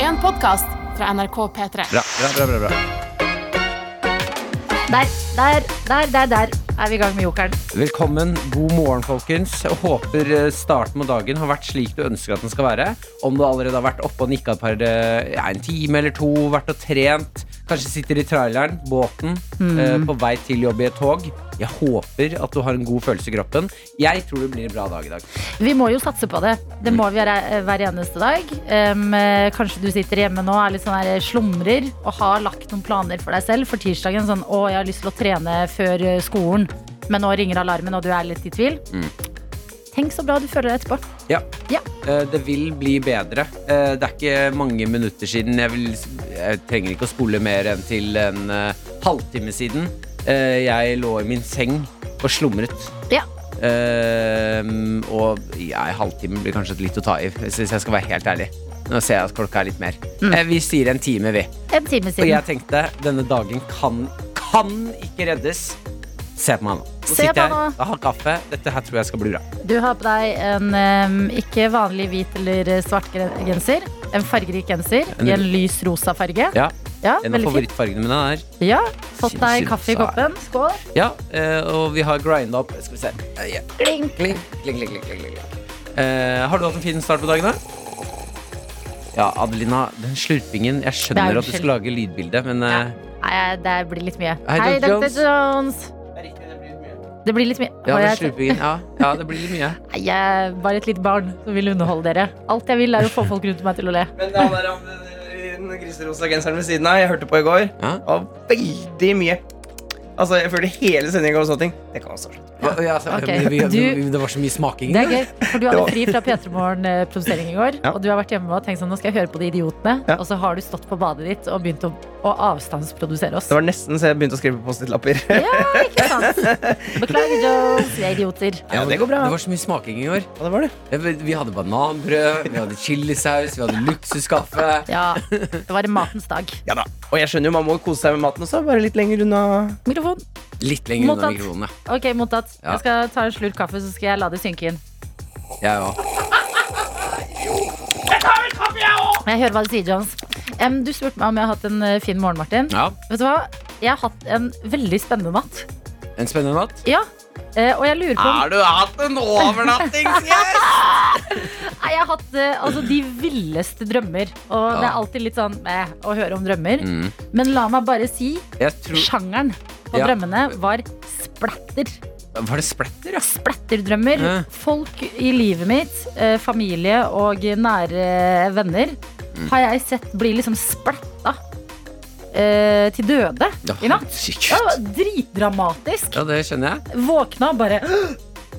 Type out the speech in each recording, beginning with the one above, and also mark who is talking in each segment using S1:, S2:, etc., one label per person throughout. S1: en podkast fra NRK P3.
S2: Bra, bra, bra, bra, bra.
S3: Der, der, der, der, der er vi i gang med jokeren.
S4: Velkommen. God morgen, folkens. Jeg håper eh, starten på dagen har vært slik du ønsker at den skal være. Om du allerede har vært oppe og nikka et par eh, ja, en time eller to, vært og trent, kanskje sitter i traileren, båten, eh, på vei til jobb i et tog. Jeg håper at du har en god følelse i kroppen. Jeg tror det blir en bra dag i dag.
S3: Vi må jo satse på det. Det må vi gjøre eh, hver eneste dag. Um, eh, kanskje du sitter hjemme nå er litt sånn her, slumrer og har lagt noen planer for deg selv for tirsdagen. Sånn 'Å, jeg har lyst til å trene før eh, skolen', men nå ringer alarmen, og du er litt i tvil. Tenk så bra du føler deg etterpå.
S4: Mm. Ja.
S3: Ja.
S4: Eh, Det vil bli bedre. Eh, Det er ikke mange minutter siden. Jeg, vil, jeg trenger ikke å spole mer enn til en eh, halvtime siden. Eh, Jeg lå i min seng og slumret.
S3: Ja.
S4: Eh, og ja, en halvtime blir kanskje litt å ta i, hvis hvis jeg skal være helt ærlig. Nå ser jeg at klokka er litt mer.
S3: Mm.
S4: Eh, Vi sier en time, vi.
S3: En time
S4: Og jeg
S3: siden.
S4: tenkte denne dagen kan, kan ikke reddes. Se på meg nå. Nå
S3: Se
S4: sitter
S3: på
S4: jeg,
S3: meg nå.
S4: jeg har kaffe. Dette her tror jeg skal bli bra.
S3: Du har på deg en em, ikke vanlig hvit eller eh, svart gre- genser. En fargerik genser i en lys rosa farge.
S4: Ja,
S3: Ja,
S4: En av
S3: veldig fint.
S4: favorittfargene mine er
S3: Ja, Fått deg
S4: Sinnssykt
S3: kaffe i
S4: sær.
S3: koppen. Skål.
S4: Ja, eh, og vi har grinda opp Skal vi se Eh, ja. Kling, kling, kling, kling, kling, kling, kling. Eh, Har du hatt en fin start på dagen da? Ja, Adelina, den slurpingen Jeg
S3: Det
S4: skjønner
S3: er
S4: at du skal
S3: unnskyld.
S4: lage lydbilde Men eh,
S3: Ja. Nei, det blir litt mye.
S4: Hei, Dr.
S3: Dr.
S4: Jones.
S3: Jones. Det blir litt mye.
S4: ja,
S3: Og
S4: den
S3: jeg,
S4: slurpingen ja, ja, det blir litt mye
S3: Nei, jeg er bare et lite barn som vil underholde dere. Alt jeg vil, er å få folk rundt meg til å le.
S5: Men han der han- eh, den griserosa genseren ved siden av, jeg hørte på i går,
S4: Ja.
S5: det var veldig mye Altså, jeg følte hele sendinga og sånne ting. Det kan også slutte.
S4: Ja, ja, så-
S3: Ok,
S4: men vi-
S3: du-
S4: vi- Det var så mye smaking
S3: Det er gøy, for du hadde fri fra P3 Morgen-produsering i går.
S5: Ja.
S3: Og du har vært hjemme og tenkt sånn, nå skal jeg høre på de idiotene.
S5: Ja.
S3: Og så har du stått på badet ditt og begynt å, å avstandsprodusere oss.
S5: Det var nesten så jeg begynte å skrive post-it-lapper.
S3: Ja, ikke sant? Beklager, Jones. Vi er idioter.
S5: Ja, det går bra.
S4: Det var så mye smaking i år
S5: Ja, det var det.
S4: Jeg vet, Vi hadde bananbrød, vi hadde chilisaus Vi hadde luksuskaffe
S3: Ja, det var matens dag.
S5: Ja da. Og jeg skjønner jo, man må kose seg med maten også. Bare litt lenger unna.
S3: Mikrofon.
S4: Litt lenger unna
S3: Mottatt.
S4: mikrofonen ja.
S3: Ok, mottatt.
S4: Ja.
S3: Jeg skal ta en slurk kaffe, så skal jeg la det synke inn.
S4: Jeg også.
S3: Jeg hører hva du sier, Jones. Em, du spurte meg om jeg har hatt en eh, fin morgen, Martin.
S4: ja,
S3: Vet du hva? Jeg har hatt en veldig spennende natt.
S4: en spennende natt
S3: Ja. Eh, og jeg lurer på om
S4: Har du hatt en overnatting?
S3: Nei, Jeg har hatt eh, altså, de villeste drømmer. Og det er alltid litt sånn eh, å høre om drømmer.
S4: Mm.
S3: Men la meg bare si
S4: Jeg tror
S3: sjangeren på
S4: Ja.
S3: drømmene var splatter.
S4: Var det splatter, ja?
S3: Splatterdrømmer.
S4: Ja.
S3: Folk i livet mitt, eh, familie og nære venner,
S4: Mm.
S3: har jeg sett bli liksom splatta eh, til døde i natt.
S4: Sykt.
S3: Ja, det var dritdramatisk.
S4: Ja, det skjønner jeg.
S3: Våkna og bare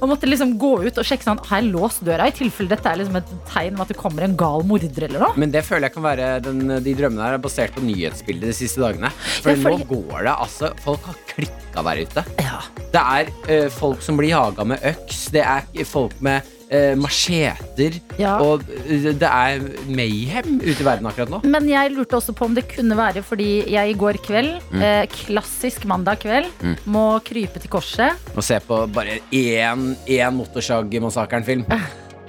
S3: og måtte liksom gå ut og sjekke sånn, har jeg låst døra, i tilfelle dette er liksom et tegn om at det kommer en gal morder eller noe.
S4: Men det føler jeg kan være den, de drømmene her er basert på nyhetsbildet de siste dagene. For
S3: Ja, fordi-
S4: nå går det altså Folk har klikka der ute.
S3: Ja.
S4: Det er eh, folk som blir jaga med øks, det er folk med eh, macheter,
S3: Ja.
S4: og eh, det er mayhem ute i verden akkurat nå.
S3: Men jeg lurte også på om det kunne være fordi jeg i går kveld,
S4: Mm.
S3: eh, klassisk mandag kveld, må krype til korset.
S4: Å se på bare én, én Motorsag-massakren-film.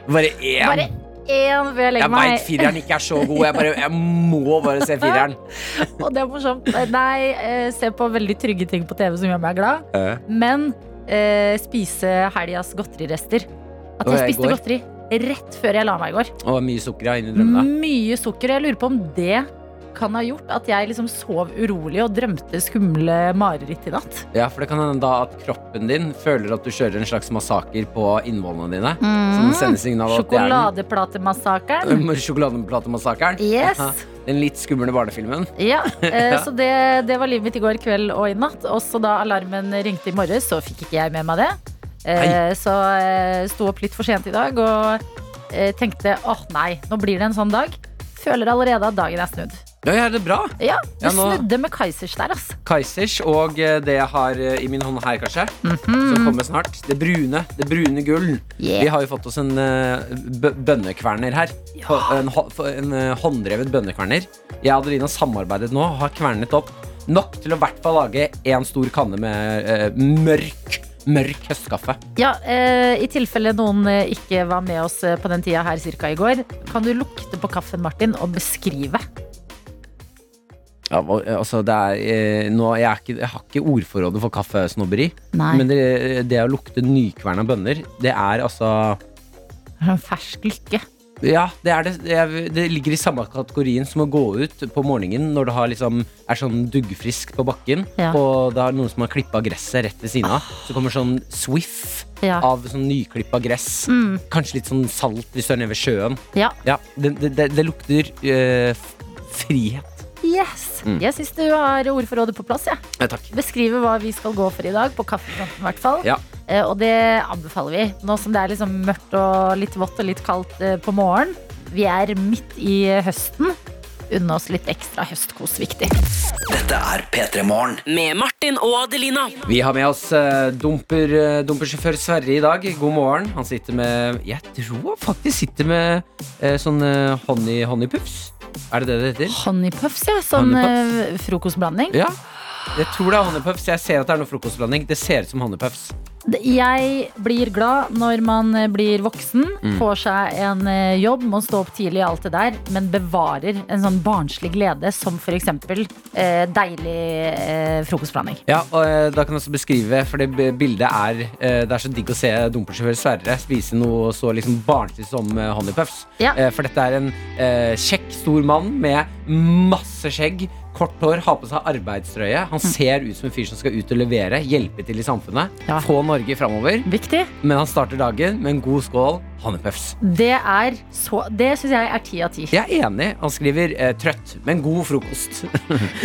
S4: Bare én.
S3: Bare én før jeg
S4: jeg
S3: legger
S4: veit
S3: meg.
S4: fireren ikke er så god. Jeg, bare, jeg må bare se fireren.
S3: Og det er morsomt. Nei, eh, se på veldig trygge ting på TV som gjør meg glad. Men eh, spise helgas godterirester. At
S4: Og
S3: jeg
S4: jeg
S3: spiste
S4: går.
S3: godteri rett før jeg la meg i går.
S4: Og mye sukker ja, inni drømmene.
S3: Mye sukker. og Jeg lurer på om det kan ha gjort at jeg liksom sov urolig og drømte skumle mareritt i natt.
S4: Ja, for det kan hende da at kroppen din føler at du kjører en slags massaker på innvollene dine. Som
S3: Mm.
S4: sender signal at det er den-
S3: Sjokoladeplatemassakren.
S4: Mm, Sjokoladeplatemassakeren.
S3: Yes.
S4: Aha, Den litt skumle barnefilmen.
S3: Ja, eh,
S4: Ja.
S3: så det, det var livet mitt i går kveld og i natt. Og så da alarmen ringte i morges, så fikk ikke jeg med meg det. Eh, så eh, sto opp litt for sent i dag og eh, tenkte åh nei, nå blir det en sånn dag. Føler allerede at dagen er snudd.
S4: Ja, ja, det er bra.
S3: Ja, det
S4: Ja, nå-
S3: snudde med Kaizers der, altså.
S4: Kaizers og eh, det jeg har eh, i min hånd her, kanskje. Som kommer snart. Det brune. Det brune gull.
S3: Mhm. Yeah.
S4: Vi har jo fått oss en eh, bø- bønnekverner her. På- En, hå- for- en eh, hånddrevet bønnekverner. Jeg og Adelina samarbeidet nå, har kvernet opp nok til å i hvert fall lage én stor kanne med eh, mørk, mørk høstkaffe.
S3: Ja, eh, I tilfelle noen eh, ikke var med oss eh, på den tida her cirka i går, kan du lukte på kaffen Martin og beskrive
S4: Ja, hva- altså det er, eh, nå, jeg, er ikke, jeg har ikke ordforrådet for kaffesnobberi,
S3: Nei.
S4: men det, det å lukte nykverna bønner, det er altså
S3: Det er en fersk lykke.
S4: Ja, det, er det, jeg, det ligger i samme kategorien som å gå ut på morgenen når du har liksom, er sånn duggfrisk på bakken,
S3: Ja. Ah.
S4: og det er noen som har klippa gresset rett ved siden av. Så kommer sånn swiff
S3: Ja. Mm.
S4: av sånn nyklippa gress. Kanskje litt sånn salt hvis du er nede ved sjøen.
S3: ja.
S4: Ja, Det, det, det, det lukter eh, f- frihet.
S3: Yes.
S4: Mm.
S3: Jeg syns du har ordforrådet på plass. Ja.
S4: Ja, takk.
S3: Beskrive hva vi skal gå for i dag, på kaffefronten i hvert fall.
S4: Ja.
S3: Eh, Og det anbefaler vi. Nå som det er liksom mørkt og litt vått og litt kaldt eh, på morgenen. Vi er midt i eh, høsten. Unne oss litt ekstra høstkos, viktig.
S2: Dette er P3 Morgen.
S6: Med Martin og Adelina.
S4: Vi har med oss eh, dumper, eh, dumpersjåfør Sverre i dag. God morgen. Han sitter med Jeg tror han faktisk sitter med eh, sånn eh, honey, honeypuffs. Er det det det heter?
S3: Honeypuffs, ja. Sånn
S4: Honeypuffs.
S3: eh, frokostblanding.
S4: Ja, jeg tror det er honeypuffs. Jeg ser at det er noe frokostblanding. Det ser ut som honeypuffs.
S3: Det- Jeg blir glad når man eh, blir voksen, får seg en eh, jobb, må stå opp tidlig og alt det der, men bevarer en sånn barnslig glede som f.eks. Eh, deilig eh, frokostblanding.
S4: Ja, og eh, da kan jeg også beskrive, for det b- bildet er eh, Det er så digg å se dumpersjåfør Sverre spise noe så liksom barnslig som eh, honeypuffs.
S3: Ja.
S4: Eh, For dette er en eh, kjekk, stor mann med masse skjegg, kort hår, har på seg arbeidstrøye.
S3: Mm.
S4: Han ser ut som en fyr som skal ut og levere, hjelpe til i samfunnet,
S3: Ja.
S4: få Norge framover.
S3: Viktig.
S4: Men han starter dagen med en god skål honeypuffs.
S3: Det er så Det syns jeg er ti av ti.
S4: Jeg er enig. Han skriver eh, 'trøtt, men god frokost'.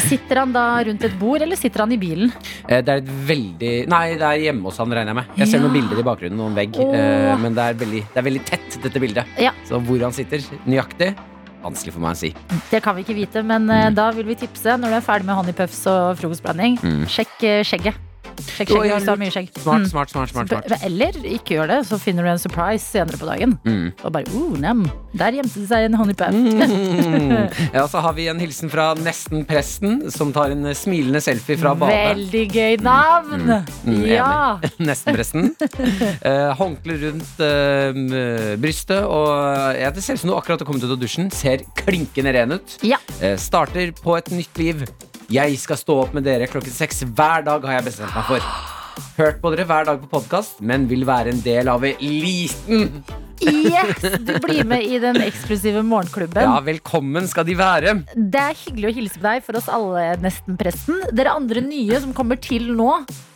S3: Sitter han da rundt et bord, eller sitter han i bilen?
S4: Eh, Det er et veldig Nei, det er hjemme hos han, regner jeg med. Jeg ser
S3: Ja.
S4: noen bilder i bakgrunnen og en vegg,
S3: Åh.
S4: eh, men det er, veldig, det er veldig tett, dette bildet.
S3: Ja.
S4: Så hvor han sitter nøyaktig, vanskelig for meg å si.
S3: Det kan vi ikke vite, men eh, da vil vi tipse når du er ferdig med honeypuffs og frokostblanding. Sjekk eh, skjegget. Sjekk
S4: Å,
S3: skjegget
S4: ja,
S3: hvis du har
S4: lurt.
S3: mye skjegg.
S4: Smart,
S3: Mm.
S4: smart, smart. smart, smart.
S3: Eller ikke gjør det, så finner du en surprise senere på dagen.
S4: Mm.
S3: Og bare oh, nem. Der gjemte det seg en honeypuff.
S4: Mm. Ja, så har vi en hilsen fra nesten presten, som tar en eh, smilende selfie fra badet.
S3: Veldig gøy navn!
S4: Mm, enig.
S3: ja!
S4: Nesten presten. Eh, Håndkle rundt eh, m- brystet, og eh, ja, det ser ut som du akkurat har kommet ut av dusjen. Ser klinkende ren ut.
S3: ja.
S4: Eh, Starter på et nytt liv. Jeg skal stå opp med dere klokken seks hver dag, har jeg bestemt meg for. Hørt på dere hver dag på podkast, men vil være en del av eliten.
S3: Yes! Du blir med i den eksklusive morgenklubben.
S4: Ja, velkommen skal de være.
S3: Det er hyggelig å hilse på deg for oss alle, nesten presten. Dere andre nye som kommer til nå,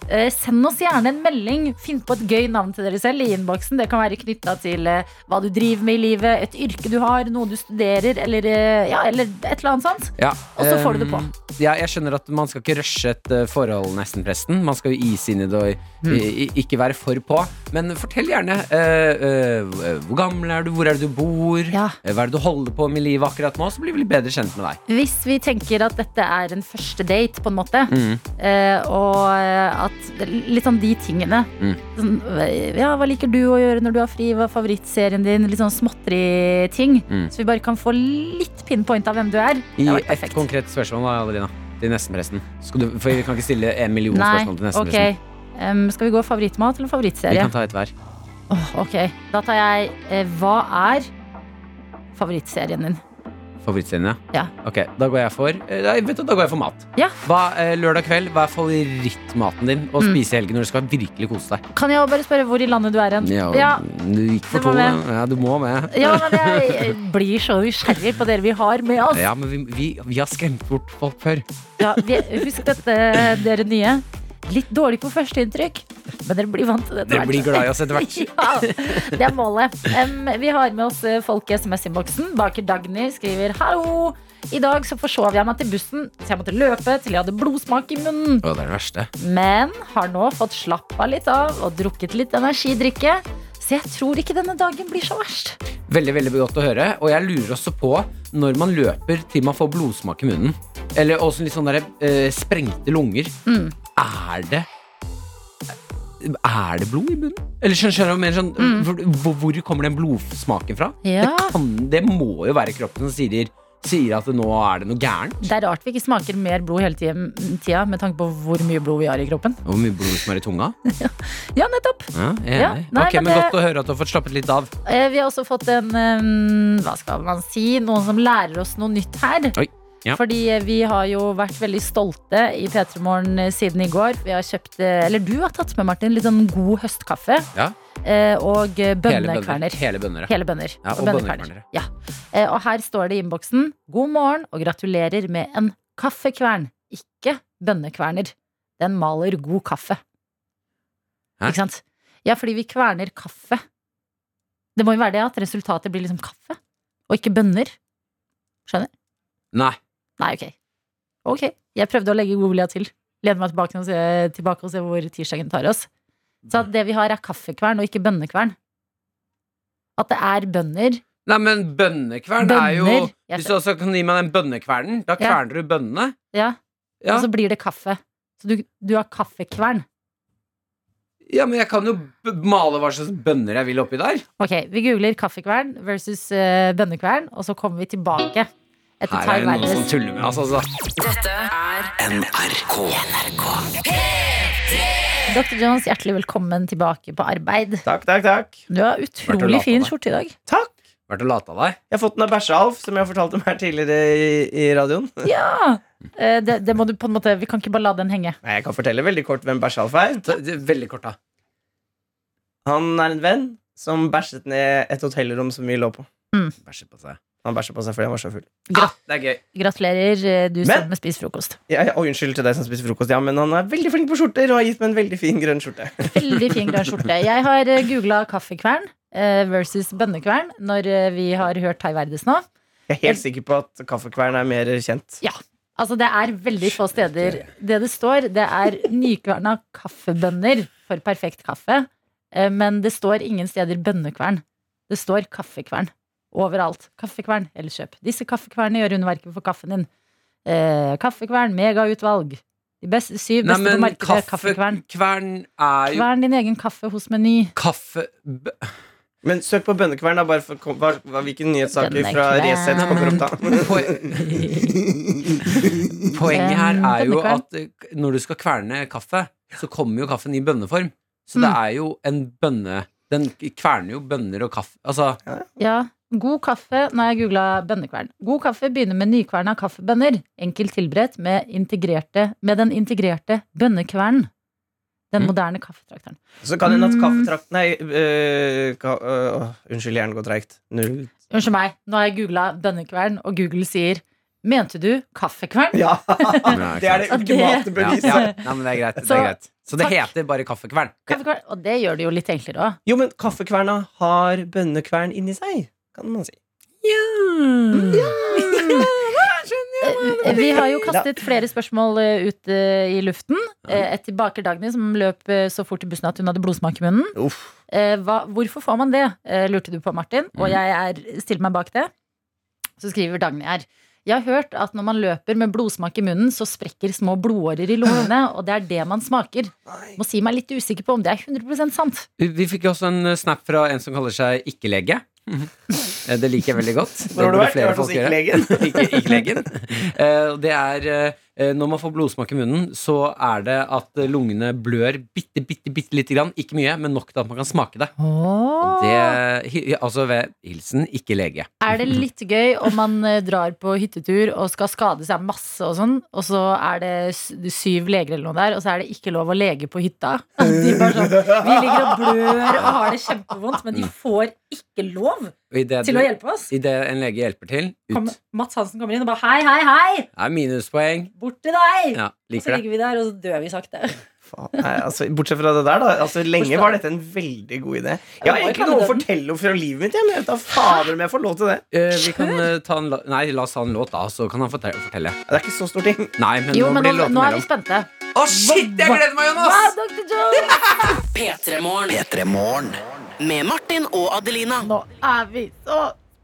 S3: eh, send oss gjerne en melding. Finn på et gøy navn til dere selv i innboksen. Det kan være knytta til eh, hva du driver med i livet, et yrke du har, noe du studerer, eller, eh, ja, eller et eller annet sånt.
S4: Ja,
S3: Og så får du det på.
S4: ehm, Ja, jeg skjønner at man skal ikke rushe et eh, forhold, nesten presten. Man skal jo ise inn i det og
S3: Mm.
S4: i- i- ikke være for på. Men fortell gjerne. eh, eh, hvor gammel er du? Hvor er det du bor?
S3: Ja.
S4: Eh, Hva er det du holder på med i livet akkurat nå? Så blir vi litt bedre kjent med deg.
S3: Hvis vi tenker at dette er en første date, på en måte,
S4: Mm.
S3: eh, og eh, at litt sånn de tingene
S4: Mm.
S3: sånn, eh, Ja, hva liker du å gjøre når du har fri? Hva er favorittserien din? Litt sånn småtteri-ting.
S4: Mm.
S3: Så vi bare kan få litt pinpoint av hvem du er. Det
S4: I
S3: har vært
S4: ett
S3: perfekt.
S4: konkret spørsmål da, Adelina. Til nestenpresten. Skal du, for vi kan ikke stille en million
S3: Nei,
S4: spørsmål til
S3: ok.
S4: nestenpresten.
S3: Em, skal vi gå favorittmat eller
S4: Vi
S3: favorittserie?
S4: kan ta et hver.
S3: Åh, ok, Da tar jeg eh, Hva er favorittserien din?
S4: Favorittserien,
S3: Ja.
S4: Ok, da går jeg for eh, nei, vet du, Da går jeg for mat.
S3: Ja.
S4: Hva, eh, lørdag kveld, hva er favorittmaten din å
S3: Mm.
S4: spise i helgen når du skal virkelig kose deg?
S3: Kan jeg bare spørre hvor i landet du er hen?
S4: Ja, du gikk for
S3: du må
S4: to.
S3: med.
S4: da. Ja, du må med.
S3: Ja, men jeg jeg blir så nysgjerrig på dere vi har med oss.
S4: Ja, men vi, vi, vi har skremt bort folk før.
S3: Ja, vi, husk dette, dere nye. Litt dårlig på førsteinntrykk, men dere blir vant til det.
S4: Dere blir glad i oss etter hvert.
S3: Ja, det er målet. Em, vi har med oss eh, folk i SMS-innboksen. Baker Dagny skriver Hallo! I dag så forsov jeg meg til bussen, så jeg måtte løpe til jeg hadde blodsmak i
S4: Å,
S3: munnen.
S4: det er det verste.
S3: Men har nå fått slappa litt av og drukket litt energidrikke. Så jeg tror ikke denne dagen blir så verst.
S4: Veldig, veldig godt å høre. Og jeg lurer også på når man løper til man får blodsmak i munnen. Eller også litt sånn der, eh, sprengte lunger.
S3: Mm.
S4: Er det Er det blod i munnen? Eller skjønner skjønner du mer sånn hvor, hvor kommer den blodsmaken fra?
S3: Mm. Ja.
S4: Det, kan, det må jo være kroppen som sier, sier at nå er det noe gærent.
S3: Det er rart vi ikke smaker mer blod hele tiden- tida med tanke på hvor mye blod vi har i kroppen.
S4: Hvor mye blod som er i tunga?
S3: Ja, nettopp!
S4: Ja, jeg er
S3: Ja,
S4: enig.
S3: nei,
S4: Ok,
S3: men
S4: men
S3: det-
S4: Godt å høre at du har fått slappet litt av.
S3: Eh, Vi har også fått en eh, Hva skal man si? Noen som lærer oss noe nytt her.
S4: Oi. Ja.
S3: Fordi eh, vi har jo vært veldig stolte i P3 Morgen eh, siden i går. Vi har kjøpt, eh, eller du har tatt med, Martin, litt sånn god høstkaffe.
S4: Ja.
S3: eh, Og eh, bønnekverner.
S4: Hele bønner. ja.
S3: Hele bønner.
S4: Ja, og bønnekverner.
S3: Ja. Eh, Og her står det i innboksen 'God morgen og gratulerer med en kaffekvern', ikke bønnekverner. Den maler god kaffe.
S4: Hæ?
S3: Ikke sant? Ja, fordi vi kverner kaffe. Det må jo være det at resultatet blir liksom kaffe, og ikke bønner. Skjønner?
S4: Nei.
S3: Nei, ok. Ok, jeg prøvde å legge god vilja til. Lene meg tilbake og, se, tilbake og se hvor tirsdagen tar oss. Så at det vi har er kaffekvern og ikke bønnekvern. At det er bønner.
S4: Nei, men bønnekvern er jo
S3: Bønner. Jeg
S4: Hvis du også kan gi meg den bønnekvernen, da
S3: Ja. Altså-
S4: kverner du bønnene.
S3: Ja,
S4: Ja.
S3: Og så blir det kaffe. Så du, du har kaffekvern.
S4: ja, men jeg kan jo b male hva slags bønner jeg vil oppi der.
S3: Ok, vi googler kaffekvern versus eh, bønnekvern, og så kommer vi tilbake. Etter
S4: Her er
S3: Time
S4: det noen som
S3: Virus.
S4: tuller med oss, altså.
S2: NRK.
S3: Dr. Jones, hjertelig velkommen tilbake på arbeid.
S5: Takk, takk, takk.
S3: Du har
S4: Vært og
S3: utrolig
S4: lata
S3: fin
S4: deg.
S3: skjorte i dag.
S5: Takk.
S4: Vært og lata deg.
S5: Jeg har fått den av Bæsje-Alf, som jeg fortalte om her tidligere i, i radioen.
S3: Ja! Eh, Det, det må du på en måte Vi kan ikke bare la den henge.
S5: Nei, Jeg kan fortelle veldig kort hvem Bæsje-Alf er.
S4: Så, det, er veldig kort, da.
S5: Han er en venn som bæsjet ned et hotellrom som vi lå på.
S4: Bæsjet på seg.
S5: Han bæsja på seg fordi han var så full.
S4: Det er gøy.
S3: Gratulerer, eh, du
S5: Men-
S3: som spis frokost.
S5: Ja, ja, og unnskyld til deg som spiser frokost, ja, men han er veldig flink på skjorter og har gitt meg en veldig fin grønn skjorte.
S3: Veldig fin grønn skjorte. Jeg har googla kaffekvern eh, versus bønnekvern når eh, vi har hørt Tai Verdes nå.
S5: Jeg er helt sikker på at kaffekvern er mer kjent.
S3: Ja. Altså, det er veldig få steder. Det det står, det er nykverna kaffebønner for perfekt kaffe. Eh, Men det står ingen steder bønnekvern. Det står kaffekvern overalt. Kaffekvern eller kjøp. Disse kaffekvernene gjør underverket for kaffen din. Eh, kaffekvern, megautvalg. De beste, syv
S4: Nei,
S3: beste på
S4: men
S3: markedet, kaffekvern.
S4: kaffekvern er jo
S3: Kvern din egen kaffe hos Meny.
S4: Kaffe... b-
S5: Men søk på bønnekvern, da, bare for kom- hva, hva, hvilken nyhetssaker fra
S3: Bønnekvern.
S5: Resett kommer opp da.
S4: Poe- Poenget her er jo at eh, når du skal kverne kaffe, så kommer jo kaffen i bønneform. Så det er jo en bønne Den kverner jo bønner og kaffe Altså,
S3: Ja. God kaffe Nå har jeg googla bønnekvern. God kaffe begynner med nykverna kaffebønner. Enkelt tilberedt med, integrerte, med den integrerte bønnekvernen. Den
S4: Mm.
S3: moderne kaffetrakteren.
S5: Så kan hende at
S3: Mm.
S5: kaffetrakt Nei, øh, ka, øh, åh, unnskyld, hjernen går treigt. Null.
S3: Unnskyld meg, nå har jeg googla bønnekvern, og Google sier Mente du kaffekvern?
S5: Ja!
S4: det
S5: Det er det
S3: Ja, det-
S5: ultimate
S4: Ja,
S5: beviset.
S4: ja. Nei, men det er greit. Så, det
S3: Så-
S4: er greit. så det
S3: takk.
S4: heter bare kaffekvern.
S3: Kaffekvern, Og det gjør det jo litt enklere òg.
S5: Jo, men kaffekverna har bønnekvern inni seg, kan man si.
S3: Eh, Vi har jo kastet flere spørsmål eh, ut eh, i luften. Eh, Et til baker Dagny, som løp eh, så fort i bussen at hun hadde blodsmak i munnen.
S5: Uff.
S3: Eh, hva, hvorfor får man det, eh, lurte du på, Martin. Og jeg er, stiller meg bak det. Så skriver Dagny her. Jeg har hørt at når man løper med blodsmak i munnen, så sprekker små blodårer i lungene, og det er det man smaker. Må si meg litt usikker på om det er 100 sant.
S4: Vi, vi fikk jo også en eh, snap fra en som kaller seg ikke-lege. Eh, Det liker jeg veldig godt. Det
S5: Hvor har du
S4: burde
S5: vært? Du har vært hos
S4: folk gjøre.
S5: ikke-legen.
S4: ikke, ikke legen. Eh, og det er eh, Når man får blodsmak i munnen, så er det at lungene blør bitte, bitte, bitte lite grann. Ikke mye, men nok til at man kan smake det. Og det hi- altså ved hilsen ikke lege.
S3: Er det litt gøy om man eh, drar på hyttetur og skal skade seg masse og sånn, og så er det s- syv leger eller noe der, og så er det ikke lov å lege på hytta? De bare sånn, vi ligger og blør og har det kjempevondt, men de
S4: Mm.
S3: får ikke lov
S4: Og i det,
S3: til å hjelpe oss.
S4: I det en lege hjelper til,
S3: Kom,
S4: ut.
S3: Mats Hansen kommer inn og bare hei, hei, hei!
S4: Det er minuspoeng.
S3: Bort til deg!
S4: Ja,
S3: Og så
S4: liker det.
S3: Altså, ligger vi der, og så dør vi sakte.
S5: Faen, Nei, altså, bortsett fra det der, da. Altså, lenge var dette en veldig god idé. Jeg
S3: Ja, det
S5: har
S3: var
S5: egentlig
S3: jo
S5: noe å
S3: kandidaten.
S5: fortelle om fra livet mitt, jeg, men jeg vet da fader om jeg får lov til det.
S4: Eh, vi kan eh, ta en la Nei, la oss ta en låt, da, så kan han fortelle. fortelle.
S5: Det er ikke så stor ting.
S4: Nei, men
S3: Jo,
S4: nå
S3: men
S4: blir
S3: nå,
S4: låten
S3: nå er vi
S4: mellom.
S3: spente.
S4: Å, shit! Jeg gleder meg,
S3: Hva,
S4: Jonas!
S3: Ah, Dr. Jones?
S6: P3morgen.
S2: P3morgen.
S6: Med Martin og Adelina.
S3: Nå er vi så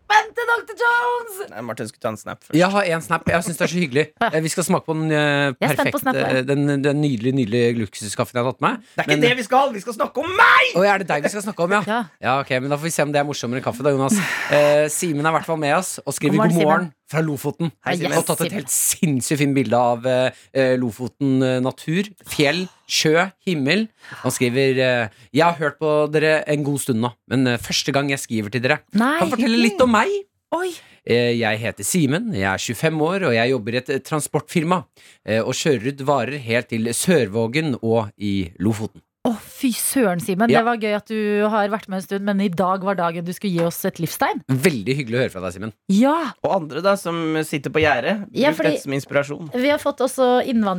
S3: spente, Dr. Jones!
S5: Nei, Martin skulle ta en snap først.
S4: Jeg har en snap. Jeg syns det er så hyggelig. Eh, Vi skal smake på den eh,
S3: Jeg er spent på
S4: perfekte
S3: snappen.
S4: eh, Den, den nydelige, nydelige luksuskaffen jeg har tatt med. eh,
S5: Det er ikke det vi skal! Vi skal snakke om meg!
S4: Å, er det deg vi skal snakke om, ja?
S3: Ja.
S4: ok, men Da får vi se om det er morsommere enn kaffe, da, Jonas. Eh, Simen er i hvert fall med oss og skriver
S3: God
S4: god
S3: morgen,
S4: morgen fra Lofoten.
S5: Hei, Simen.
S4: og tatt et
S3: Yes,
S4: helt sinnssykt fint bilde av eh, eh, Lofoten eh, natur. Fjell, sjø, himmel. Han skriver eh, Jeg har hørt på dere en god stund nå, men eh, første gang jeg skriver til dere.
S3: Nei.
S4: Kan fortelle litt om meg.
S3: Oi.
S4: Eh, Jeg heter Simen, jeg er 25 år, og jeg jobber i et eh, transportfirma. eh, Og kjører ut varer helt til Sørvågen og i Lofoten.
S3: Å, fy søren, Simen.
S4: Ja.
S3: Det var gøy at du har vært med en stund, men i dag var dagen du skulle gi oss et livstegn.
S4: Veldig hyggelig å høre fra deg, Simen.
S3: Ja!
S5: Og andre da, som sitter på gjerdet. Bruk
S3: Ja, fordi-
S5: dette som inspirasjon.
S3: Vi har fått også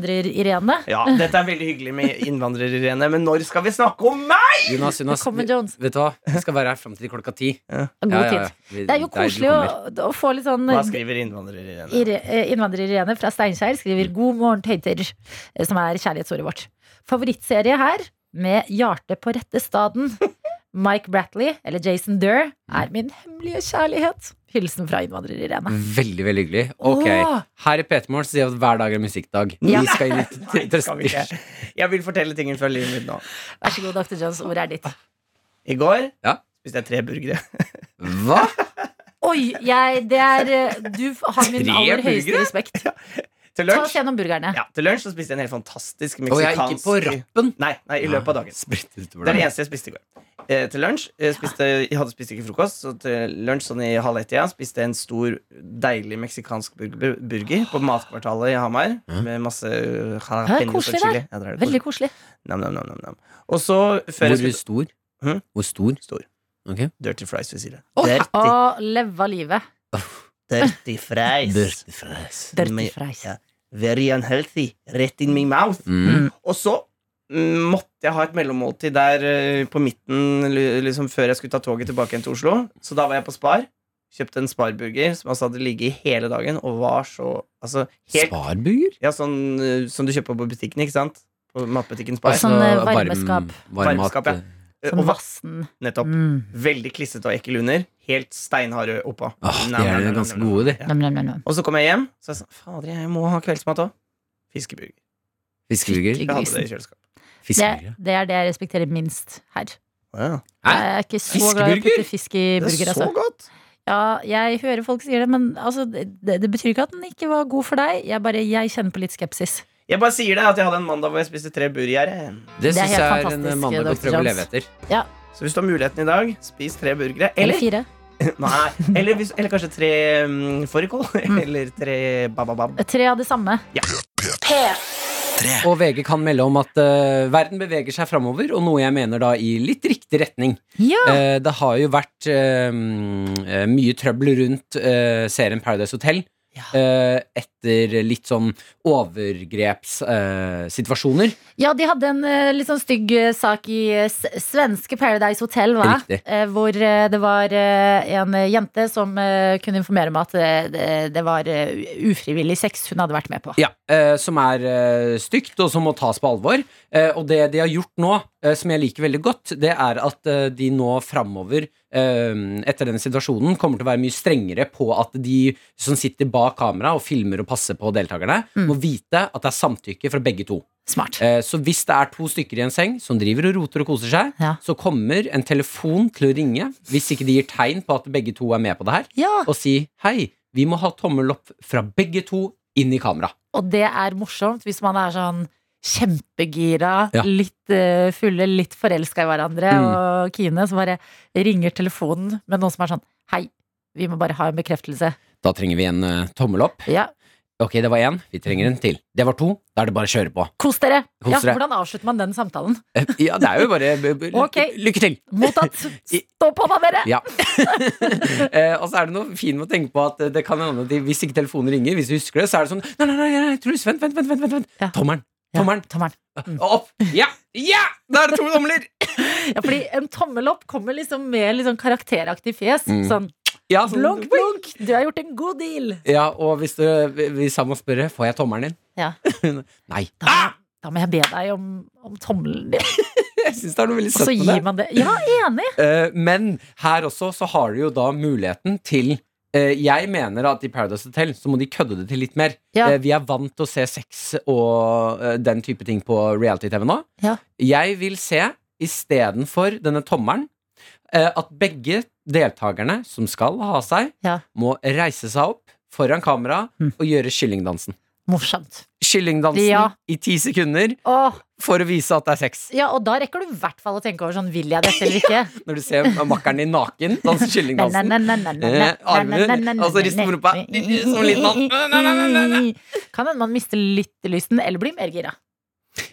S3: innvandrer-Irene.
S5: Ja, Dette er veldig hyggelig med innvandrerene, men når skal vi snakke om meg?!
S4: Jonas, Jonas,
S3: Velkommen,
S4: vi-
S3: Jones.
S4: vet du hva? Jeg skal være her fram til klokka ti.
S3: God
S4: Ja, ja, ja.
S3: tid.
S4: Vi-
S3: Det er jo
S4: der du
S3: koselig å,
S4: kommer.
S3: å få litt sånn
S5: Hva skriver innvandrerene?
S3: Ir- eh, Innvandrer-Irene fra Steinkjer skriver 'God morgen, tøyter', eh, som er kjærlighetsordet vårt. Favorittserie her, med hjertet på rette staden. Mike Bratley, eller Jason Durr, er min hemmelige kjærlighet. Hilsen fra Innvandrer-Irene.
S4: Veldig, veldig hyggelig. Ok,
S3: Åh.
S4: Her i P3morgen sier vi at hver dag er musikkdag.
S3: Ja.
S4: Vi skal inn i
S5: Nei,
S4: til- til-
S5: skal vi ikke. Jeg vil fortelle tingen fra livet mitt nå.
S3: Vær så god, Dr. Jones, ordet er ditt.
S5: I går
S4: Ja.
S5: spiste jeg tre burgere.
S4: Hva?
S3: Oi, jeg, det er eh, Du har min
S4: Tre
S3: aller høyeste
S4: burgere?
S3: respekt.
S5: Til
S3: Ta oss
S5: lunsj,
S3: gjennom burgerne.
S5: ja, til lunsj så spiste jeg en helt fantastisk
S4: Og jeg er ikke
S5: meksikansk
S4: på rappen.
S5: Nei, nei, i løpet av dagen.
S4: Spredt utover
S5: Det er det
S4: dagen.
S5: eneste jeg spiste i går. Eh, til lunsj eh, spiste, Jeg hadde spist ikke frokost, så til lunsj sånn i halv ett igjen spiste jeg en stor, deilig meksikansk burger, burger på Matkvartalet i Hamar. Med masse eh, jalapeños og
S3: koselig
S5: chili. Ja, der er det
S3: Veldig
S5: koselig.
S3: koselig.
S5: Nam, nam, nam, nam, nam. Og så, før jeg
S4: Hvor
S5: skulle
S4: stor?
S5: Hm?
S4: Hvor stor?
S5: Stor.
S4: Ok.
S5: Dirty fries ved siden.
S3: Å,
S5: Dirty,
S3: Å leve livet.
S5: dirty fries.
S3: Dirty fries.
S5: Ja. Very unhealthy. Rett in my mouth.
S4: Mm.
S5: Og så mm, måtte jeg ha et mellommåltid der eh, på midten li- liksom før jeg skulle ta toget tilbake igjen til Oslo. Så da var jeg på Spar. Kjøpte en Spar-burger som altså hadde ligget i hele dagen og var så altså, helt,
S4: Sparburger?
S5: ja, sånn, eh, Som du kjøper på butikken, ikke sant? På matbutikken Spar.
S3: Sånn, eh, varmeskap.
S4: Altså, varm mat.
S5: Varmeskap, ja. Eh,
S3: Sånn
S5: og var
S3: vassen.
S5: nettopp
S3: Mm.
S5: veldig klissete og ekkel under. Helt steinharde oppå.
S4: Åh, de
S5: Nam, nam,
S4: er
S5: nam,
S4: ganske
S5: nam, nam.
S4: gode, de.
S5: Ja.
S3: Nam, nam, nam, nam.
S5: Og så kom jeg hjem, så jeg sa fader, jeg må ha kveldsmat òg. Fiskeburger.
S4: Fiskeburger.
S5: Jeg hadde det i kjøleskapet.
S4: Fiskeburger.
S3: Det, det er det jeg respekterer minst her.
S5: Wow.
S4: Hæ?
S3: Jeg er ikke så glad i å
S4: Fiskeburger?
S3: putte fisk i
S5: Det
S3: burger.
S5: er så
S3: Altså.
S5: godt!
S3: Ja, jeg hører folk sier det, men altså, det, det betyr ikke at den ikke var god for deg. Jeg, bare, jeg kjenner på litt skepsis.
S5: Jeg bare sier det at jeg hadde en mandag hvor jeg spiste tre burgere.
S4: Det
S3: Det er
S4: syns
S3: helt
S4: jeg er en
S3: fantastisk,
S4: mandag å
S3: Dr.
S4: prøve å
S3: Jones.
S4: leve etter.
S5: Så hvis du har muligheten i dag, spis tre burgere.
S3: Eller
S5: Eller,
S3: fire.
S5: nei, eller, hvis, eller kanskje tre um, fårikål. Eller tre bababab.
S3: Tre av det samme.
S4: Og VG kan melde om at eh, verden beveger seg framover, og noe jeg mener da i litt riktig retning.
S3: Ja!
S4: Eh, det har jo vært eh, mm, eh, mye trøbbel rundt eh, serien Paradise Hotel. eh, etter litt sånn overgrepssituasjoner.
S3: Ja, de hadde en eh, litt sånn stygg eh, sak i eh, s svenske Paradise Hotel, hva?
S4: Riktig.
S3: Eh, hvor eh, det var eh, en eh, jente som eh, kunne informere om at eh, det, det var eh, ufrivillig sex hun hadde vært med på.
S4: Ja, eh, som er eh, stygt, og som må tas på alvor. Eh, og det de har gjort nå, eh, som jeg liker veldig godt, det er at eh, de nå framover, eh, etter den situasjonen, kommer til å være mye strengere på at de som sitter bak kamera og filmer og passer på deltakerne, må vite at det er samtykke fra begge to.
S3: Smart.
S4: Eh, Så hvis det er to stykker i en seng som driver og roter og koser seg,
S3: Ja.
S4: så kommer en telefon til å ringe hvis ikke de gir tegn på at begge to er med på det her,
S3: Ja,
S4: og si hei, vi må ha tommel opp fra begge to inn i kamera.
S3: Og det er morsomt hvis man er sånn kjempegira,
S4: Ja.
S3: litt eh, fulle, litt forelska i hverandre,
S4: Mm.
S3: og Kine som bare ringer telefonen med noen som er sånn Hei, vi må bare ha en bekreftelse.
S4: Da trenger vi en eh, tommel opp.
S3: Ja,
S4: Ok, det var én, vi trenger en til. Det var to, da er det bare å kjøre på.
S3: Kos dere!
S4: Kos
S3: ja,
S4: dere.
S3: Hvordan avslutter man den samtalen?
S4: Eh, Ja, det er jo bare b- b-
S3: Ok.
S4: Lykke til!
S3: Mottatt! Stå på da, dere!
S4: Ja. Eh, og så er det noe fint med å tenke på at eh, det kan hende at de- hvis ikke telefonen ringer, hvis du husker det, så er det sånn Nei, nei, nei, nei, jeg tror, vent, vent, vent, vent, vent.
S3: Ja.
S4: Tommelen! Tommelen!
S3: Ja, Mm. tommelen.
S4: Og opp! Ja! Ja! Da er det to tomler!
S3: Ja, fordi en tommel opp kommer liksom med litt sånn karakteraktig fjes.
S4: Mm.
S3: Sånn
S4: Ja,
S3: blunk, blunk, du har gjort en god deal!
S4: ja og hvis, du, hvis han må spørre Får jeg tommelen din?
S3: Ja.
S4: Nei. Ah!
S3: Da, da må jeg be deg om, om tommelen din,
S4: Jeg synes det er noe veldig
S3: og så
S4: søtt
S3: gir
S4: med det.
S3: man det. Ja, enig!
S4: Eh, men her også så har du jo da muligheten til eh, Jeg mener at i Paradise Hotel så må de kødde det til litt mer.
S3: Ja.
S4: Eh, vi er vant til å se sex og eh, den type ting på reality-TV nå.
S3: Ja.
S4: Jeg vil se, istedenfor denne tommelen, eh, at begge deltakerne som skal ha seg,
S3: Ja.
S4: må reise seg opp foran kamera
S3: Mm.
S4: og gjøre kyllingdansen.
S3: Morsomt.
S4: Kyllingdansen
S3: Ja.
S4: i ti sekunder
S3: Åh,
S4: for å vise at det er sex.
S3: ja, og da rekker du i hvert fall å tenke over sånn, vil jeg dette eller ikke?
S4: Når du ser makkeren din naken danse kyllingdansen. Eh, armen, altså riste på rumpa. Som en liten mann.
S3: Kan hende man mister litt lysten, eller blir mer gira.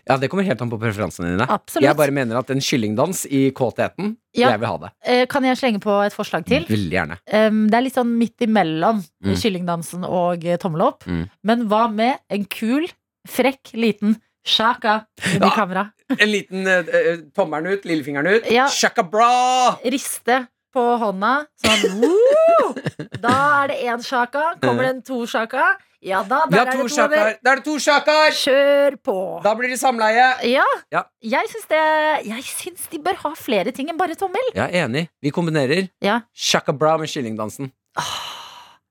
S4: Ja, Det kommer helt an på preferansene dine.
S3: Absolutt.
S4: Jeg bare mener at en kyllingdans i kåtheten,
S3: Ja.
S4: jeg vil ha det.
S3: Eh, Kan jeg slenge på et forslag til?
S4: Veldig gjerne.
S3: Um, Det er litt sånn midt imellom
S4: Mm.
S3: kyllingdansen og eh, tommel opp.
S4: Mm.
S3: Men hva med en kul, frekk, liten shaka under
S4: Ja.
S3: kamera?
S4: En liten eh, eh, tommelen ut, lillefingeren ut.
S3: Ja.
S4: Shaka bra!
S3: Riste på hånda, sånn woo! Da er det én shaka. Kommer det en to shaka? Ja da,
S4: Vi har
S3: der er
S4: to
S3: det to over.
S4: shakaer. Da er det to shakaer!
S3: Kjør på!
S4: Da blir det samleie.
S3: Ja.
S4: Ja.
S3: Jeg syns det Jeg syns de bør ha flere ting enn bare tommel.
S4: Jeg er enig. Vi kombinerer
S3: Ja.
S4: shaka bra med kyllingdansen.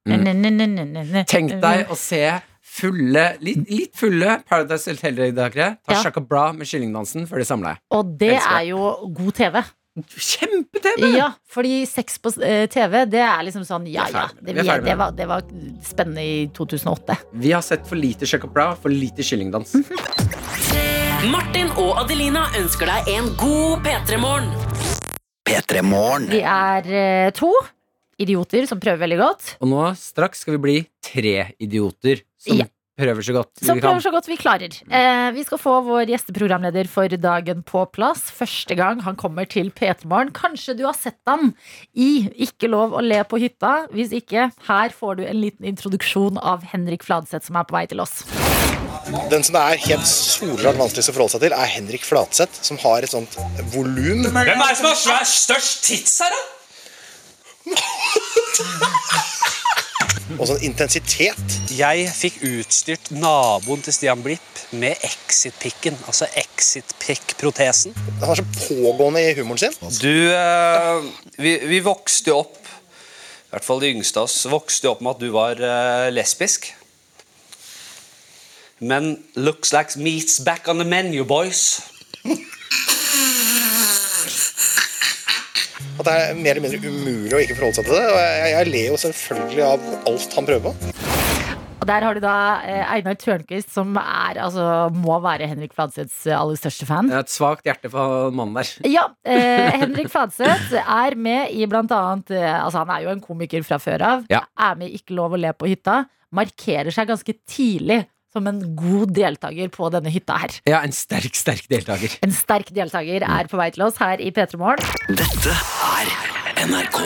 S4: Mm.
S3: Mm.
S4: Tenk deg å se fulle, litt, litt fulle Paradise Hotel-deltakere ta
S3: Ja.
S4: shaka bra med kyllingdansen før de samler deg.
S3: Og det
S4: Elsker.
S3: er jo god TV.
S4: Kjempe-TV!
S3: Ja, fordi sex på eh, TV, det er liksom sånn ja
S4: Vi er
S3: ja.
S4: ferdig med
S3: Det,
S4: det. Vi er ferdig med
S3: det,
S4: det.
S3: var, det var spennende i 2008.
S4: Vi har sett for lite shaka bra, for lite kyllingdans.
S6: Martin og Adelina ønsker deg en god P3-morgen.
S2: P3 Morgen.
S3: Vi er eh, to idioter som prøver veldig godt.
S4: Og nå straks skal vi bli tre idioter som
S3: Ja.
S4: prøver så godt
S3: Som
S4: vi kan. Mm.
S3: prøver så godt vi klarer. Eh, vi skal få vår gjesteprogramleder for dagen på plass. Første gang han kommer til P3morgen. Kanskje du har sett han i Ikke lov å le på hytta. Hvis ikke, her får du en liten introduksjon av Henrik Fladseth som er på vei til oss.
S7: Den som det er helt soleklart vanskeligst å forholde seg til, er Henrik Flatseth, som har et sånt volum.
S8: Hvem er det som har svær, størst tits her, da?
S7: og sånn intensitet.
S8: Jeg fikk utstyrt naboen til Stian Blipp med exit-pikken. Altså exit-pikk-protesen.
S7: Han er så pågående i humoren sin.
S8: Du, eh, vi, vi vokste jo opp, i hvert fall de yngste av oss, vokste jo opp med at du var eh, lesbisk. Men looks like meat's back on the menu, boys.
S7: At det er mer eller mindre umulig å ikke forholde seg til det. Og jeg, jeg ler jo selvfølgelig av alt han prøver på.
S3: Og der har du da eh, Einar Tørnquist, som er, altså, må være Henrik Fladseths eh, aller største fan.
S4: Jeg har et svakt hjerte for mannen der.
S3: Ja, eh, Henrik Fladseth er med i blant annet eh, Altså, han er jo en komiker fra før av.
S4: Ja.
S3: Er med i Ikke lov å le på hytta. Markerer seg ganske tidlig som en god deltaker på denne hytta her.
S4: Ja, en sterk, sterk deltaker.
S3: En sterk deltaker er på vei til oss her i P3 Morgen.
S2: Dette er NRK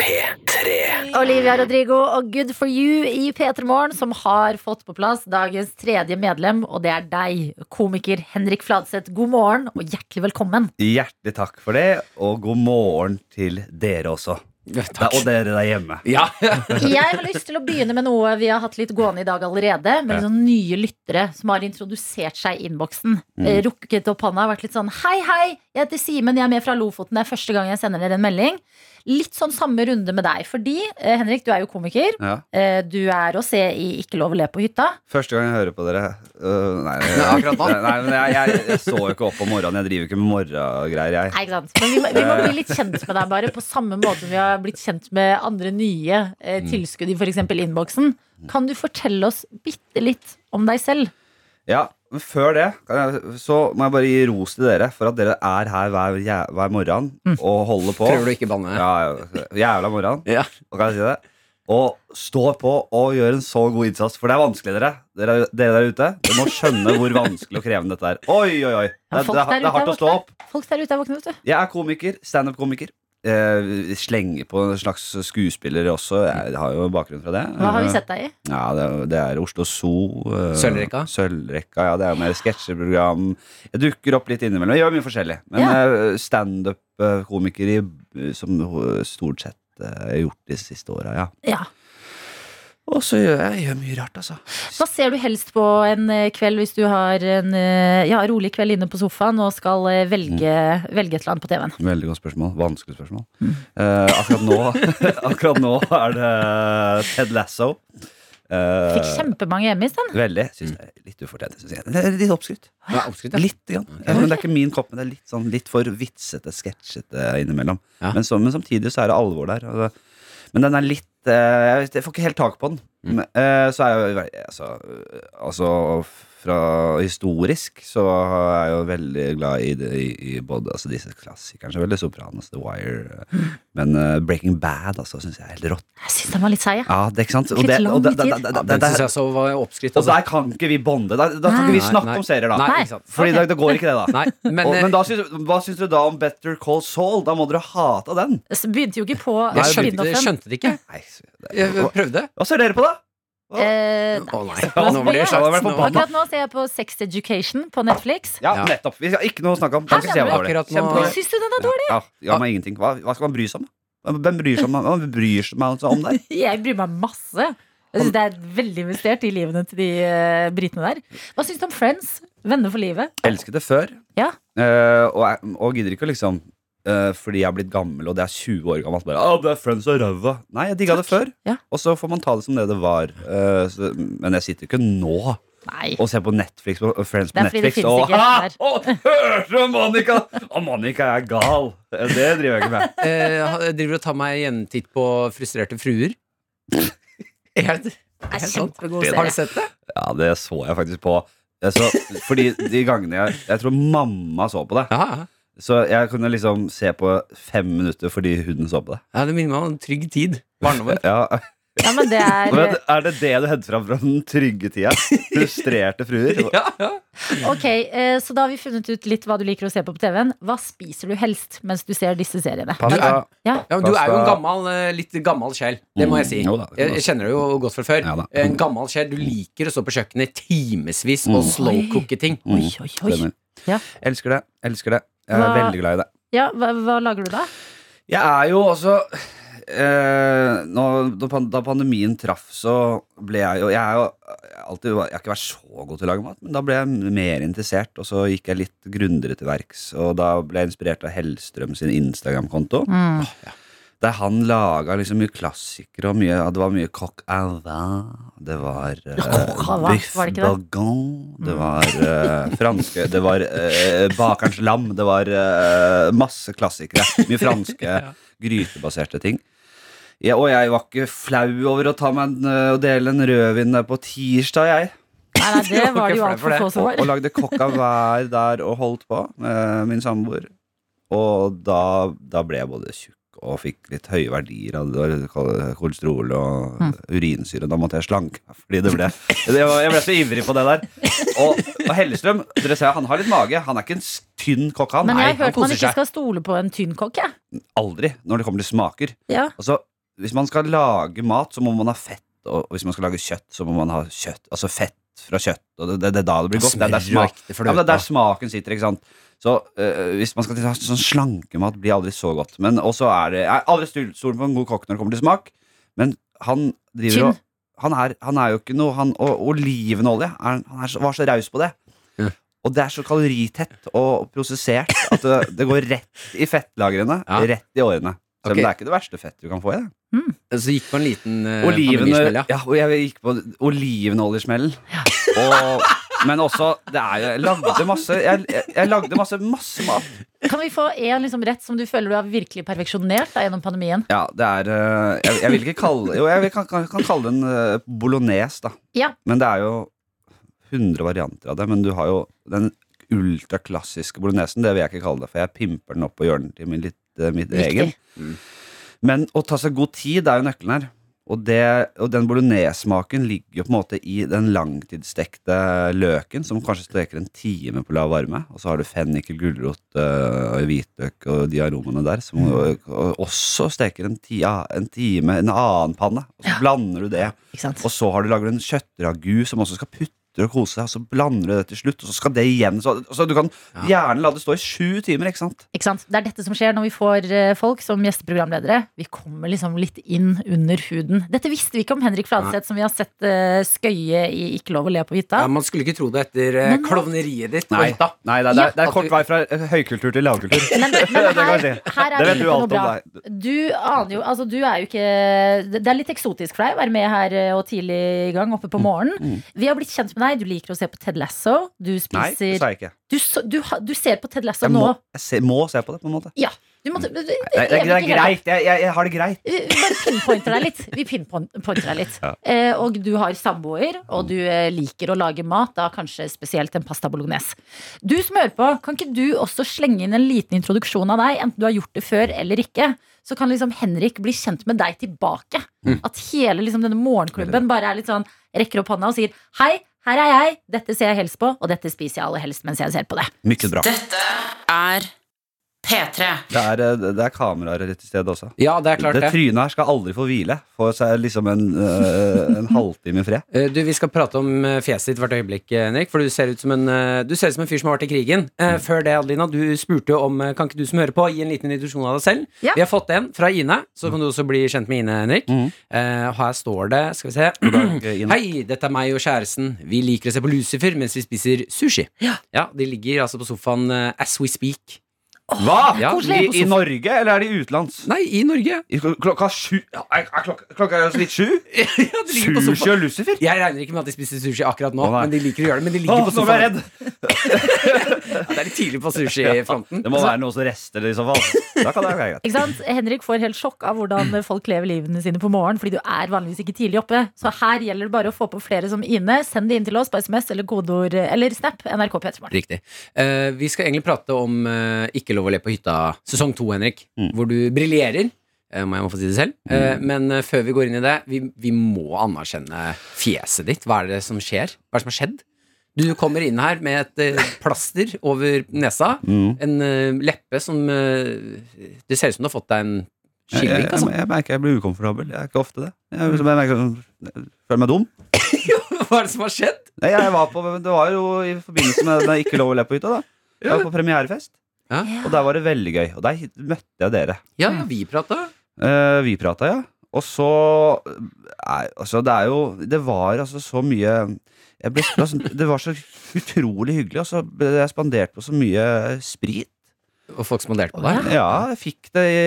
S2: P3.
S3: Olivia Rodrigo og Good for you i P3 Morgen, som har fått på plass dagens tredje medlem, og det er deg, komiker Henrik Fladseth. God morgen og hjertelig velkommen.
S9: Hjertelig takk for det, og god morgen til dere også.
S4: Takk.
S9: Og dere der hjemme.
S4: Ja.
S3: Jeg har lyst til å begynne med noe vi har hatt litt gående i dag allerede. Med sånne nye lyttere som har introdusert seg i innboksen. Eh, Rukket opp hånda og vært litt sånn Hei, hei, jeg heter Simen, jeg er med fra Lofoten. Det er første gang jeg sender dere en melding. Litt sånn samme runde med deg. Fordi, eh, Henrik, du er jo komiker.
S9: Ja.
S3: Eh, Du er å se i Ikke lov å le på hytta.
S9: Første gang jeg hører på dere øh, Nei,
S4: akkurat nå.
S9: nei men jeg, jeg, jeg står jo ikke opp om morgenen. Jeg driver jo ikke med morgengreier, jeg.
S3: Nei, ikke sant? Men vi må, vi må bli litt kjent med deg, bare. På samme måte som vi har blitt kjent med andre nye eh, tilskudd i f.eks. innboksen. Kan du fortelle oss bitte litt om deg selv?
S9: Ja, men før det kan jeg, så må jeg bare gi ros til dere for at dere er her hver, jæ- hver morgen og holder på.
S4: Prøver du å ikke banne?
S9: Ja, ja, jævla morgen.
S4: Ja.
S9: Hva kan jeg si det? Og står på og gjør en så god innsats, for det er vanskelig, dere. Dere, dere der ute dere må skjønne hvor vanskelig og krevende dette er. Oi, oi, oi. Det,
S3: Ja,
S9: er-
S3: folk
S9: det, er-
S3: der
S9: det
S3: ute
S9: er hardt
S3: er
S9: å stå
S3: våkne.
S9: opp.
S3: Folk der ute er våkne, vet du.
S9: Jeg er komiker. Standup-komiker. Eh, slenger på en slags skuespiller også. Jeg har jo bakgrunn fra det.
S3: Hva har vi sett deg i?
S9: Ja, det, er- det er Oslo Zoo. eh,
S4: Sølvrekka?
S9: Sølvrekka, ja. Det er mer sketsjeprogram. Jeg dukker opp litt innimellom. Jeg gjør mye forskjellig. Men
S3: Ja.
S9: eh, standup-komiker i- eh, som ho- stort sett eh, gjort de siste åra, ja.
S3: Ja.
S9: Og så gjør jeg, jeg gjør mye rart, altså.
S3: Hva ser du helst på en eh, kveld hvis du har en eh, ja, rolig kveld inne på sofaen og skal eh, velge, velge et eller annet på TV-en?
S9: Veldig godt spørsmål. Vanskelig spørsmål. Eh, akkurat, nå, akkurat nå er det Ted Lasso. Eh,
S3: Fikk kjempemange hjemme i stedet.
S9: Veldig. Syns det er litt ufortjent. Synes jeg. Det er Litt oppskrytt.
S4: Ja, oppskrytt, ja.
S9: Litt, grann. Eh, Men det er ikke min kopp, men det er litt, sånn, litt for vitsete, sketsjete innimellom.
S4: Ja.
S9: Men, så, men samtidig så er det alvor der. Og det, men den er litt eh, Jeg vet- jeg får ikke helt tak på den. Men, eh, så er jo ve- altså, eh, altså fra historisk så er jeg jo veldig glad i, det, i, i både altså, disse klassikerne, så veldig Sopranos, The Wire eh, Men eh, Breaking Bad altså, syns jeg er helt rått.
S3: Jeg syns den var litt seig, jeg.
S9: Ja, det, ikke sant?
S3: Litt
S9: det,
S3: lang
S9: og, det, det,
S3: tid.
S9: det, det,
S4: Den
S9: det,
S4: syns jeg så var oppskrytt.
S9: og
S4: altså.
S9: der kan ikke vi bonde. Da, da kan ikke vi
S4: Nei,
S9: snakke
S4: nei.
S9: om serier, da.
S4: Nei,
S3: Nei.
S4: ikke sant.
S9: Fordi
S3: Ok.
S9: da, det går ikke det, da.
S4: Nei, men,
S9: og, men
S4: eh,
S9: da syns, hva syns du da om Better Call Saul? Da må dere hate den.
S3: Så begynte jo ikke på
S4: eh, jeg skjønte, jeg
S3: spin-offen.
S4: skjønte det ikke.
S9: Nei, s-
S4: Jeg
S9: det-
S4: prøvde.
S9: Hva ser dere på, da?
S3: Eh,
S4: Å nei.
S3: nei, jeg ser på
S4: Nå blir jeg slags
S3: spin-offen.
S4: nå.
S3: Akkurat nå ser jeg på Sex Education på Netflix.
S9: Ja,
S4: Ja.
S9: nettopp. Vi skal ikke noe å snakke om. Den
S3: Her
S9: skal jeg
S3: kommer
S9: var dårlig.
S4: Akkurat nå
S3: Oi, Syns du den er dårlig?
S9: Ja, ja, men ingenting. Hva, hva skal man bry seg om? Hvem bryr seg om, hvem bryr seg om om der?
S3: Jeg bryr meg masse. Jeg synes Det er veldig investert i livene til de eh, britene der. Hva syns du om Friends? Venner for livet?
S9: Elsket det før.
S3: Ja.
S9: Eh, og, jeg, og gidder ikke å liksom eh, Fordi jeg er blitt gammel, og det er 20 år gammelt. Bare, «Ah, det er friends og ræva. Nei, jeg digga det før.
S3: Ja.
S9: Og så får man ta det som det det var. Eh, så, men jeg sitter ikke nå
S3: Nei.
S9: og ser på Netflix på, og Friends
S3: Det
S9: på
S3: er fordi det
S9: Netflix.
S3: finnes
S9: og,
S3: ikke
S9: «Ah,
S3: der».
S9: og hørte du Monica? Og Monica er gal! Det driver jeg ikke med.
S4: Eh, jeg driver og tar meg en titt på Frustrerte fruer. Er det
S3: Det er
S4: sant?
S3: kjempegod
S4: Har du
S3: serie.
S4: sett det?
S9: Ja, det så jeg faktisk på. Jeg så, fordi de gangene jeg Jeg tror mamma så på det.
S4: Ja,
S9: Så jeg kunne liksom se på fem minutter fordi hun så på det.
S4: ja det minner meg om en trygg tid. Barndommen.
S9: Ja.
S3: Ja, men det
S9: Men
S3: er
S9: er det det du henter fram fra den trygge tida? Frustrerte fruer?
S4: Ja, ja.
S3: Ok, eh, så da har vi funnet ut litt hva du liker å se på på TV-en. Hva spiser du helst mens du ser disse seriene?
S9: Pasta.
S3: Ja.
S4: Ja, men du er jo en
S9: Pasta.
S4: gammel, eh, litt gammel sjel. Det må jeg si.
S9: Mm, jo da, det kan
S4: jeg,
S9: du
S4: jeg
S9: si.
S4: kjenner det jo godt fra før.
S9: Ja da.
S4: en gammel sjel. Du liker å stå på kjøkkenet i timevis og
S9: Mm.
S4: slowcooke ting.
S3: Oi, oi, oi.
S9: Stemmer.
S3: Ja.
S9: Elsker det. Elsker det. Jeg er
S3: Hva-
S9: veldig glad i det.
S3: Ja, hva, hva lager du da?
S9: Jeg er jo også eh, nå, da, pan- da pandemien traff, så ble jeg jo Jeg, er jo, jeg, har alltid, jeg har ikke vært så god til å lage mat, men da ble jeg mer interessert. Og så gikk jeg litt grundigere til verks, og da ble jeg inspirert av Hellstrøm sin Instagram-konto.
S3: Mm.
S9: Der han laga liksom mye klassikere og mye ja, Det var mye coq au vin. Det var
S3: coq au
S9: uh,
S3: vin,
S9: biff
S3: var det Mm. ikke det?
S9: bagon. Det var eh, franske Det var eh, bakerens lam. Det var eh, masse klassikere. Mye franske grytebaserte ting. Ja, og jeg var ikke flau over å ta meg en, eh, og dele en rødvin der på tirsdag, jeg.
S3: Nei, nei, det var det jo
S4: flau for
S3: altfor få som
S9: Og, og
S3: var.
S9: lagde coq au vin der og holdt på med min samboer. Og da, da ble jeg både tjukk og fikk litt høye verdier av det var kolesterol og
S3: Mm.
S9: urinsyre. Da måtte jeg slanke meg, fordi det ble det var, Jeg ble så ivrig på det der. Og, og Hellestrøm, dere ser, han har litt mage. Han er ikke en s- tynn kokk, han.
S3: Men jeg
S9: Nei,
S3: har
S4: han
S3: hørt man
S4: koser
S3: ikke
S4: seg.
S3: skal stole på en tynn kokk, jeg.
S9: aldri når det kommer til smaker.
S3: Ja.
S9: Altså, hvis man skal lage mat, så må man ha fett. Og hvis man skal lage kjøtt, så må man ha kjøtt. Altså fett fra kjøtt. Og det, det, det er da det blir godt. Det er der, smak,
S4: ekte
S9: ja, men det er
S4: fløte.
S9: der smaken sitter, ikke sant. Så øh, hvis man skal til sånn slankemat, blir aldri så godt. Men også er det Jeg har aldri stol- stolt på en god kokk når det kommer til smak, men han driver
S3: Tynn.
S9: og han er, han er jo ikke noe han, Og olivenolje. er- Han er, så- var så raus på det.
S4: Ja.
S9: Og det er så kaloritett og prosessert at det, det går rett i fettlagrene.
S4: Ja.
S9: Rett i årene. Selv om
S4: Ok.
S9: det er ikke det verste fettet du kan få i det.
S4: Så gikk på en liten eh,
S9: Oliven,
S4: pandemismell, ja.
S9: ja, og jeg gikk på olivenoljesmellen. Og- Men også det er, jo- Jeg lagde masse Jeg, jeg, jeg lagde masse, masse mat.
S3: Kan vi få en liksom rett som du føler du har virkelig perfeksjonert da, gjennom pandemien?
S9: Ja, det er eh, Jeg, jeg vil ikke kalle Jo, jeg vil, kan, kan, kan kalle det en eh, bolognese, da.
S3: Ja.
S9: Men det er jo 100 varianter av det. Men du har jo den ultraklassiske bolognesen. Det vil jeg ikke kalle det, for jeg pimper den opp på hjørnet til min litt, eh, mitt
S3: Riktig.
S9: egen. Men å ta seg god tid er jo nøkkelen her. Og, det, og den bolognese-smaken ligger jo på en måte i den langtidsstekte løken, som kanskje steker en time på lav varme. Og så har du fennikel, gulrot, øh, hvitløk og de aromaene der, som øh, og også steker en, ti, ja, en time en annen panne. Og så blander du det.
S3: Ikke sant?
S9: Og så har du lager du en kjøttragu som også skal putte og kose seg, og så blander du det til slutt, og så skal det igjen. Så, så du kan gjerne la det stå i sju timer, ikke sant?
S3: Ikke sant? Det er dette som skjer når vi får eh, folk som gjesteprogramledere. Vi kommer liksom litt inn under huden. Dette visste vi ikke om Henrik Fladseth, som vi har sett eh, skøye i Ikke lov å le på hytta.
S4: ja, Man skulle ikke tro det etter eh,
S3: Men nå-
S4: klovneriet ditt.
S9: Nei,
S4: Oi, da.
S9: nei det, er- det, er, det er kort vei fra eh, høykultur til lavkultur.
S3: Men, men
S9: Det kan
S3: her,
S9: jeg si.
S3: her
S9: Det
S3: er vi
S9: vet du
S3: på
S9: alt
S3: noe
S9: om
S3: bra.
S9: deg.
S3: Du aner jo Altså, du er jo ikke Det det er litt eksotisk for deg å være med her eh, og tidlig i gang, oppe
S9: Mm.
S3: på morgenen. Vi har blitt kjent med deg. Du liker å se på Ted Lasso. Du
S9: Nei, det
S3: spiser
S9: sa jeg ikke.
S3: Du, så- du, ha- du ser på Ted Lasso
S9: Jeg må,
S3: nå.
S9: jeg se, må se på det, på en måte.
S3: Ja, Du måtte, det,
S9: Det,
S3: er
S9: det,
S3: vi
S9: det er
S3: ikke helt
S9: greit. Jeg, jeg, jeg har det greit.
S3: Vi Eh, bare pinpointer deg litt. Vi pinpointer deg litt.
S9: Ja.
S3: Eh, og du har samboer, og du eh, liker å lage mat, da kanskje spesielt en pasta bolognese. Du som hører på, kan ikke du også slenge inn en liten introduksjon av deg, enten du har gjort det før eller ikke? Så kan liksom Henrik bli kjent med deg tilbake. At hele liksom denne morgenklubben bare er litt sånn rekker opp hånda og sier hei. Her er jeg, dette ser jeg helst på, og dette spiser jeg aller helst mens jeg ser på det.
S9: Mykket bra.
S6: Dette er P3.
S9: Det er, eh, det er kameraer til stede også.
S4: Ja, det er klart
S9: det
S4: det.
S9: trynet her skal aldri få hvile. Få seg liksom en, eh, en halvtime i fred.
S4: Eh, Du, Vi skal prate om eh, fjeset ditt hvert øyeblikk, eh, Henrik. For du ser ut som en, eh, du ser ut som en fyr som har vært i krigen. Eh,
S9: Mm.
S4: Før det, Adelina, du spurte om eh, Kan ikke du som hører på, gi en liten introduksjon av deg selv?
S3: Ja.
S4: Vi har fått en fra Ine,
S9: Mm.
S4: så kan du også bli kjent med Ine, Henrik.
S9: Mhm.
S4: Eh, Her står det Skal vi se.
S9: Ine.
S4: Hei, dette er meg og kjæresten. Vi liker å se på Lucifer mens vi spiser sushi. Ja, De ligger altså på sofaen eh, as we speak.
S9: Hva?
S4: Ja,
S9: I, I Norge, eller er de utenlands?
S4: Nei, i Norge.
S9: I kl- Klokka sju ja, Er er klokka, klokka er litt sju?
S4: Ja, de ligger på sofaen.
S9: Sushi og Lucifer?
S4: Jeg regner ikke med at de spiser sushi akkurat nå,
S9: Å, nei.
S4: men de liker å gjøre det. Men de
S9: Å,
S4: ligger på
S9: nå ble
S4: sofaen.
S9: jeg redd!
S4: Det er litt tidlig på sushifronten.
S9: Det må være noe som rester i så fall. Da kan det være greit.
S3: Ikke sant? Henrik får helt sjokk av hvordan folk lever livene sine på morgenen, fordi du er vanligvis ikke tidlig oppe. Så her gjelder det bare å få på flere som Ine. Send det inn til oss på SMS eller kodeord eller Snap. NRK P3morgen.
S4: Riktig. Eh, vi skal egentlig prate om eh, Ikke lov å le på hytta, sesong to, Henrik.
S9: Mm.
S4: Hvor du briljerer, eh, må jeg må få si det selv. Eh, men eh, før vi går inn i det, vi, vi må anerkjenne fjeset ditt. Hva er det som skjer? Hva er det som har skjedd? Du kommer inn her med et eh, plaster over nesa.
S9: Mm.
S4: En eh, leppe som eh, Det ser ut som du har fått deg en
S9: Jeg, jeg,
S4: skilling.
S9: jeg,
S4: Altså.
S9: jeg merker jeg blir ukomfortabel. Jeg er ikke ofte det. Jeg, jeg, merker, jeg føler meg dum.
S4: Hva er det som har skjedd?
S9: Nei, jeg var på, det var jo i forbindelse med den Ikke lov å le på hytta, da. Jeg var på premierefest,
S4: Ja.
S9: og der var det veldig gøy. Og der møtte jeg dere.
S4: Ja, ja, vi prata.
S9: Eh, vi prata, ja. Og så nei, altså, Det er jo Det var altså så mye jeg ble, altså, Det var så utrolig hyggelig, og så ble jeg spandert på så mye sprit.
S4: Og folk spanderte på deg.
S9: Ja, jeg fikk det i,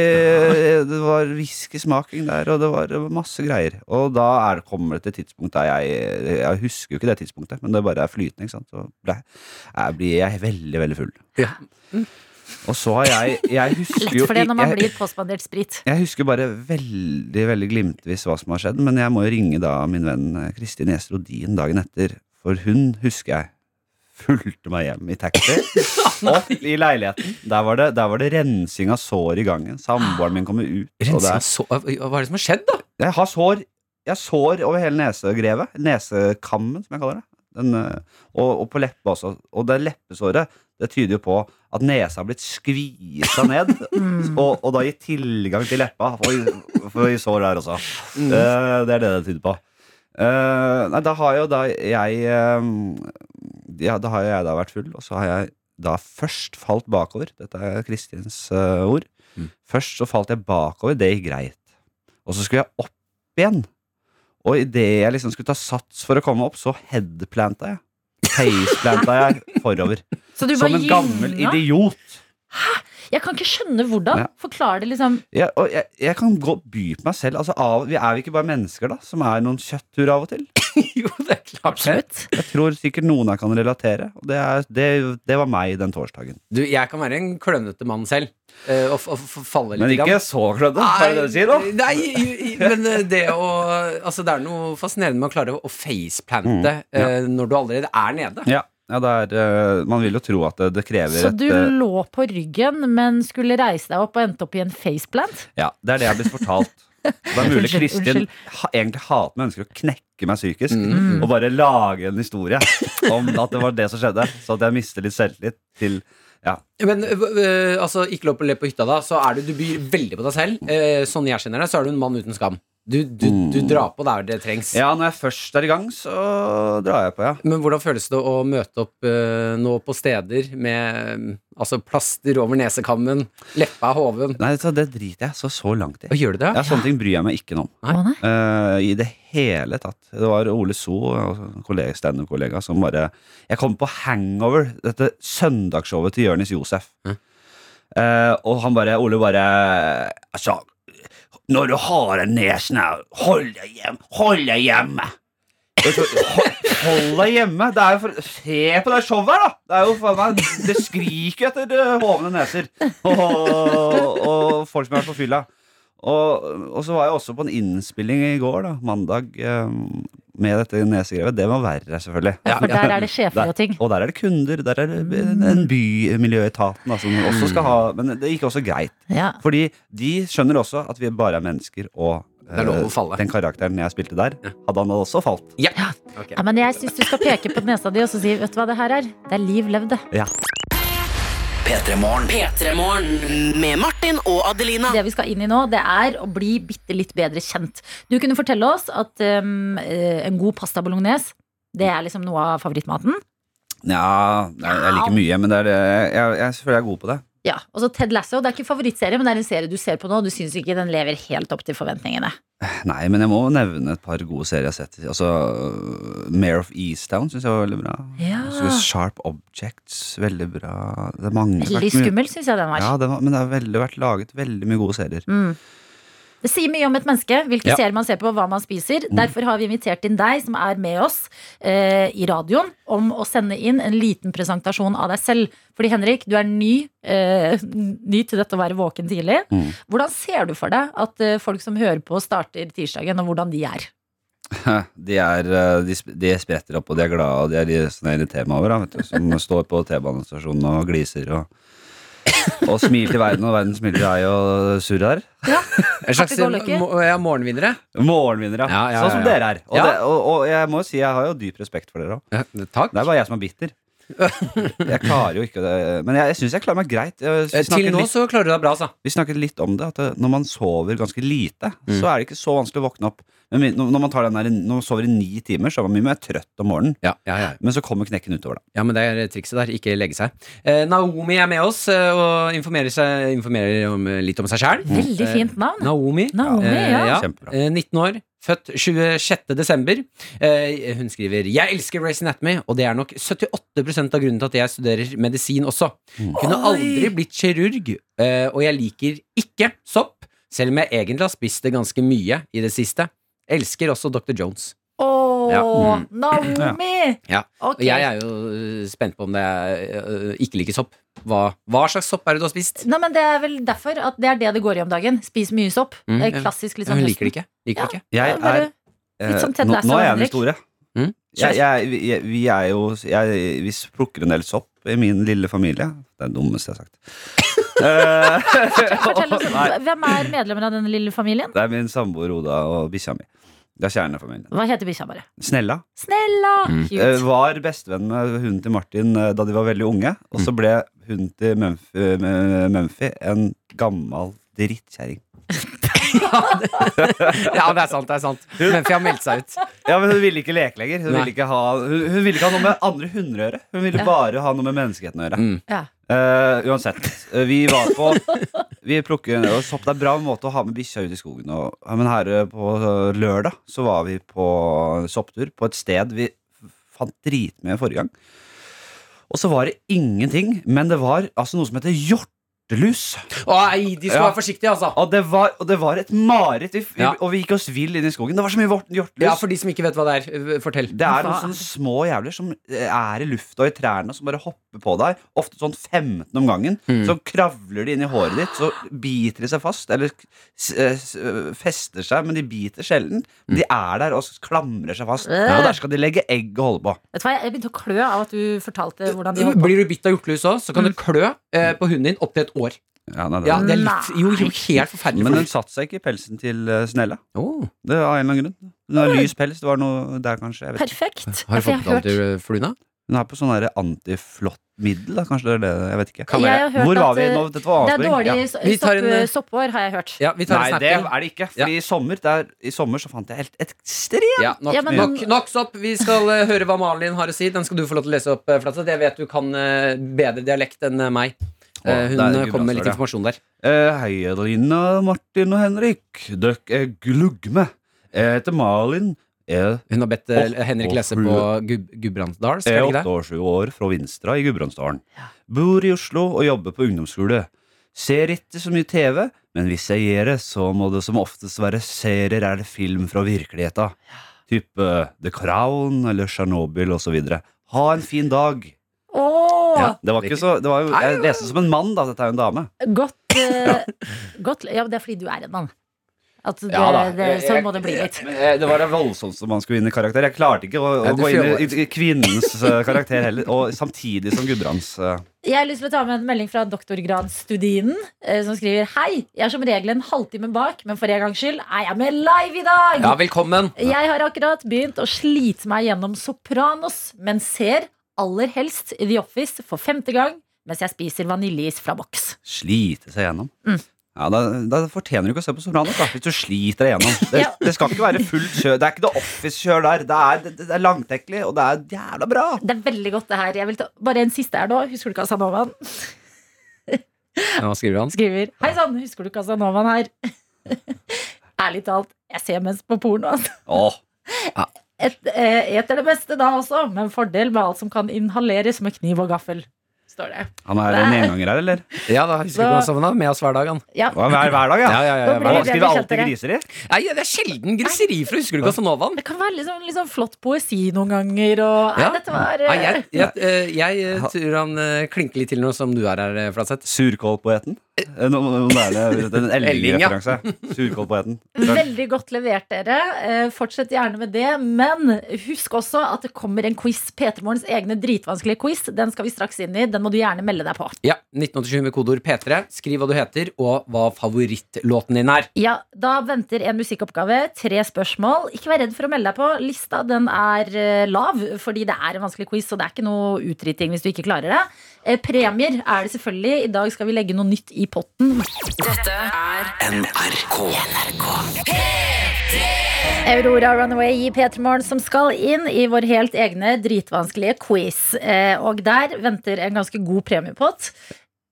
S9: Det var whiskysmaking der, og det var det var masse greier. Og da er, det- kommer det til et tidspunkt der jeg Jeg husker jo ikke det tidspunktet, men det bare er flytende, ikke sant. Så ble, jeg blir jeg veldig, veldig full.
S4: Ja.
S9: Og så har jeg Jeg husker
S3: Lett
S9: jo
S3: for det når man
S9: jeg-
S3: blir påspandert sprit.
S9: jeg husker bare veldig veldig glimtvis hva som har skjedd, men jeg må jo ringe da min venn eh, Kristin Estrodin dagen etter. For hun, husker jeg, fulgte meg hjem i taxi. Opp i leiligheten. Der var det, der var det rensing av sår i gangen. Samboeren min kommer ut. og
S4: Rensing
S9: det er-
S4: av så- Hva er det som har skjedd, da?
S9: jeg har sår Jeg har sår over hele nesegrevet. Nesekammen, som jeg kaller det. Den, eh, og, og på leppa også. Og det leppesåret det tyder jo på at nesa har blitt skvisa ned. og, og da gitt tilgang til leppa. For, for i sår der også. Eh, det er det det tyder på. Eh, nei, da har jo da jeg eh, Ja, da har jeg da vært full, og så har jeg da først falt bakover. Dette er Kristins eh, ord. Først så falt jeg bakover. Det gikk greit. Og så skulle jeg opp igjen. Og idet jeg liksom skulle ta sats for å komme opp, så headplanta jeg. Faceplanta jeg forover.
S3: Så du
S9: Som
S3: bare
S9: en gammel
S3: gynga.
S9: idiot.
S3: Jeg kan ikke skjønne hvordan.
S9: Ja.
S3: Forklar det liksom.
S9: Jeg, og jeg, jeg kan gå, by på meg selv. Altså, av, vi er jo ikke bare mennesker, da, som er noen kjøttur av og til.
S4: Jo, det er klart.
S3: Absolutt.
S9: Jeg tror sikkert noen her kan relatere. Og det, er, det, det var meg den torsdagen.
S4: Du, jeg kan være en klønete mann selv. eh, Og, f- og f- falle litt.
S9: Men ikke så klødde, er det det du sier, da?
S4: Nei, i- i- men eh, det å Altså, det er noe fascinerende med å klare å faceplante
S9: Mm,
S4: eh, når du allerede er nede.
S9: Ja, ja det er, eh, man vil jo tro at det, det krever
S3: Så du
S9: et eh,
S3: lå på ryggen, men skulle reise deg opp og endte opp i en faceplant?
S9: Ja, det er det jeg har blitt fortalt. Det er mulig
S3: Unnskyld,
S9: Kristin
S3: unnskyld.
S9: ha, egentlig hater meg, ønsker å knekke meg psykisk og bare lage en historie om at det var det som skjedde, så at jeg mister litt selvtillit til ja.
S4: Men eh, eh, altså, ikke lov å le på hytta da, så er du Du byr veldig på deg selv. Eh, Sånn jeg kjenner deg, så er du en mann uten skam. Du, du, du drar på der det trengs.
S9: Mm. ja, når jeg først er i gang, så drar jeg på, ja.
S4: Men hvordan føles det å møte opp eh, nå på steder med eh, altså plaster over nesekammen, leppa er hoven?
S9: Nei, så det driter jeg så, så langt i.
S4: Og gjør du det?
S9: Ja, sånne ting bryr jeg meg ikke noe om.
S4: Nei.
S3: Å, nei.
S9: Eh, I det hele tatt. Det var Ole So, en kollega- standup-kollega, som bare Jeg kom på Hangover, dette søndagsshowet til Jonis Josef. Eh, og han bare Ole bare Altså, når du har en nesen her, hold deg hjem, hold deg hjemme! Og så- Hold deg hjemme. Det er jo for... Se på det showet her, da! Det, er jo faen meg... det skriker jo etter eh, hovne neser og, og folk som har vært på fylla. Og, og så var jeg også på en innspilling i går, da, mandag, eh, med dette nesegrevet. Det var verre, selvfølgelig.
S3: For der er det sjefer og ting.
S9: Og der er det kunder. Der er det en bymiljøetaten da, som også skal ha Men det gikk også greit.
S3: Ja.
S9: Fordi de skjønner også at vi bare er mennesker, og
S4: Det er lov å
S9: eh,
S4: falle.
S9: den karakteren jeg spilte der, hadde han også falt.
S4: Ja.
S3: Ja, men jeg syns du skal peke på nesa di og så si vet du hva det her er? Det er liv levd, det.
S2: P3morgen.
S6: P3morgen med Martin og Adelina.
S3: Det vi skal inn i nå, det er å bli bitte litt bedre kjent. Du kunne fortelle oss at um, eh, en god pasta bolognese, det er liksom noe av favorittmaten.
S9: Ja, jeg, jeg liker mye, men det er, det- jeg, jeg føler jeg er god på det.
S3: Ja, og så Ted Lasso, det er ikke favorittserie, men det er en serie du ser på nå, og du syns ikke den lever helt opp til forventningene.
S9: Nei, men jeg må nevne et par gode serier jeg har sett. Altså, Mare of Easttown syns jeg var veldig bra.
S3: Ja.
S9: Så Sharp Objects, veldig bra. Det er mange
S3: Veldig skummel, syns jeg den var.
S9: Ja, det var, men det har veldig, vært laget veldig mye gode serier.
S3: Mm. Det sier mye om et menneske, hvilke
S9: Ja.
S3: serier man ser på, og hva man spiser.
S4: Mm.
S3: Derfor har vi invitert inn deg, som er med oss eh, i radioen, om å sende inn en liten presentasjon av deg selv. Fordi Henrik, du er ny, eh, ny til dette å være våken tidlig.
S9: Mm.
S3: Hvordan ser du for deg at eh, folk som hører på, starter tirsdagen, og hvordan de er?
S9: De, er, eh, de, sp- de spretter opp, og de er glade, og de er de sånne irriterende over, da, vet du, som står på T-banestasjonen og gliser og, og smiler til verden, og verden smiler til deg og surrer.
S4: En slags
S3: Happy go lucky.
S4: mo- ja, morgenvinnere.
S9: Morgenvinnere,
S4: Ja, ja, ja,
S9: sånn som
S4: ja.
S9: dere er. Og,
S4: Ja.
S9: det, og, og jeg må jo si, jeg har jo dyp respekt for dere òg.
S4: Takk.
S9: Det er bare jeg som er bitter. Jeg klarer jo ikke det, men jeg, jeg syns jeg klarer meg greit. Jeg
S4: Eh, Til
S9: snakker
S4: nå
S9: litt-
S4: så klarer du deg bra, altså.
S9: Vi snakket litt om det, at det- når man sover ganske lite,
S4: Mm.
S9: så er det ikke så vanskelig å våkne opp. Men vi- når når man, tar den der, når man sover i ni timer, så er man mye mer trøtt om morgenen.
S4: Ja, ja, ja.
S9: Men så kommer knekken utover, da.
S4: Ja, men det er trikset der. Ikke legge seg. Eh, Naomi er med oss eh, og informerer, seg, informerer om, eh, litt om seg sjæl.
S3: Mm. Veldig fint navn.
S4: Naomi.
S3: Naomi,
S4: Eh,
S3: ja.
S4: ja.
S9: Kjempebra.
S4: Eh, 19 år. Født 26. desember. Eh, hun skriver 'Jeg elsker Race Anatomy', og det er nok 78 av grunnen til at jeg studerer medisin også.
S9: Mm.
S4: Kunne aldri blitt kirurg, eh, og jeg liker ikke sopp, selv om jeg egentlig har spist det ganske mye i det siste. Elsker også Dr. Jones.
S3: Å,
S4: Ja. Mm.
S3: Naomi!
S4: Ja.
S3: Ok.
S4: Og jeg er jo øh, spent på om det er, øh, ikke liker sopp. Hva, hva slags sopp er det du har spist?
S3: Nei, men Det er vel derfor at det er det det går i om dagen. Spis mye sopp.
S4: Mm,
S3: Eh,
S4: ja.
S3: Klassisk litt
S4: Ja,
S3: sånn
S4: Hun
S3: høsten.
S4: liker det ikke. Liker det ikke.
S9: Jeg
S3: Ja, bare-
S9: er eh,
S3: litt sånn som Ted
S9: nå,
S3: Lasso
S9: nå er jeg
S3: og
S9: den
S3: Henrik.
S9: store.
S4: Mm.
S9: Jeg, jeg, jeg, vi er jo jeg, Vi plukker en del sopp i min lille familie. Det er det dummeste jeg har sagt. Eh,
S3: Fortell oss,
S9: Nei,
S3: Hvem er medlemmer av denne lille familien?
S9: det er min samboer Oda og bikkja mi. Det er kjernefamilien.
S3: Hva heter bikkja bare?
S9: Snella
S3: Snella! Cute.
S9: eh, var bestevenn med hunden til Martin eh, da de var veldig unge. Og
S3: Mm.
S9: så ble hunden til Mumphy, eh, Mumphy en gammel drittkjerring.
S4: Ja, det er sant. det er sant Mumphy har meldt seg ut.
S9: Ja, men hun ville ikke leke lenger. Hun
S4: Nei.
S9: ville ikke, ha, hun, hun ville ikke ha noe med andre hunder å gjøre. Hun ville
S3: Ja.
S9: bare ha noe med menneskeheten å gjøre.
S4: Mm.
S3: Ja.
S9: Eh, uansett, eh, vi var på Vi plukker og sopp. Det er en bra måte å ha med bikkja ut i skogen. Og, ja, men her eh, på eh, lørdag så var vi på sopptur på et sted vi fant dritmye forrige gang. Og så var det ingenting, men det var altså noe som heter hjortelus.
S4: Å, nei, de skal
S9: Ja.
S4: være forsiktige, altså.
S9: Og det var, og det var et mareritt. Vi, vi,
S4: Ja.
S9: Og vi gikk oss vill inn i skogen. Det var så mye vort- hjortelus.
S4: Ja, For de som ikke vet hva det er, øh, fortell.
S9: Det
S3: Hva
S9: er noen
S3: er
S9: sånne små jævler som eh, er i lufta og i trærne og som bare hopper på deg. Ofte sånn 15 om gangen.
S4: Mm.
S9: Så kravler de inn i håret ditt, så biter de seg fast. Eller s- eh, s- eh, fester seg, men de biter sjelden.
S3: Mm.
S9: De er der og s- klamrer seg fast.
S3: Øh.
S9: Og der skal de legge egg og holde på.
S3: Vet du hva, Jeg begynte å klø av at du fortalte hvordan de holdt på.
S4: Blir du bitt av hjortelus òg, så kan du klø eh, på hunden din opptil et år.
S9: Ja, nei, det-
S4: Ja, det er litt, jo, jo, helt forferdelig.
S9: Men
S4: for hunden.
S9: den satte seg ikke i pelsen til eh, Snella.
S4: Å,
S9: Det var av en eller annen grunn. Hun har lys pels. Det var noe der, kanskje. Jeg vet. ikke.
S3: Perfekt.
S4: Har du
S3: For jeg
S4: fått betalt til øh, fluen, da?
S9: Hun er på sånn der antiflåttmiddel, da. Kanskje det er det. Jeg vet ikke.
S3: Kan være. Jeg har hørt
S9: Hvor
S3: at,
S9: var vi
S3: eh,
S9: nå? Dette var
S3: Det er dårlig
S9: avsporing. Ja.
S3: so-
S4: Vi tar en,
S3: sopp-
S4: eh,
S3: soppår, har jeg hørt.
S4: Ja, vi tar
S9: Nei,
S4: en snap
S9: det
S4: til.
S9: er det ikke. Fordi i sommer, der, i sommer så fant jeg helt ekstremt
S4: Ja, nok,
S3: Ja, men-
S4: nok, nok sopp. Vi skal eh, høre hva Malin har å si. Den skal du få lov til å lese opp, eh, Flatseth. Jeg vet du kan eh, bedre dialekt enn eh, meg. Eh, hun
S9: det er
S4: eh,
S9: gudbrandsår,
S4: kommer med litt
S9: ja.
S4: informasjon der.
S9: eh, Hei, Adelina, Martin og Henrik. Dere er glugme. Jeg heter Malin. Jeg
S4: Hun har bedt eh,
S9: Åh,
S4: Henrik
S9: åh,
S4: lese
S9: flue.
S4: på Gub Gudbrandsdals, skal
S9: er
S4: det ikke
S9: åtte
S4: det?
S9: år, sju år fra Vinstra i Gudbrandsdalen. Bor i Oslo og jobber på ungdomsskole. Ser ikke så mye TV, men hvis jeg gjør det, så må det som oftest være serier eller film fra virkeligheten. Type eh, The Crown eller Tsjernobyl osv. Ha en fin dag.
S3: Åh,
S9: Ja, det var ikke så det var jo, Jeg leste det som en mann, da. Dette er jo en dame.
S3: Godt, eh, godt Ja, det er fordi du er en mann. At det, det, sånn må det bli litt.
S9: Men, eh, Det var det voldsomste man skulle inn i karakter. Jeg klarte ikke å, å
S4: Ja, du
S9: gå inn i,
S4: fjøla.
S9: i kvinnens eh, karakter heller. Og samtidig som Gudbrands. eh.
S3: Jeg har lyst til å ta med en melding fra doktorgradsstudinen, eh, som skriver Hei, jeg er som regel en halvtime bak, men for en gangs skyld er jeg med live i dag!
S4: Ja, velkommen.
S3: Jeg har akkurat begynt å slite meg gjennom Sopranos, men ser aller helst The Office for femte gang mens jeg spiser vaniljeis fra boks.
S9: Slite seg gjennom.
S3: Mm.
S9: Ja, da, da fortjener du ikke å se på Sopranos da, hvis du sliter deg gjennom. Det,
S3: Ja.
S9: det skal ikke være fullt kjør. Det er ikke The Office-kjør der. Det er, det, det er langtekkelig, og det er jævla bra.
S3: Det er veldig godt, det her. Jeg vil ta bare en siste her nå. Husker du Casanovaen?
S4: Ja, Hva skriver han?
S3: Skriver Hei sann, husker du Casanovaen her? Ærlig talt, jeg ser mest på porno, altså.
S9: Åh,
S3: Et, eh, et er det beste da også, men fordel med alt som kan inhaleres med kniv og gaffel. Står det.
S9: han er en enganger her, eller?
S4: Ja, da husker du hva han sa for noe? Med oss hver dag, han.
S3: Ja.
S9: Hva, hver, hver dag, ja.
S4: Ja, ja, ja,
S3: Da
S4: hver
S3: blir
S4: dag.
S9: Han
S3: det
S9: skriver
S3: vi
S9: alltid
S3: kjente
S9: griser i.
S4: Nei, det er sjelden griseri fra Husker du Casanovaen?
S3: Det kan være litt sånn, litt sånn flott poesi noen ganger, og Nei,
S4: Ja.
S3: dette var eh,
S4: Nei, jeg, jeg, eh, jeg eh, tror han eh, klinker litt til noe som du er her, eh, Flatseth.
S9: Surkålpoeten. Eh, En moderne en
S4: Elling, ja.
S9: Elling-referanse. Surkålpoeten.
S3: Veldig godt levert, dere. Eh, Fortsett gjerne med det. Men husk også at det kommer en quiz. P3morgens egne dritvanskelige quiz. Den skal vi straks inn i. Den må du gjerne melde deg på.
S4: Ja, 1987 med kodeord P3. Skriv hva du heter, og hva favorittlåten din er.
S3: Ja, Da venter en musikkoppgave. Tre spørsmål. Ikke vær redd for å melde deg på. Lista den er eh, lav, fordi det er en vanskelig quiz, så det er ikke noe utdriting hvis du ikke klarer det. Eh, Premier er det selvfølgelig. I dag skal vi legge noe nytt i potten.
S2: NRK.
S3: Aurora Runaway i P3 Morgen som skal inn i vår helt egne dritvanskelige quiz. Eh, og der venter en ganske god premiepott.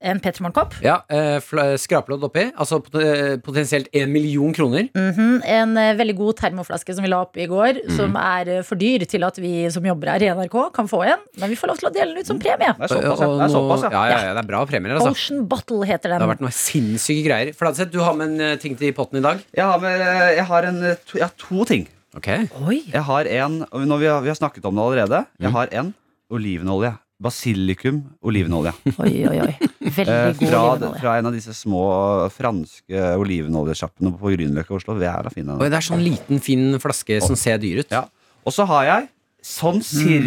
S3: En P3 Morgen-kopp.
S4: Ja, eh, fla- Skrapelodd oppi. Altså pot- eh, potensielt én million kroner.
S3: Mhm. En eh, veldig god termoflaske som vi la opp i går,
S9: Mm.
S3: som er eh, for dyr til at vi som jobber her i NRK, kan få en. Men vi får lov til å dele den ut som premie.
S9: Det er såpass, ja.
S4: Og
S9: Det er
S4: nå-
S9: såpass, ja.
S4: ja, ja, ja. Det er bra premier, altså.
S3: Ocean Bottle heter
S4: Det har
S3: den.
S4: vært noen sinnssyke greier. Flatseth, du har med en eh, ting til potten i dag.
S9: Jeg har, med, jeg har, en, eh, to, jeg har to ting.
S4: Ok
S3: Oi.
S9: Jeg har en, og når vi, har, vi har snakket om det allerede.
S3: Mhm.
S9: Jeg har en olivenolje. Basilikum olivenolje.
S3: oi, oi, oi.
S9: Eh,
S3: Veldig god
S9: fra,
S3: olivenolje.
S9: fra en av disse små franske olivenoljesjappene på Grünerløkka i Oslo. Jævla fin
S4: Oi,
S9: den.
S4: det er sånn liten, fin flaske som ser dyr ut.
S9: Ja. Og så har jeg sånn
S3: Mhm.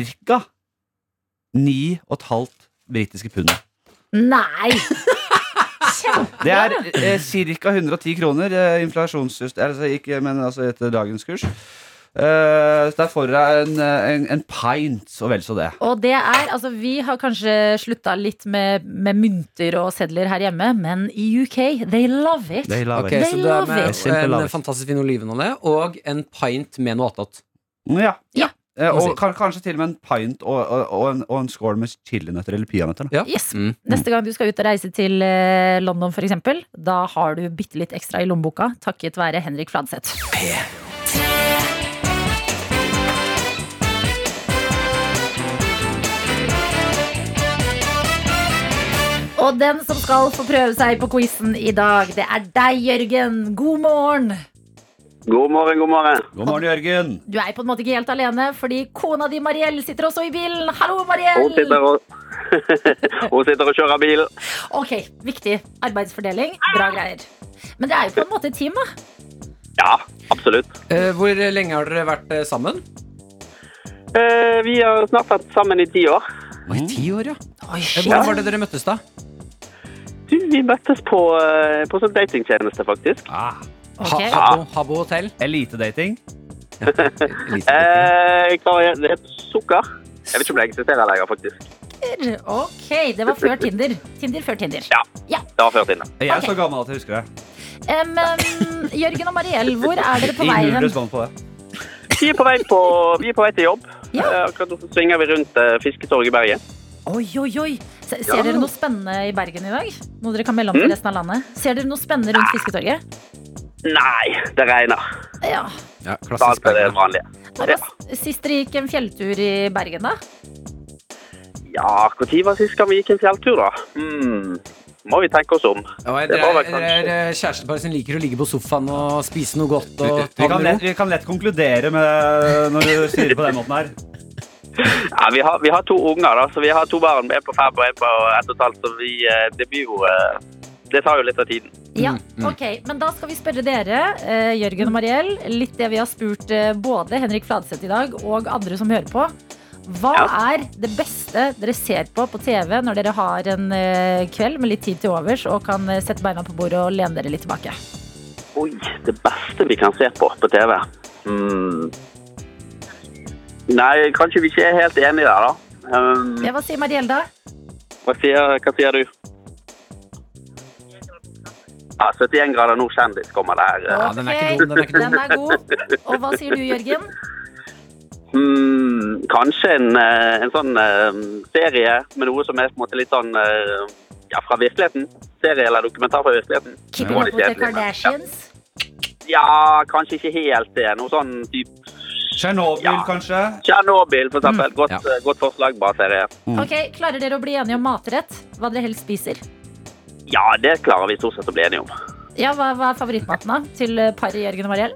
S9: cirka ni og et halvt britiske pund.
S3: Nei!
S9: Det er eh, ca. 110 kroner eh, inflasjonsjust... Altså ikke, men altså etter dagens kurs. Eh, så der får dere en, eh, en, en pint og vel så det.
S3: Og det er, altså Vi har kanskje slutta litt med, med mynter og sedler her hjemme, men i UK, they love it.
S9: Det er
S4: Ok, så
S9: lavere.
S4: du er
S3: They love
S4: med
S9: it. Simple love
S4: en eh,
S9: it.
S4: fantastisk fin olivenolje og en pint med noe attåt.
S9: Ja.
S3: Ja.
S9: Eh,
S4: Må
S9: og
S4: si.
S9: kan, kanskje til og med en pint og, og, og, en, og en skål med chilinøtter eller peanøtter.
S4: Ja.
S9: da.
S3: Yes.
S4: Mm.
S3: Neste gang du skal ut og reise til eh, London, for eksempel, da har du bitte litt ekstra i lommeboka takket være Henrik Fladseth. Og den som skal få prøve seg på quizen i dag, det er deg, Jørgen. God morgen.
S10: God morgen, god morgen.
S9: God morgen, Jørgen.
S3: Du er på en måte ikke helt alene, fordi kona di Mariell sitter også i bilen. Hallo,
S10: Hun sitter
S3: Mariell!
S10: og, hun sitter og kjører bil.
S3: Ok, viktig. Arbeidsfordeling. Bra greier. Men det er jo på en måte et team, da.
S10: Ja, absolutt.
S4: Eh, hvor lenge har dere vært eh, sammen?
S10: Eh, vi har snart vært sammen i ti år.
S4: Oi, ti år, ja.
S3: Oi,
S4: Eh,
S3: shit.
S4: Hvor var det dere møttes, da?
S10: Du, vi møttes på, eh, på sånn datingtjeneste, faktisk.
S9: Ah,
S4: Ha,
S3: Ok.
S4: Habbo, Habbo hotell?
S9: Eh, Elitedating.
S4: Elisabeth.
S10: Eh, hva er det? heter Sukker. Jeg vet ikke om det eksisterer lenger, faktisk.
S3: ok, det var før Tinder. Tinder før Tinder.
S10: Ja. Det var før tiden.
S9: Jeg er
S3: Ok.
S9: så gammel at jeg husker det.
S3: Em, em, Jørgen og Mariell, hvor er dere på vei
S9: Null
S3: hen?
S9: respons på det.
S10: Vi er på vei, på, vi er på vei til jobb.
S3: Ja.
S10: Eh, akkurat nå så svinger vi rundt eh, Fisketorget i Bergen.
S3: Oi, oi, oi. Se- Ser
S10: Ja. Hmm?
S3: dere noe spennende i Bergen i dag? Noe dere kan melde om til resten av landet? Ser dere noe spennende rundt Fisketorget?
S10: Nei, det regner.
S3: Ja.
S4: Ja,
S10: Da
S4: klassisk
S10: er det
S4: Bergen.
S10: vanlige.
S3: Når var s- sist dere gikk en fjelltur i Bergen, da?
S10: Ja, når var sist gang vi gikk en fjelltur, da? Hmm. må vi tenke oss om.
S4: Dere
S10: Det var
S4: er,
S10: vel
S4: dere
S10: kanskje
S4: er eh, kjærestepar som liker å ligge på sofaen og spise noe godt
S9: Vi,
S4: og
S9: vi,
S4: ta
S9: kan
S4: det med
S9: lett, vi kan lett konkludere med når du sier det på den måten her.
S10: ja, vi, har, vi har to unger, da, så vi har to barn. En på fem og en på ett og et halvt. Så vi, eh, det blir jo eh, Det tar jo litt av tiden.
S4: Mm,
S3: Ja, ok, Men da skal vi spørre dere, eh, Jørgen og Mariell, litt det vi har spurt eh, både Henrik Fladseth i dag og andre som hører på. Hva er det beste dere ser på på TV når dere har en eh, kveld med litt tid til overs og kan eh, sette beina på bordet og lene dere litt tilbake?
S10: Oi, det beste vi kan se på på TV. Hmm. Nei, kanskje vi ikke er helt enige der, da. Um,
S3: Ja, hva sier Mariell da?
S10: hva, sier, hva sier du? Ja, 71 grader nord kjendis kommer der. eh.
S4: Ja, den er ikke dum, den er ikke dum.
S3: Den er god. Og hva sier du, Jørgen?
S10: Hmm, kanskje en, eh, en sånn eh, serie med noe som er på en måte litt sånn eh, ja, fra virkeligheten. Serie eller dokumentar fra virkeligheten.
S3: Keeping
S10: Må
S3: up
S10: litt
S3: with the
S10: kjedelig, men-
S3: Kardashians?
S10: Ja, kanskje ikke helt det. Noe sånn type
S9: Tsjernobyl,
S10: Ja.
S9: kanskje?
S10: Tsjernobyl, for eksempel. Godt,
S4: Mm. Ja.
S10: eh, godt forslag, bra serie.
S4: Mm.
S3: Ok, Klarer dere å bli enige om matrett? Hva dere helst spiser?
S10: Ja, det klarer vi stort sett å bli enige om.
S3: Ja, Hva, hva er favorittmaten da? til eh, paret Jørgen og Mariell?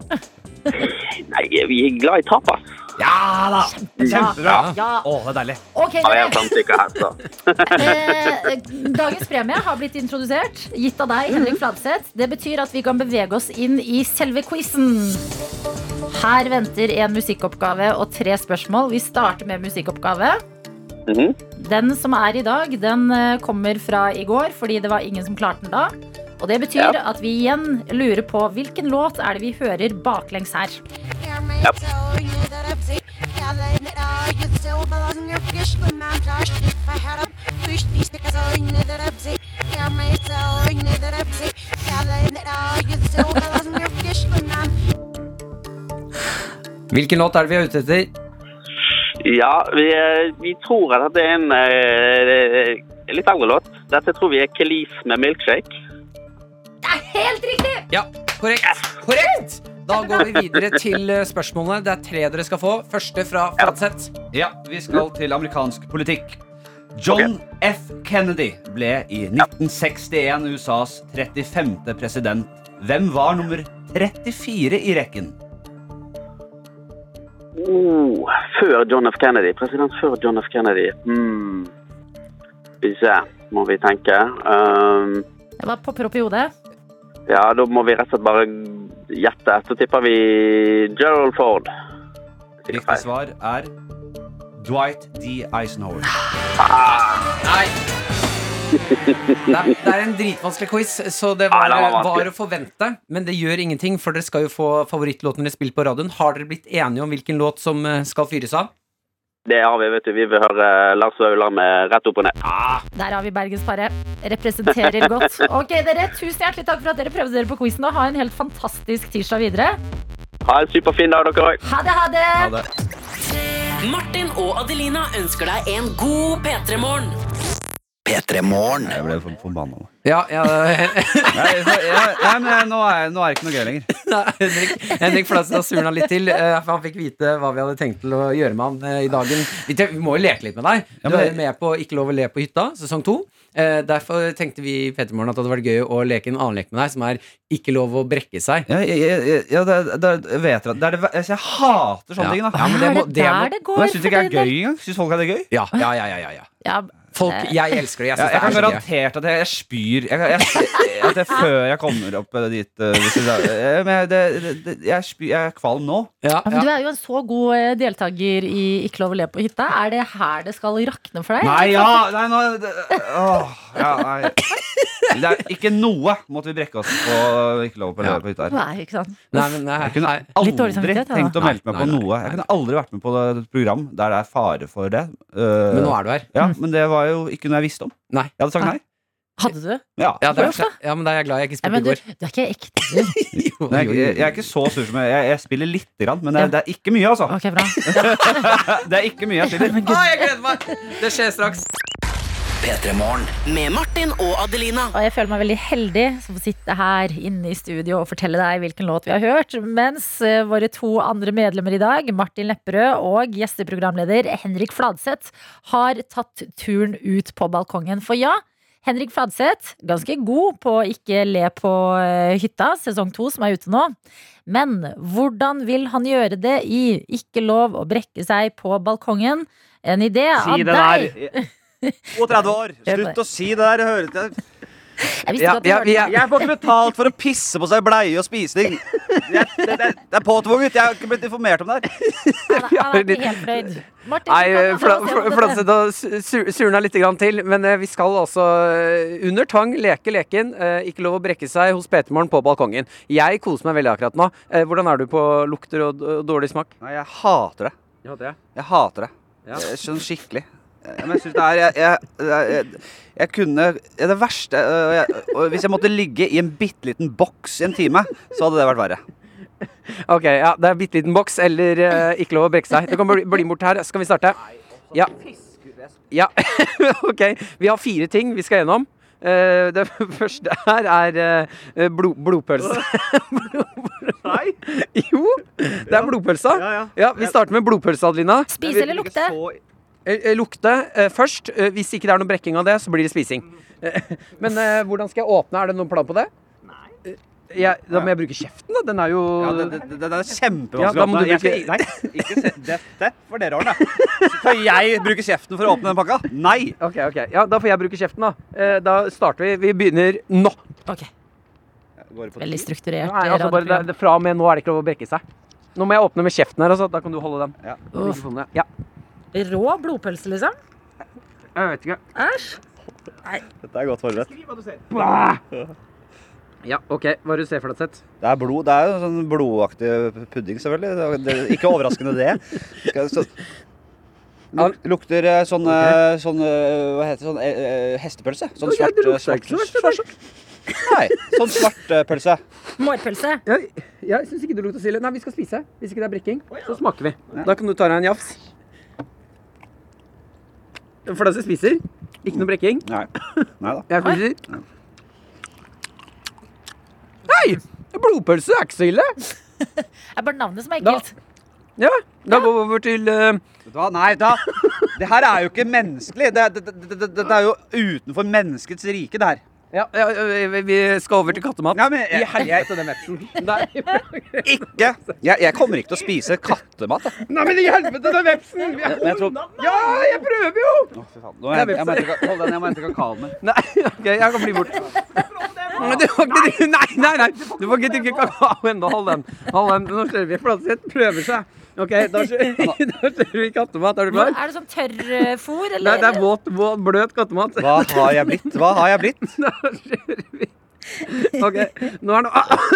S10: Nei, vi er glad i tapas.
S9: Ja da! Kjempebra!
S3: Ja.
S9: Å, det er deilig.
S3: Ok,
S10: Har jeg
S3: dere.
S10: samtykke her, så.
S3: Eh, dagens premie har blitt introdusert, gitt av deg,
S9: Mhm.
S3: Henrik Fladseth. Det betyr at vi kan bevege oss inn i selve quizen. Her venter en musikkoppgave og tre spørsmål. Vi starter med musikkoppgave.
S10: Mhm.
S3: Den som er i dag, den eh, kommer fra i går, fordi det var ingen som klarte den da. Og det betyr at vi igjen lurer på hvilken låt er det vi hører baklengs her.
S4: Hvilken låt er det vi er ute etter?
S10: Ja, vi, eh, vi tror at det er en eh, eh, litt eldre låt. Dette tror vi er Kelis med milkshake.
S3: Det er helt riktig!
S4: Ja, korrekt. Korrekt! Da går vi videre til eh, spørsmålene. Det er tre dere skal få. Første fra Fladseth.
S9: Ja, vi skal til amerikansk politikk. John F. Kennedy ble i 1961 USAs 35. president. Hvem var nummer 34 i rekken?
S10: Oh, før John F. Kennedy. President før John F. Kennedy. Hmm. Skal vi se, må vi tenke. Um,
S3: Det var popper opp i hodet.
S10: ja, da må vi rett og slett bare gjette. Så tipper vi Gerald Ford.
S9: Riktig svar er Dwight D. Eisenhower.
S4: Nei. Det er, det er en dritvanskelig quiz, så det
S10: Ja,
S4: var,
S10: den var vanskelig.
S4: var å forvente. Men det gjør ingenting, for dere skal jo få favorittlåten deres spilt på radioen. Har dere blitt enige om hvilken låt som eh, skal fyres av?
S10: Det har vi, vet du. Vi vil høre eh, Lars Vaular med Rett opp og ned.
S3: Der har vi bergensparet. Representerer godt. Ok, dere, Tusen hjertelig takk for at dere prøvde dere på quizen. Og ha en helt fantastisk tirsdag videre.
S10: Ha en superfin dag, dere òg.
S3: Ha det, ha det!
S9: Ja, det.
S6: Martin og Adelina ønsker deg en god P3-morgen.
S2: P3 Morgen.
S9: Jeg ble for- forbanna. nå.
S4: Ja, ja
S9: Nei, så- ja, ja, men nå er, nå er det ikke noe gøy lenger.
S4: Nei, Henrik, Henrik Fladseth har surna litt til. eh, For han fikk vite hva vi hadde tenkt til å gjøre med han eh, i dagen. Vi te- Vi må jo leke litt med deg.
S9: Ja,
S4: Du
S9: men-
S4: er med på Ikke lov å le på hytta, sesong to. Eh, Derfor tenkte vi i Petermorgen at det hadde vært gøy å leke en annen lek med deg, som er Ikke lov å brekke seg.
S9: Ja, jeg, jeg, jeg, ja, det, er- det, er- jeg vet at- det er det, ver- altså, Jeg hater sånne
S4: Ja.
S9: ting. da
S4: Ja, men det
S3: er
S4: må-
S3: det
S4: det må-
S3: der det går?
S9: Og jeg syns det ikke
S3: for
S9: er
S3: tiden?
S9: gøy engang. Syns folk at det er gøy?
S4: Ja, ja, ja, ja, ja, ja.
S3: Ja,
S4: Folk, jeg elsker det. Jeg
S9: Ja,
S4: syns
S9: jeg kan
S4: det er så gøy.
S9: garantert at jeg, jeg spyr jeg, jeg, at jeg, Før jeg kommer opp eh, dit eh, hvis jeg, eh, men jeg- det, det, det, jeg, spyr, jeg er kvalm nå
S4: Ja,
S3: men
S4: ja.
S3: Du er jo en så god eh, deltaker i Ikke lov å le på hytta. Er det her det skal rakne for deg?
S9: Nei, ja, nei, nå det, åh, ja, nei. Det er ikke noe måtte vi brekke oss på Ikke lov på
S4: Ja.
S9: på hytta her
S3: Nei, ikke sant?
S4: Nei, men nei,
S9: Jeg kunne
S4: nei.
S9: aldri
S3: Litt dårlig samvittighet, da.
S9: tenkt å
S4: Nei,
S9: melde meg
S4: nei,
S9: på
S4: nei,
S9: noe Jeg kunne aldri vært med på et program der det er fare for det Eh,
S4: Men nå er du her.
S9: ja, men det var jo ikke noe jeg visste om
S4: Nei.
S9: Jeg hadde sagt nei
S3: Hadde du?
S9: ja.
S4: Ja, det
S3: Hvorfor?
S4: er, ja, men da er jeg glad jeg ikke
S3: Nei,
S4: spilte
S3: men
S4: i
S3: du,
S4: går.
S3: du er ikke ekte, du.
S4: Jo,
S9: Nei,
S4: jo,
S9: jeg,
S4: jo,
S9: jeg, jeg
S4: jo.
S9: er ikke så sur som jeg Jeg, jeg spiller litt grann, men det er, det er ikke mye altså
S3: Ok, bra.
S9: Det er ikke mye jeg spiller
S4: Å, jeg gleder meg! Det skjer straks.
S2: P3 Morgen.
S6: Med Martin og Adelina.
S3: Og jeg føler meg veldig heldig som får sitte her inne i studio og fortelle deg hvilken låt vi har hørt. Mens eh, våre to andre medlemmer i dag, Martin Lepperød og gjesteprogramleder Henrik Fladseth, har tatt turen ut på balkongen. For ja, Henrik Fladseth, ganske god på å ikke le på eh, hytta, sesong to som er ute nå. Men hvordan vil han gjøre det i Ikke lov å brekke seg på balkongen? En idé av
S9: Si det
S3: deg.
S9: der. 32 år. Slutt å si det der. Jeg hører til.
S3: Jeg visste
S9: Ja,
S3: ikke at du
S9: ja,
S3: hørte
S9: ja.
S3: det.
S9: Jeg får ikke betalt for å pisse på seg i bleie og spising. Jeg, det, det, det er påtvunget. Jeg har ikke blitt informert om det her.
S3: Han er ikke helt fornøyd. Martin,
S4: Nei,
S3: kan du fortelle oss om dette?
S4: Fladseth og surna litt grann til, men eh, vi skal altså eh, under tang leke leken. eh, Ikke lov å brekke seg hos PT-morgen på balkongen. Jeg koser meg veldig akkurat nå. Eh, Hvordan er du på lukter og og dårlig smak?
S9: Nei, jeg hater det. Jeg hater det.
S4: Ja.
S9: Jeg skjønner skikkelig. Men jeg synes det er jeg, jeg, jeg, jeg, jeg kunne ja, Det verste øh, jeg, og Hvis jeg måtte ligge i en bitte liten boks i en time, så hadde det vært verre.
S4: Ok, ja, det er bitte liten boks eller eh, ikke lov å brekke seg. Du kan bli, bli bort her. Skal vi starte?
S9: altså,
S4: Ja. ja. ok. Vi har fire ting vi skal gjennom. Eh, det første her er eh, blod, blodpølse.
S9: Nei?
S4: jo, det er blodpølsa.
S9: Ja, ja.
S4: vi starter med blodpølse, Adelina.
S3: Spise eller lukte?
S4: Eh, eh, lukte eh, først. Eh, hvis ikke det er noe brekking av det, så blir det spising. Eh, men eh, hvordan skal jeg åpne? Er det noen plan på det? Nei. jeg, da må jeg bruke kjeften, da. Den er jo
S9: Ja, det, det, det, det er
S4: Ja,
S9: kjempevanskelig
S4: da må du
S9: Jeg
S4: bruke-
S9: skal- Nei, ikke se dette for dere, Arne. Skal jeg bruke kjeften for å åpne den pakka? Nei!
S4: Ok, ok. Ja, da får jeg bruke kjeften, da. Eh, da starter vi. Vi begynner nå.
S3: Ok,
S9: Går det på
S3: Veldig
S9: tid?
S3: strukturert.
S4: Nei, altså bare, det,
S3: radioprogram.
S4: det, fra og med nå er det ikke lov å brekke seg. Nå må jeg åpne med kjeften her, altså. Da kan du holde den.
S9: Ja.
S3: Uff.
S4: Mikrofonen, ja.
S3: Rå blodpølse, liksom?
S4: ja. Jeg vet ikke.
S3: Æsj.
S9: Dette er godt forberedt.
S4: Ja, OK. Hva er det du ser for deg, Seth?
S9: Det er blod, det er jo sånn blodaktig pudding, selvfølgelig. Det er- det er ikke overraskende, det. Skal- Så, luk, lukter eh, sånn, eh, sånn eh, Hva heter det? Sånn eh, eh, hestepølse? Sånn
S4: Ja,
S9: svart,
S4: det lukter
S9: svart,
S4: ikke så verst, det
S9: Nei, sånn svart eh, pølse.
S3: Mårpølse.
S4: Jeg, jeg syns ikke det lukter silde. Nei, vi skal spise. Hvis ikke det er brekking, så smaker vi. Da kan du ta deg en jafs. For deg som spiser. Ikke noe brekking.
S9: Nei. Nei da.
S4: Jeg spiser. Hei! Blodpølse er ikke så ille.
S3: Det er bare navnet som er ekkelt.
S4: Ja, da går vi over til eh,
S9: Vet du hva? Nei, da. Det her er jo ikke menneskelig. Det, det, det, det, det, det er jo utenfor menneskets rike, det her.
S4: ja, ja, vi- Vi skal over til kattemat.
S9: Nei, men jeg-
S4: I helvete, den vepsen. Nei.
S9: Ikke. Jeg, jeg kommer ikke til å spise kattemat. jeg.
S4: Nei, men i helvete, den vepsen! Vi er-
S9: Men jeg tror,
S4: Ja, jeg prøver jo!
S9: Å, fy faen. Nå må jeg, jeg må hente ka- hold den, jeg må hente kakaoen min.
S4: Nei, OK, jeg kan bli bort. Men Du får ikke drikke Nei, nei, nei! Du får ikke drikke kakao ennå. Hold den. Hold den. Nå kjører vi. Flatseth prøver seg. OK, da kjører, da kjører vi kattemat. Er du klar?
S3: Er det sånn tørrfôr, eller?
S4: Nei, det er våt, våt bløt kattemat.
S9: Hva har jeg blitt? Hva har jeg blitt?
S4: Da kjører vi. OK, nå er det ah,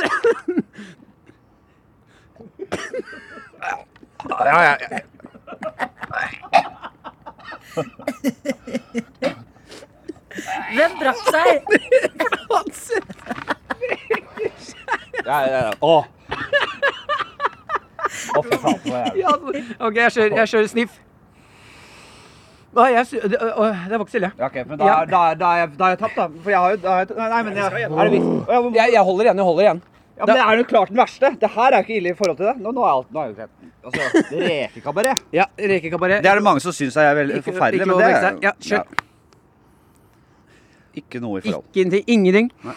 S3: Hvem brakk seg?
S4: Flatseth.
S9: Ja, ja, ja. Å. Å, fy faen. nå er jeg-
S4: Ja, altså. OK, jeg kjører, jeg kjører sniff. Nei, jeg sy... Det, å, det var ikke stille.
S9: Ja, ok, men da, er- da, er- da, er jeg- da har jeg tapt, da. For jeg har jo da har jeg, Nei, men jeg, er det vits? Å, Ja, men-
S4: Jeg, jeg holder igjen, jeg holder igjen.
S9: ja, men det er jo klart den verste. Det her er jo ikke ille i forhold til det. Nå, nå er alt nå er jo greit. Altså, Rekekabaret.
S4: Ja, rekekabaret.
S11: Det er det mange som syns er veldig
S4: Ikke-
S11: forferdelig,
S4: ikke
S11: men
S4: lov å
S11: det
S4: drikke seg. Ja, kjør.
S11: Ikke noe i forhold.
S4: Ingenting. Ingenting.
S11: Nei.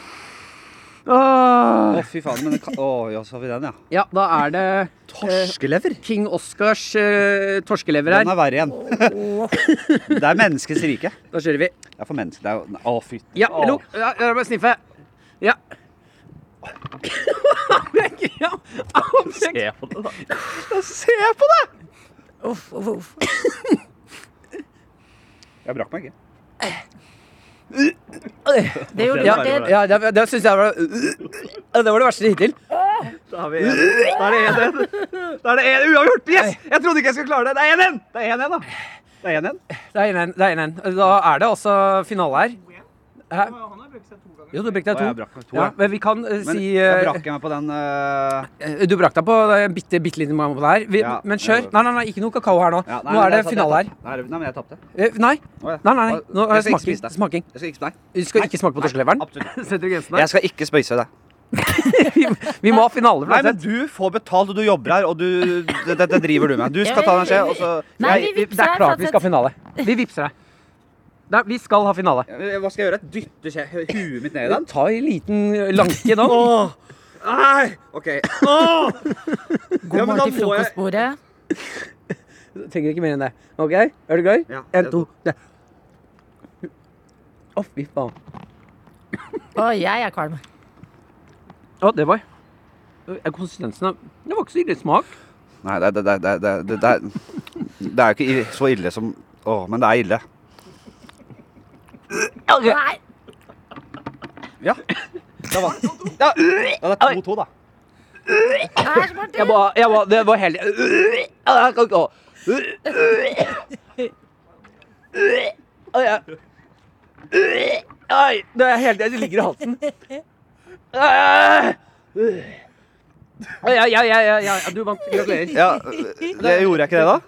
S4: Åh.
S11: Å, fy faen. Men det kan, å, ja, så har vi den, ja.
S4: Ja, da er det eh,
S11: Torskelever.
S4: King Oscars eh, torskelever
S11: Den
S4: her.
S11: er verre igjen. Det er menneskets rike.
S4: Da kjører vi.
S11: Det er for mennesker. Det er jo Å, fy.
S4: Ja,
S11: Åh.
S4: lukk. Ja, jeg må bare sniffe. Ja. Brekk, ja. Åh, brekk.
S9: Se på det!
S3: Uff, uff, uff.
S11: Jeg brakk meg ikke.
S3: Det gjorde
S4: Ja,
S3: du. Det,
S4: ja, det, det syns jeg var Ja, Det var det verste hittil.
S9: Da har vi en. Da er det en igjen. Da er det en uavgjort. Yes! Jeg trodde ikke jeg skulle klare det. Det er en igjen! Det er en igjen, da. Det er en igjen.
S4: Det er 1-1. det er 1-1. Da er det altså finale her. Hæ? Jo, du brakk deg
S11: Å,
S4: to.
S11: jeg brakk meg to,
S4: ja,
S11: ja.
S4: men vi kan eh,
S11: Men
S4: si
S11: jeg
S4: eh,
S11: brakk meg på den eh,
S4: eh, Du brakk deg på eh, bitte, bitte liten mamma på det her. Vi,
S11: Ja.
S4: men kjør. Nei, nei, nei, ikke noe kakao her nå.
S11: ja, nei,
S4: nå
S11: men
S4: er det
S11: jeg- jeg
S4: finale her.
S11: tapte. Nei, nei, men jeg tapte.
S4: Eh, Nei.
S11: Å, ja.
S4: Nei, nei, nei. Nå er
S11: Jeg
S4: det
S11: skal ikke spise
S4: smaking.
S11: det.
S4: smaking.
S11: Jeg skal ikke Nei.
S4: Du skal ikke smake på torskeleveren?
S11: Absolutt.
S4: Setter du grensen
S11: Jeg skal ikke spise det.
S4: Vi må ha finale,
S9: Nei, men
S4: Flatseth.
S9: du får betalt, og du jobber her, og du Dette driver du med. Du skal ta deg en skje, og så
S3: Nei, vi
S4: Det
S3: vippser
S4: er
S3: her,
S4: klart vi skal ha finale.
S3: Flatseth.
S4: Vi vippser deg.
S12: Nei, vi skal ha finale.
S13: Hva skal jeg gjøre? Dytte skje- huet mitt ned i den?
S12: Ta en liten eh, lanke nå.
S13: Nei! Ok. Åh!
S3: God
S13: Ja, men
S3: morgen
S13: da
S3: til
S13: må jeg-
S3: frokostbordet.
S12: Trenger ikke mer enn det. OK? Er du klar?
S13: Ja,
S12: en, to, tre. Å, fy faen.
S3: Å, jeg er kvalm.
S12: Å, det var er Konsistensen av Det var ikke så ille smak.
S13: Nei, det, det, det, det, det, det, det, er, det er jo ikke i- så ille som Å, men det er ille.
S3: Nei.
S13: Ja. Det var ja. ja, det er 2-2, da.
S12: Jeg var, jeg var, det var helt Jeg kan ikke ha Å, jeg- Ai, det er helt Det ligger i halsen. Ai. Ja, ja, ja, ja, ja, ja, du vant. Gratulerer.
S13: Ja, øh, det gjorde jeg ikke det, da?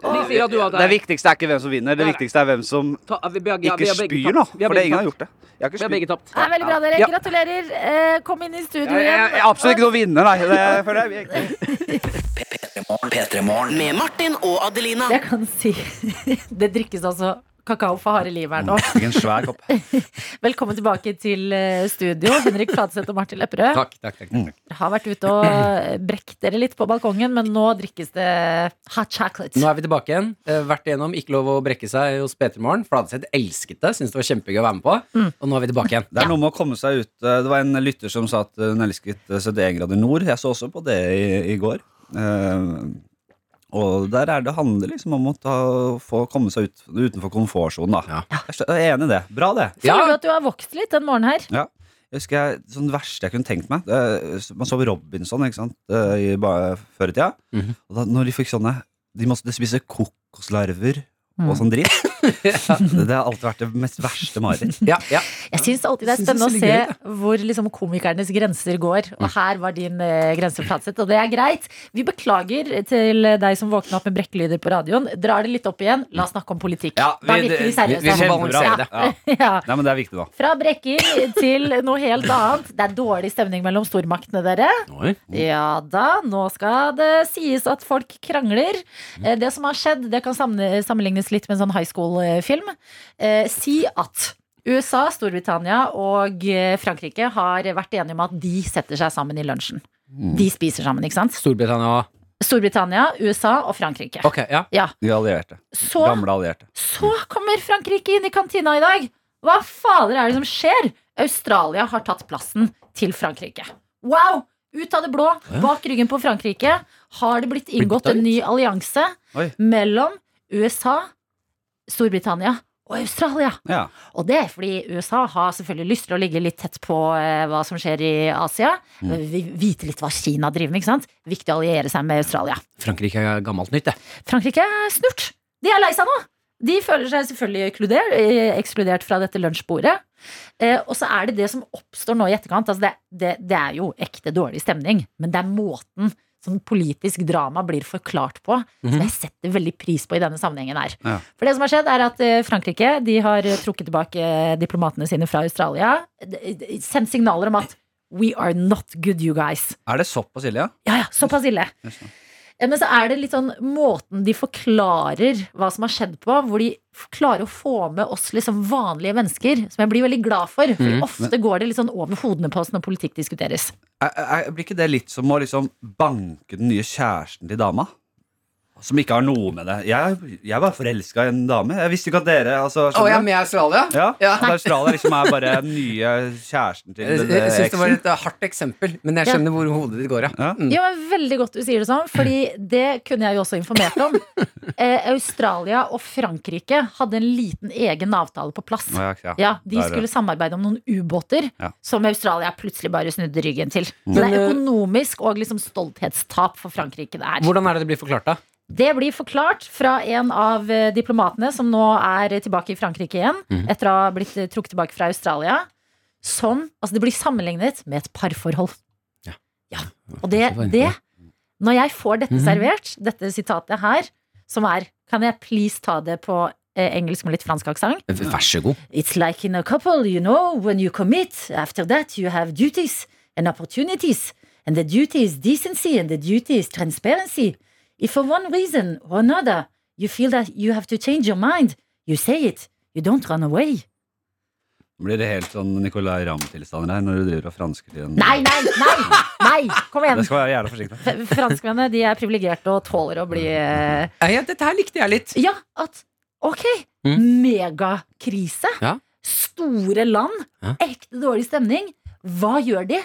S12: De sier at du var
S13: Det
S12: der.
S13: viktigste er ikke hvem som vinner, det viktigste er hvem som
S12: Ta- vi begge- ja, vi
S13: ikke
S12: har begge
S13: spyr,
S12: tapt.
S13: da.
S12: Vi har
S13: For det
S12: begge
S13: ingen har
S12: tapt.
S13: gjort det. Jeg har ikke
S12: Vi
S13: spyrt.
S12: har begge tapt.
S3: Det er veldig bra, dere.
S13: Ja.
S3: Gratulerer. Eh, Kom inn i studio
S13: Jeg, jeg,
S3: igjen.
S13: jeg er absolutt ikke noen vinner, nei. Det føler jeg.
S6: Med Martin og Adelina.
S3: Jeg kan si Det drikkes altså kakao for harde livet her nå.
S9: Fikk en svær kopp.
S3: Velkommen tilbake til eh, studio, Henrik Fladseth og Martin Lepperød.
S4: Takk, takk, takk, takk.
S3: Dere har vært ute og eh, brekt dere litt på balkongen, men nå drikkes det hot chocolate.
S4: Nå er vi tilbake igjen. Eh, Vært igjennom Ikke lov å brekke seg hos Petermorgen. Fladseth elsket det. Syntes det var kjempegøy å være med på.
S3: Mm.
S4: Og nå er vi tilbake igjen.
S9: Det er noe med å komme seg ut. Eh, Det var en lytter som sa at hun elsket 71 grader nord. Jeg så også på det i, i går. Eh, og der er det handler liksom om å ta, få komme seg ut, utenfor komfortsonen, da. Jeg skjø- Jeg er enig i det. Bra, det.
S3: Føler du at du har vokst litt den morgenen her?
S9: Ja. Jeg husker jeg, sånn det verste jeg kunne tenkt meg det, eh, Man så Robinson ikke sant? eh, i, ba- før i tida. Og da, når de fikk sånne De måtte spise kokoslarver og sånn dritt. det, det har alltid vært det mest verste mareritt.
S3: Jeg syns alltid det er
S9: Jeg synes
S3: spennende å
S9: det
S3: se
S9: er
S3: hvor liksom komikernes grenser går. Og her var din eh, grense flatsett, og det er greit. Vi beklager til deg som våkna opp med brekkelyder på radioen. Drar det litt opp igjen. La oss snakke om politikk. da virker vi seriøse.
S9: Ja.
S3: Ja.
S9: Nei, men det er viktig, da.
S3: Fra brekker til noe helt annet. Det er dårlig stemning mellom stormaktene, dere.
S9: Oi.
S3: Ja da, nå skal det sies at folk krangler. Eh, Det som har skjedd, det kan samle- sammenlignes litt med en sånn high school-film. Eh, Si at USA, Storbritannia og eh, Frankrike har vært enige om at de setter seg sammen i lunsjen. De spiser sammen, ikke sant?
S4: Storbritannia òg.
S3: Storbritannia, USA og Frankrike.
S4: Ok, ja.
S3: Ja.
S9: De allierte.
S3: Så-
S9: Gamle allierte.
S3: Så kommer Frankrike inn i kantina i dag. Hva fader er det som skjer? Australia har tatt plassen til Frankrike. Wow! Ut av det blå, bak ryggen på Frankrike, har det blitt inngått en ny allianse
S9: Oi.
S3: mellom USA, Storbritannia og Australia.
S9: Ja.
S3: Og det er fordi USA har selvfølgelig lyst til å ligge litt tett på eh, hva som skjer i Asia.
S4: Mm.
S3: Vi- Vite litt hva Kina driver med, ikke sant? Viktig å alliere seg med Australia.
S4: Frankrike er gammelt nytt, det.
S3: Frankrike er snurt. De er lei seg nå. De føler seg selvfølgelig ekskluder- eh, ekskludert fra dette lunsjbordet. Eh, og så er det det som oppstår nå i etterkant. Altså det, det, det er jo ekte dårlig stemning, men det er måten som politisk drama blir forklart på, som
S14: Mhm.
S3: jeg setter veldig pris på i denne sammenhengen her.
S14: Ja.
S3: For det som har skjedd, er at eh, Frankrike de har eh, trukket tilbake eh, diplomatene sine fra Australia. De- de- Sendt signaler om at We are not good, you guys.
S9: Er det såpass ille, ja?
S3: Ja, ja, såpass ille. Eh, Men så er det litt sånn måten de forklarer hva som har skjedd på, hvor de f- klarer å få med oss liksom vanlige mennesker, som jeg blir veldig glad for. For
S9: Mm.
S3: ofte går det litt sånn over hodene på oss når politikk diskuteres.
S9: Er, er, blir ikke det litt som å liksom banke den nye kjæresten til dama? Som ikke har noe med det. Jeg, jeg var forelska i en dame. Jeg visste ikke at dere
S4: Å,
S9: altså,
S4: jeg er
S9: skjønner du?
S4: med i Australia?
S9: ja, at Australia liksom er bare den nye kjæresten til
S4: Jeg,
S9: den,
S4: jeg
S9: eh,
S4: syns det var
S9: eksen.
S4: et eh, hardt eksempel, men jeg
S3: Ja.
S4: skjønner hvor hodet ditt går, ja. Mm.
S3: Ja, men Veldig godt du sier det sånn, Fordi det kunne jeg jo også informert om. Eh, Australia og Frankrike hadde en liten egen avtale på plass.
S9: Ja, ja.
S3: De
S9: Der, ja.
S3: skulle samarbeide om noen ubåter
S9: Ja.
S3: som Australia plutselig bare snudde ryggen til. Så
S4: Men,
S3: det er
S4: eh,
S3: økonomisk og liksom stolthetstap for Frankrike det er.
S4: Hvordan er det det blir forklart, da?
S3: Det blir forklart fra en av eh, diplomatene som nå er eh, tilbake i Frankrike igjen,
S4: Mhm.
S3: etter å ha blitt eh, trukket tilbake fra Australia, som Altså, det blir sammenlignet med et parforhold. Ja. Og det, det Når jeg får dette
S14: Mhm.
S3: servert, dette sitatet her, som er Kan jeg please ta det på eh, engelsk med litt fransk aksent?
S4: Eh, Vær så god.
S3: It's like in a couple, you know, when you commit, after that you have duties and opportunities. And the duty is decency and the duty is transparency. If for one reason or another you feel that you have to change your mind, you say it. You don't run away.
S9: Nå blir det helt sånn Nicolay Ramm-tilstander her når du driver og fransker til en
S3: Nei, nei, nei! nei. Kom igjen.
S9: Det skal være jævla forsiktig.
S3: F- Franskmennene de er privilegerte og tåler å bli eh,
S4: Dette her likte jeg litt.
S3: Ja, at ok,
S4: Mm.
S3: megakrise.
S4: Ja.
S3: Store land.
S4: Ja. Mm.
S3: Ekte dårlig stemning. Hva gjør de?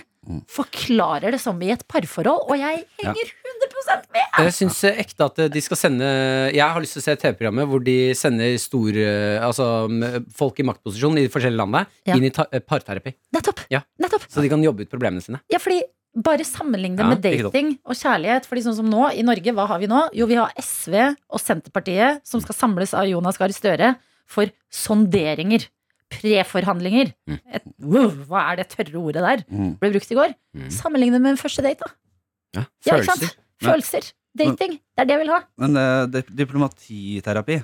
S3: Forklarer det som i et parforhold, og jeg
S4: Ja.
S3: henger 100 med!
S4: Jeg syns ekte at eh, de skal sende Jeg har lyst til å se TV-programmet hvor de sender stor, eh, altså, m- folk i maktposisjon i de forskjellige landene
S3: Ja.
S4: inn i ta eh, parterapi.
S3: Nettopp.
S4: Ja.
S3: Nettopp.
S4: Så de kan jobbe ut problemene sine.
S3: Ja, fordi bare sammenlign det
S4: Ja,
S3: med
S4: ikke sant.
S3: dating og kjærlighet. Fordi sånn som nå, I Norge, hva har vi nå? Jo, vi har SV og Senterpartiet som skal samles av Jonas Gahr Støre for sonderinger. Preforhandlinger.
S4: Mm.
S3: Et, wow, hva er det tørre ordet der?
S9: Mm.
S3: Ble brukt i går.
S9: Mm.
S3: Sammenlign det med en første date, da.
S9: Ja,
S3: Ja, ikke sant? Følelser. Dating. Det er det jeg vil ha.
S9: Men eh, di- diplomatiterapi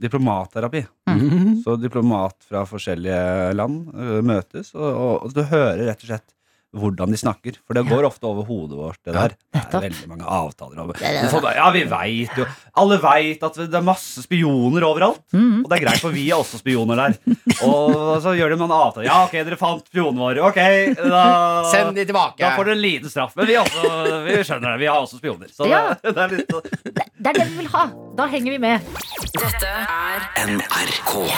S9: Diplomatterapi.
S4: Mm. Mhm.
S9: Så diplomat fra forskjellige land eh, møtes, og, og, og du hører rett og slett hvordan de snakker. For det går ofte over hodet vårt, det der. Det er veldig mange avtaler over
S13: ja, ja.
S9: Men sånn, Ja, vi veit jo Alle veit at det er masse spioner overalt. Og det er greit, for vi er også spioner der. Og så gjør de noen avtaler. Ja, ok, dere fant spionene våre. Ok, da
S4: Send de tilbake.
S9: Da får dere en liten straff. Men vi, også, vi skjønner det. Vi har også spioner. Så
S3: Ja.
S9: det, det er litt sånn
S3: Det er det vi vil ha. Da henger vi med.
S6: Dette er
S2: NRK.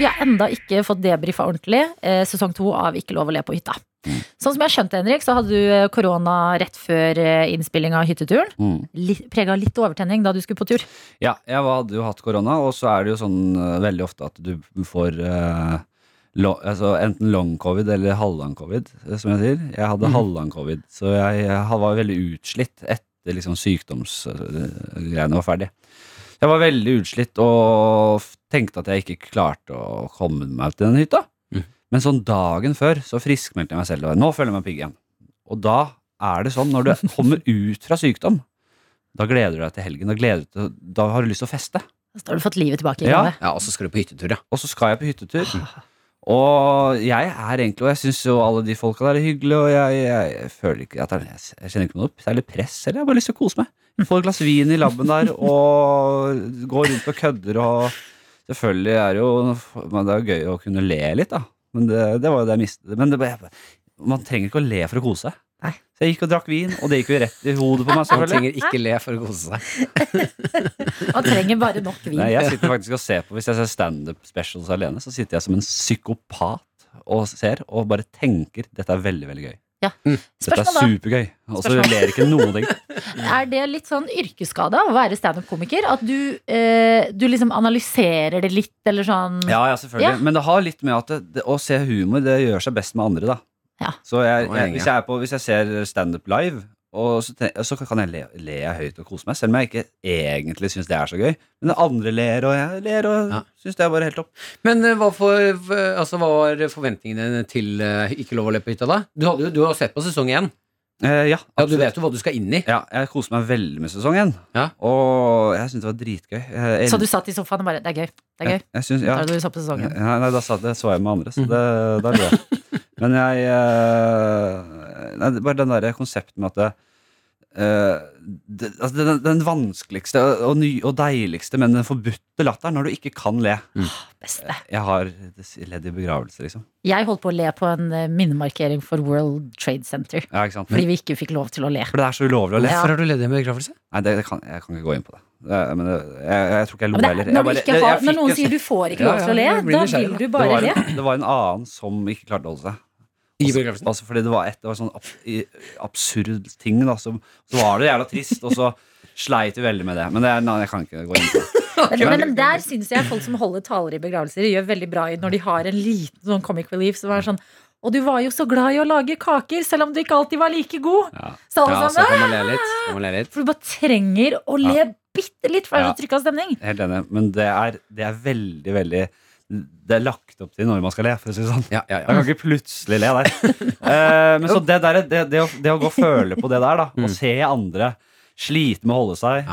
S3: Vi har enda ikke fått debrifa ordentlig eh, sesong to av Ikke lov å le på hytta.
S9: Mm.
S3: Sånn som jeg skjønte, Henrik, så hadde du eh, korona rett før eh, innspilling av hytteturen.
S9: Mm.
S3: Litt, Prega litt overtenning da du skulle på tur.
S9: Ja, jeg var- hadde jo hatt korona, og så er det jo sånn eh, veldig ofte at du får eh, lo, altså enten long covid eller halvlang covid, eh, som jeg sier. Jeg hadde
S13: Mhm.
S9: halvlang covid, så jeg, jeg ha- var veldig utslitt etter liksom sykdomsgreiene var ferdig. Jeg var veldig utslitt og f- tenkte at jeg ikke klarte å komme meg til den hytta. Men sånn dagen før så friskmeldte jeg meg selv. og Nå føler jeg meg pigg igjen. Og da er det sånn, når du kommer ut fra sykdom, da gleder du deg til helgen. Da, gleder du til, da har du lyst til å feste.
S3: Så har du fått livet tilbake.
S9: Ja.
S3: Ja.
S4: og så skal du på hyttetur, ja.
S9: Og så skal jeg på hyttetur. Og jeg er egentlig, og jeg syns jo alle de folka der er hyggelige, og jeg, jeg, jeg føler ikke at det er- jeg, jeg kjenner ikke noe særlig press, eller jeg har bare lyst til å kose meg. Få et glass vin i labben der, og gå rundt og kødder og Selvfølgelig er det jo men Det er jo gøy å kunne le litt, da. Men det, det var jo det jeg mistet. Men det, jeg, man trenger ikke å le for å kose seg. Så jeg gikk og drakk vin, og det gikk jo rett i hodet på meg.
S4: Man
S9: selvfølgelig
S4: trenger ikke le for å kose seg.
S3: Man trenger bare nok vin.
S9: Nei, jeg sitter faktisk og ser på Hvis jeg ser standup specials alene, så sitter jeg som en psykopat og ser og bare tenker dette er veldig, veldig gøy.
S3: Ja.
S9: Mm. Dette er
S3: Spørsmål da?
S9: supergøy. Og så
S3: Spørsmål. Mm.
S9: ler ikke noen ting.
S3: Er det litt sånn yrkesskade av å være standup-komiker? At du, eh, du liksom analyserer det litt, eller sånn
S9: Ja, ja, selvfølgelig.
S3: Ja.
S9: Men det har litt med at det, det, å se humor, det gjør seg best med andre, da. Så
S4: Det var
S9: jeg, jeg,
S4: lenge.
S9: hvis, jeg er på, hvis jeg ser standup live, og så, ten- så kan jeg le, le jeg høyt og kose meg, selv om jeg ikke egentlig syns det er så gøy. Men andre ler, og jeg ler, og syns det er bare helt topp.
S4: Men eh, hva, for, v- altså, hva var forventningene til eh, Ikke lov å le på hytta, da? Du, hadde, jo- du har sett på sesong én.
S9: Eh, ja,
S4: Ja, du vet jo hva du skal inn i.
S9: Ja, jeg koser meg veldig med sesong én. Og jeg syns det var dritgøy. Jeg,
S3: Så du satt i sofaen og bare Det er gøy. Det er gøy.
S9: Jeg, jeg synes, ja.
S3: Da du så på sesongen.
S9: Nei, nei da satt, jeg- så jeg med andre, så det, da lo jeg. Men jeg eh, nei, det- Bare den der konseptet med at det, eh, det, altså den, den vanskeligste og, ny, og deiligste, men den forbudte latteren når du ikke kan le.
S3: Beste.
S9: Jeg har ledd i begravelse, liksom.
S3: Jeg holdt på å le på en eh, minnemarkering for World Trade Center.
S9: Ja, ikke sant?
S3: Fordi vi ikke fikk lov til å le.
S9: For det er så ulovlig å le.
S3: Hvorfor har
S4: du ledd i en begravelse?
S9: Nei, det, det kan, jeg kan ikke gå inn på det. det men det, jeg, jeg tror
S3: Ja,
S9: ikke jeg lo
S3: men det er- når
S9: heller. Jeg
S3: du
S9: bare-
S3: ikke
S9: jeg- jeg
S3: har- når
S9: fikk
S3: noen
S9: en-
S3: sier du får ikke lov til å le,
S9: jeg blir
S3: da
S9: nysgjerrig,
S3: vil du bare
S9: det var, en-
S3: le.
S9: Det var en annen som ikke klarte å holde seg. I begravelsen? Altså fordi det var et det var sånn ab i- absurd ting, da. Så, så var det jævla trist, og så sleit vi veldig med det. Men det er, nei, jeg kan ikke gå inn på det.
S3: Men, men, men der syns jeg folk som holder taler i begravelser, gjør veldig bra i når de har en liten sånn comic relief som er sånn Og du var jo så glad i å lage kaker, selv om du ikke alltid var like god. Så alle
S4: Ja, så kan
S3: sammen
S4: man le litt. Kan man le litt.
S3: For du bare trenger å le bitte litt, for det er
S9: Ja.
S3: så trykk av stemning.
S9: Jeg er Helt enig. Men det er, det er veldig, veldig det er lagt opp til når man skal le, for å si det sånn. Da kan ikke plutselig le der. Eh, men så det, der, det, det, å, det å gå og føle på det der, da, og se andre slite med å holde seg,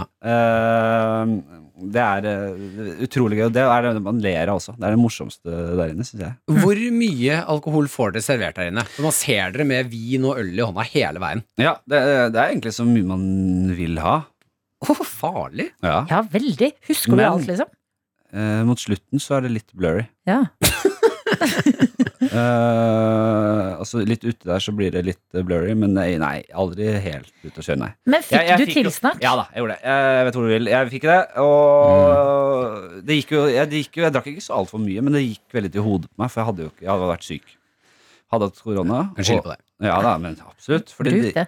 S9: eh, det er eh, utrolig gøy. Og det er det man ler av også. Det er det morsomste der inne, syns jeg.
S4: Hvor mye alkohol får dere servert her inne? For Man ser dere med vin og øl i hånda hele veien.
S9: Ja, det, det er egentlig så mye man vil ha.
S4: Å, farlig!
S9: Ja,
S3: veldig. Husker du
S9: Men-
S3: alt, liksom?
S9: Eh, mot slutten så er det litt blurry.
S3: Ja.
S9: Eh, altså Litt ute der så blir det litt eh, blurry, men nei, nei aldri helt ute å kjøre, nei.
S3: Men fikk
S9: Jeg- jeg
S3: du
S9: fikk jo-
S3: tilsnakk?
S9: Ja da, jeg gjorde det. Jeg vet hvor du vil. Jeg fikk det, og det gikk jo, jeg, det gikk jo Jeg drakk ikke så altfor mye, men det gikk veldig til hodet på meg, for jeg hadde jo ikke Jeg hadde vært syk. Hadde hatt korona.
S8: Kan skylde
S9: og-
S8: på deg.
S9: Ja da, men absolutt. fordi
S8: Bruk
S9: de-
S8: det.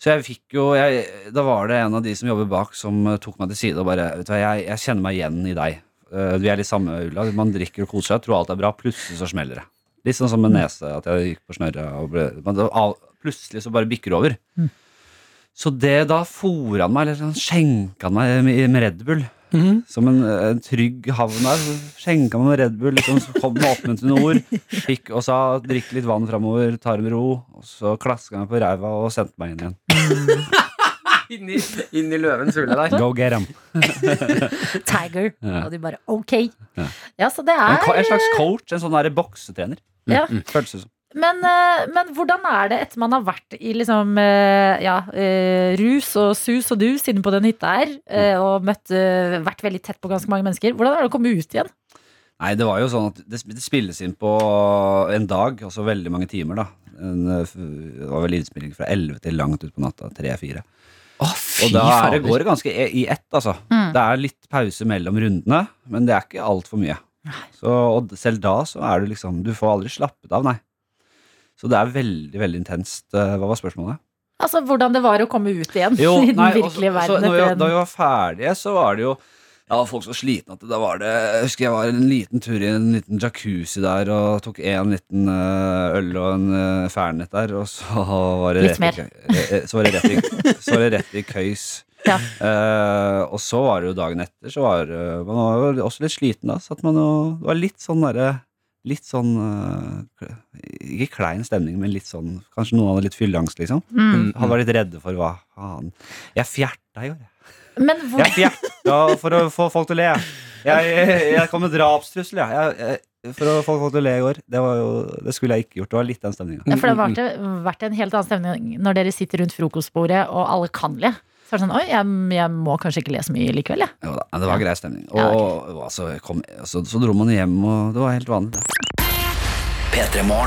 S9: så jeg fikk jo jeg, Da var det en av de som jobber bak, som eh, tok meg til side og bare Vet du hva, jeg, jeg kjenner meg igjen i deg. Eh, vi er litt samme ulla. Man drikker og koser seg, tror alt er bra. Plutselig så smeller det. Litt sånn som med nese, at jeg gikk på snørret og ble men det, al- Plutselig så bare bikker det over. Så det da fôret han meg, eller sånn, skjenka han meg med med Red Bull. Som en, en trygg havn der. så Skjenka meg med Red Bull, liksom, så kom med oppmuntrende ord. Fikk og sa 'drikk litt vann framover, ta det med ro'. Og så klaska han meg på ræva og sendte meg inn igjen.
S4: Inn i, inn i løvens hule der.
S9: Go get 'em.
S3: Tiger.
S9: Ja.
S3: Og de bare ok.
S9: Ja.
S3: Ja, så det
S9: En, ko-
S3: er
S9: en slags coach, en sånn derre boksetrener.
S3: Ja.
S9: Føles det som.
S3: Men, eh, men hvordan er det etter man har vært i liksom eh, ja, eh, rus og sus og dus inne på den hytta her, eh,
S9: Mm.
S3: og møtt, eh, vært veldig tett på ganske mange mennesker, hvordan er det å komme ut igjen?
S9: Nei, det var jo sånn at det, sp- det spilles inn på en dag, altså veldig mange timer, da. En, eh, f- det var vel innspilling fra 11 til langt ut på natta. 3-4. og da er det
S4: fader.
S9: går det ganske i i ett, altså.
S4: Mm.
S9: Det er litt pause mellom rundene, men det er ikke altfor mye. Så, og d- selv da så er du liksom Du får aldri slappet av, nei. Så det er veldig, veldig intenst. Eh, Hva var spørsmålet?
S3: Altså hvordan det var å komme ut igjen i den
S9: nei, og så-
S3: virkelige
S9: så
S3: verden.
S9: når
S3: etter
S9: vi, da
S3: en-
S9: vi var ferdige, så var det jo ja, folk så slitne at da var det Jeg husker jeg var en liten tur i en liten jacuzzi der og tok en liten eh, øl og en uh, fernet der, og så var det
S3: Litt
S9: rett i
S3: mer.
S9: kø- eh, eh, så var det rett i, så var det rett i køys. Eh, og så var det jo dagen etter, så var eh, man var jo også litt sliten da. Så at man jo- det var litt sånn derre Litt sånn eh, kle- Ikke klein stemning, men litt sånn Kanskje noen hadde litt fylleangst, liksom.
S3: Mm.
S9: Han var litt redde for hva faen Jeg fjerta i går, jeg.
S3: Men hvor,
S9: Jeg fjerta for å få folk til å le. Jeg, jeg, jeg kom med drapstrussel, jeg. jeg, jeg for å få folk til å le i går. Det, var jo, det skulle jeg ikke gjort. Det var litt den stemninga.
S3: Ja, for det har
S9: mm,
S3: vært, vært en helt annen stemning når dere sitter rundt frokostbordet og alle kan le. Så er det sånn oi, jeg, jeg må kanskje ikke le så mye likevel, jeg.
S9: Jo da, men det var grei stemning. Og, og altså, jeg kom, altså, så dro man hjem, og det var helt vanlig. det.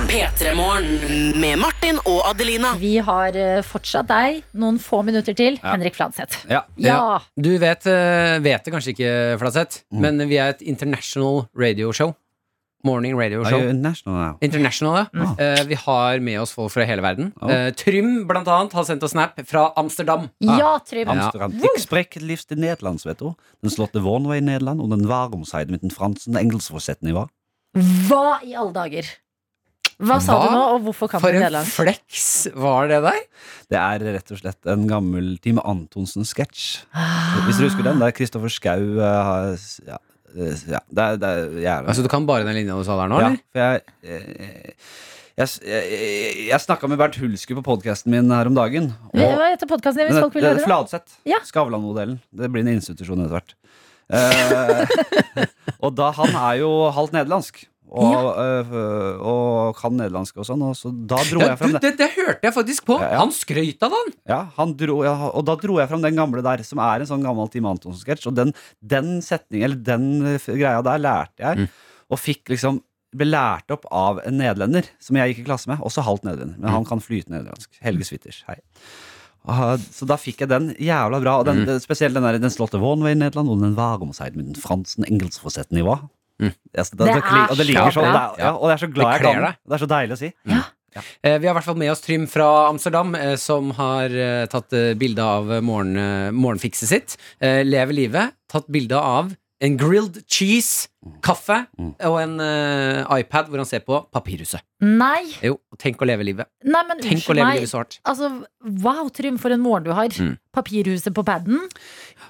S6: P3morgen med Martin og Adelina.
S3: Vi har eh, fortsatt deg noen få minutter til, Henrik Fladseth.
S4: Ja.
S3: Ja.
S4: Du vet, eh, vet det kanskje ikke, Flatseth, men vi er et international radio show. Morning radio
S9: Are
S4: show.
S9: you international now?
S4: International, ja. Eh, vi har med oss folk fra hele verden.
S9: Ja.
S4: Eh, Trym, blant annet, har sendt oss snap fra Amsterdam. Ah.
S3: Ja, Trym.
S9: Amsterdam. Ik spreek het liefst in Nederlands, vet du. Den slåtte wonen i Nederland, og den varumseiden med den fransen og engelsforsetten i var.
S3: Hva i alle dager? Hva sa
S4: Hva?
S3: du nå, og hvorfor kan
S4: For
S3: du
S4: en
S3: nederlandsk?
S4: fleks var det der?
S9: Det er rett og slett en gammel Time Antonsen-sketsj.
S3: Ah,
S9: Hvis du husker den, det er Kristoffer Schau eh, har- ja, eh, ja, det er, det er, jeg er
S4: Altså, du kan bare den linja du sa der nå,
S9: ja,
S4: eller?
S9: for jeg, eh, jeg, jeg, jeg snakka med Bernt Hulsker på podkasten min her om dagen.
S3: Hva heter podkasten din, hvis folk vil høre det?
S9: Fladseth. Skavlan-modellen. Det blir en institusjon etter hvert. Eh, og da han er jo halvt nederlandsk. Og, eh, og kan nederlandsk og sånn. Og så da dro
S4: Ja,
S9: jeg fram
S4: du,
S9: det.
S4: det, det hørte jeg faktisk på. Han skrøt av den.
S9: Ja, han dro, ja, og da dro jeg fram den gamle der, som er en sånn gammel Tim Antonsen-sketsj. Og den, den setningen, eller den eh, greia der, lærte jeg. Og fikk liksom ble lært opp av en nederlender som jeg gikk i klasse med. Også halvt nederlender, men han kan flyte nederlandsk. Helge Switters. Hei. Ah, så da fikk jeg den jævla bra. Og den,
S4: Mm.
S9: spesielt den der Den slåtte Vonway i Nederland, og den varumseid med den fransen engelsforsetten-nivå. Altså, det,
S4: Det
S9: det, kli-
S4: er
S9: og det ligger
S4: så
S9: sånn. Det
S4: bra.
S9: er, ja, og det er så glad
S4: Det
S9: jeg kan
S4: kler
S9: det. Det er så deilig å si.
S4: Eh, Vi har i hvert fall med oss Trym fra Amsterdam, eh, som har eh, tatt eh, bilde av eh, morgen, eh, morgenfikset sitt. Eh, Lever livet. Tatt bilde av en grilled cheese,
S3: Mm.
S4: kaffe og en eh, iPad hvor han ser på Papirhuset.
S3: Nei.
S4: Jo, tenk å leve livet.
S3: Nei, men
S4: Tenk å
S3: unnskyld
S4: leve
S3: meg.
S4: livet så hardt.
S3: Altså, wow, Trym, for en morgen du har.
S4: Mm.
S3: Papirhuset på paden.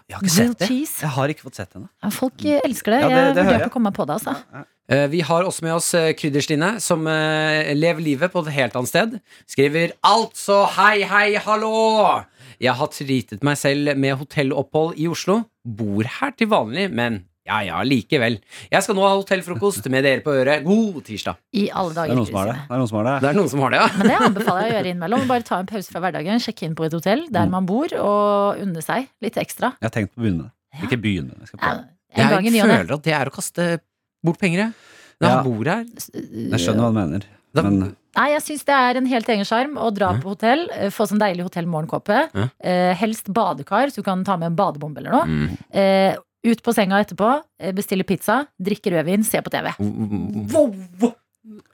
S9: Jeg har
S3: ikke sett Grilled det. cheese.
S9: Jeg har ikke fått sett henne.
S3: Folk eh, elsker det.
S4: Ja, det-
S3: jeg
S4: det hører
S3: vurderte
S4: jeg.
S3: å komme meg på det, altså.
S4: Eh, Vi har også med oss eh, Krydderstine, som eh, lever livet på et helt annet sted. Skriver 'Altså, hei, hei, hallo'. Jeg har tritet meg selv med hotellopphold i Oslo. Bor her til vanlig, men ja ja, likevel. Jeg skal nå ha hotellfrokost med dere på øret. God tirsdag.
S3: I alle dager. Kristine.
S9: Det er noen som har det.
S4: Det er noen som har det, ja.
S3: Men det anbefaler jeg å gjøre innimellom. Bare ta en pause fra hverdagen, sjekke inn på
S4: Mm.
S3: et hotell der man bor, og unne seg litt ekstra.
S9: Jeg har tenkt på å begynne med det. Ikke begynne. Jeg skal prøve.
S3: En gang i ny
S4: Jeg
S3: og ne.
S4: føler at det er å kaste bort penger, jeg. Når han bor her.
S9: Jeg skjønner hva du mener. Men
S3: Nei, jeg syns det er en helt egen sjarm å dra på hotell, eh, få sånn deilig hotellmorgenkåpe.
S9: Ja.
S3: Eh, helst badekar, så du kan ta med en badebombe eller noe.
S4: Mm.
S3: Eh, ut på senga etterpå, eh, bestille pizza, drikke rødvin, se på TV. Wow!
S4: Mm.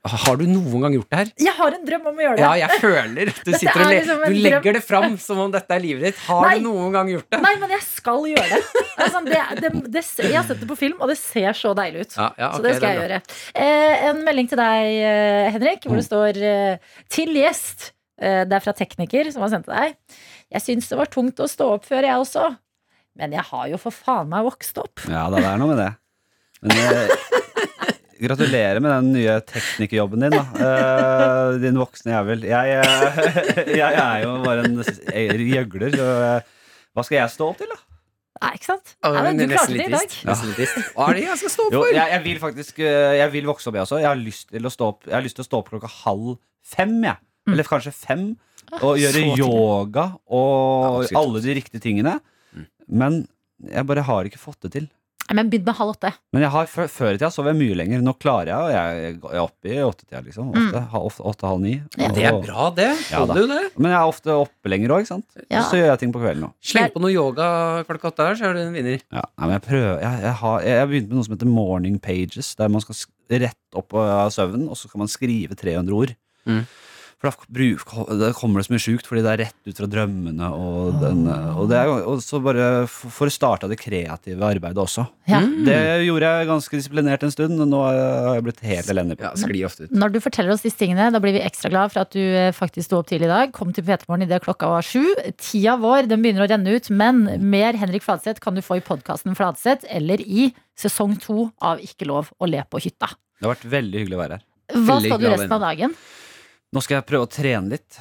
S4: Har du noen gang gjort det her?
S3: Jeg har en drøm om å gjøre det!
S4: Ja, jeg føler at Du,
S3: Dette
S4: sitter og
S3: er
S4: le
S3: liksom en
S4: du
S3: drøm.
S4: legger det fram som om dette er livet ditt. Har
S3: Nei.
S4: du noen gang gjort det?
S3: Nei, men jeg skal gjøre det. Altså, det, det, det ser- jeg har sett det på film, og det ser så deilig ut.
S4: Ja, ja,
S3: så
S4: ok,
S3: det skal
S4: det
S3: jeg
S4: er
S3: gjøre. Eh, en melding til deg, eh, Henrik,
S4: Mm.
S3: hvor det står eh, 'Til gjest'. Eh, det er fra tekniker som har sendt til deg. Jeg syns det var tungt å stå opp før, jeg også. Men jeg har jo for faen meg vokst opp.
S9: ja, da, det er noe med det. Men eh, gratulerer med den nye teknikerjobben din, da. Eh, din voksne jævel. Jeg, eh, jeg er jo bare en s- gjøgler. Så, eh, hva skal jeg stå opp til, da?
S3: Nei, ikke sant?
S4: Ja,
S3: Nei, men
S4: det er
S3: du
S4: nesten
S3: klarte det i
S4: litt
S3: dag.
S4: trist. Nesten litt trist. Hva er det jeg skal stå opp
S9: Jo,
S4: for?
S9: jeg, jeg vil faktisk eh, Jeg vil vokse opp, jeg også. Jeg har lyst til å stå opp, jeg har lyst til å stå opp klokka halv fem. Jeg. Eller kanskje fem. Og
S13: så
S9: gjøre
S13: tidlig.
S9: yoga og
S13: absolutt.
S9: alle de riktige tingene. Men jeg bare har ikke fått det til.
S3: Nei, Men begynn med halv åtte.
S9: Men jeg har, før, før i tida sov jeg mye lenger. Nå klarer jeg, og jeg, jeg er oppe i åttetida, liksom. Ofte,
S3: Mm.
S9: ha- ofte, åtte, halv ni.
S4: Ja, det er bra, det.
S9: Ja, da.
S4: Holder jo det.
S9: Men jeg er ofte oppe lenger òg, ikke sant.
S4: Ja.
S9: Og så gjør jeg ting på kvelden òg.
S4: Sleng på noe yoga klokka åtte her, så er du en vinner.
S9: Ja, nei, men jeg prøver Jeg, jeg, har, jeg har begynt med noe som heter morning pages, der man skal sk- rett opp eh, av søvnen, og så kan man skrive 300 ord.
S4: Mm.
S9: For da, bruk, da kommer det så mye sjukt, fordi det er rett ut fra drømmene. Og, den,
S4: Ah.
S9: og, det er, jo- og så bare for, for å starte det kreative arbeidet også.
S3: Ja.
S9: Det gjorde jeg ganske disiplinert en stund, og nå har jeg blitt helt elendig. på det.
S3: Når du forteller oss disse tingene, da blir vi ekstra glad for at du eh, faktisk sto opp tidlig i dag. Kom til P3morgen idet klokka var sju. Tida vår den begynner å renne ut, men mer Henrik Fladseth kan du få i podkasten Fladseth eller i sesong to av Ikke lov å le på hytta.
S9: Det har vært veldig hyggelig å være her.
S3: Hva skal du resten av dagen?
S9: Nå skal jeg prøve å trene litt.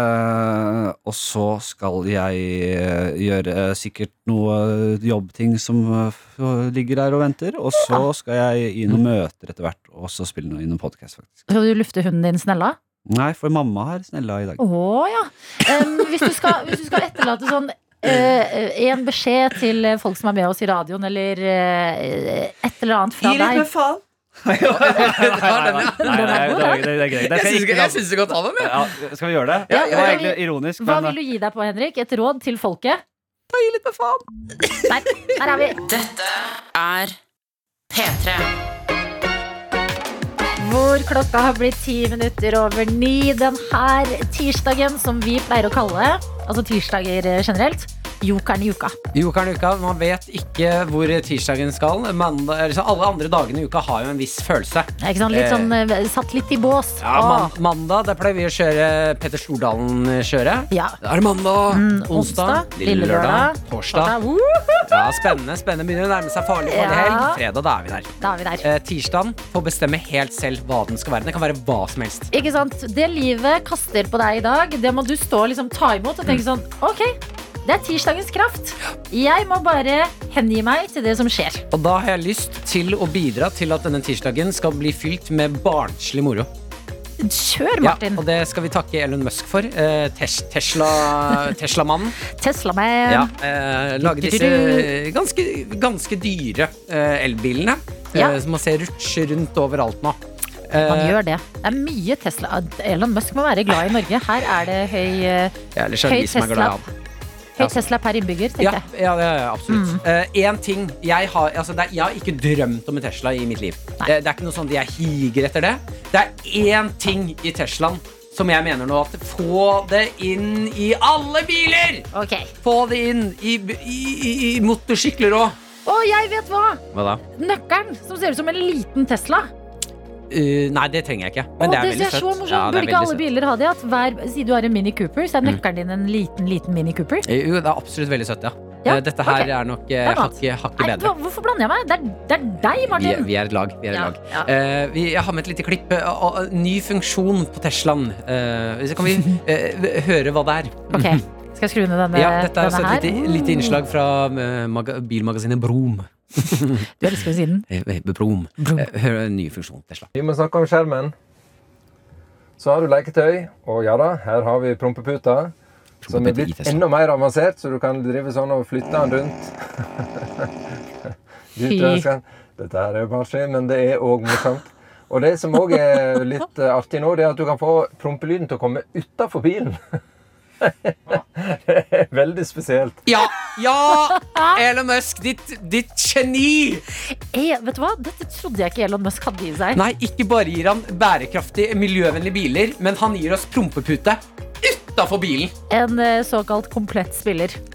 S9: eh, og så skal jeg eh, gjøre eh, sikkert noe eh, jobbting som eh, f- ligger der og venter. Og så skal jeg i noen møter etter hvert, og så spille noe i noen podkast, faktisk.
S3: Skal du lufte hunden din snella?
S9: Nei, for mamma har snella i dag.
S3: Å ja. Em, hvis, du skal, hvis du skal etterlate sånn eh, en beskjed til eh, folk som er med oss i radioen, eller eh, et eller annet fra
S5: Gi litt
S3: deg
S5: med faen.
S9: Nei, nei, det er- det er greit. Det skal
S4: Jeg syns-
S9: ikke-
S4: jeg syns du kan ta dem, jeg.
S9: Ja, skal vi gjøre det?
S3: Ja,
S9: det var
S3: ja.
S9: egentlig ironisk.
S3: Hva
S9: men-
S3: vil du gi deg på, Henrik? Et råd til folket? Ta i litt med faen. Der, der er vi. Dette er P3. Hvor klokka har blitt ti minutter over ni den her tirsdagen, som vi pleier å kalle altså tirsdager generelt, jokeren i uka.
S4: Jokeren i uka, man vet ikke hvor tirsdagen skal. Mandag, eller så alle andre dagene i uka har jo en viss følelse.
S3: Ikke sant? Litt sånn eh, satt litt i bås.
S4: Ja,
S3: Åh.
S4: man, mandag, der pleier vi å kjøre Petter Stordalen-kjøret.
S3: Ja.
S4: Da er det mandag, onsdag,
S3: Mm, onsdag,
S4: lille,
S3: lille lørdag,
S4: lørdag, torsdag. Ja, spennende, spennende. Begynner å nærme seg farlig, farlig
S3: Ja.
S4: helg. Fredag, da er vi der.
S3: Da er vi der.
S4: Eh, tirsdagen får bestemme helt selv hva den skal være. Den kan være hva som helst.
S3: Ikke sant? Det livet kaster på deg i dag, det må du stå og liksom ta imot og tenke
S4: Mm.
S3: sånn Ok, det er tirsdagens kraft. Jeg må bare hengi meg til det som skjer.
S4: Og da har jeg lyst til å bidra til at denne tirsdagen skal bli fylt med barnslig moro.
S3: Kjør, Martin.
S4: Ja, og det skal vi takke Elon Musk for. Eh, tes Tesla- Tesla-mannen.
S3: Tesla meg.
S4: ja, eh, lage disse ganske, ganske dyre eh, elbilene.
S3: Ja.
S4: Eh, som man ser rutsje rundt overalt nå.
S3: Han
S4: Eh,
S3: gjør det. Det er mye Tesla. Elon Musk må være glad i Norge. Her er det høy, eh,
S4: jeg er litt sjalu
S3: Høy
S4: som er glad i
S3: Tesla.
S4: han.
S3: høy Tesla per innbygger, tenker
S4: Ja,
S3: jeg.
S4: ja, det er jeg absolutt.
S3: Mm.
S4: Én ting jeg har, altså det er, jeg har ikke drømt om en Tesla i mitt liv. Det, det er ikke noe sånn at jeg higer etter det. Det er én ting i Teslaen som jeg mener nå at Få det inn i alle biler! Få det inn i, i, i, i motorsykler òg.
S3: Å, jeg vet hva!
S4: Hva da?
S3: Nøkkelen som ser ut som en liten Tesla.
S4: Eh, nei, det trenger jeg ikke.
S3: Å,
S4: Men det er
S3: det
S4: veldig
S3: er så
S4: søtt.
S3: morsomt.
S4: Ja, det
S3: Burde
S4: er veldig
S3: ikke alle
S4: søtt. Mm.
S3: biler ha det? At hver, si du har en Mini Cooper, så er nøkkelen din en liten, liten Mini Cooper.
S4: Eh, Jo, det er absolutt veldig søtt, ja.
S3: Ja,
S4: Eh, Dette her
S3: ok.
S4: er nok
S3: Det
S4: eh,
S3: er mat.
S4: hakket hakket
S3: Nei,
S4: bedre.
S3: hva- hvorfor blander jeg meg? Det er, det er deg,
S4: Vi,
S3: Martin.
S4: vi er et lag. Vi er et
S3: Ja,
S4: lag.
S3: ja.
S4: Eh, vi, jeg har med et lite klipp. eh, av- av ny funksjon på Teslaen. Eh, så kan vi eh, høre hva det er.
S3: Ok, Skal jeg skru ned denne,
S4: Ja, dette er også
S3: denne her?
S4: et lite, lite innslag fra eh, maga bilmagasinet Brom. eh,
S3: Du elsker å si den.
S4: Brom. Eh, Hør en ny funksjon på Tesla.
S14: Vi må snakke om skjermen. Så har du leketøy, og ja da, her har vi prompeputa. Som er blitt enda mer avansert, så du kan drive sånn og flytte den rundt.
S12: Fy.
S14: Dypt ønsker. Dette her er jo barnslig, men det er òg morsomt. Og det som òg er litt eh, artig nå, det er at du kan få prompelyden til å komme utafor bilen. det er veldig spesielt.
S4: Ja! Ja! Elon Musk, ditt, ditt geni!
S3: Eh, vet du hva? Dette trodde jeg ikke Elon Musk hadde i seg.
S4: Nei, ikke bare gir han bærekraftige, miljøvennlige biler, men han gir oss prompepute utafor bilen.
S3: En eh, såkalt komplett spiller. Eh,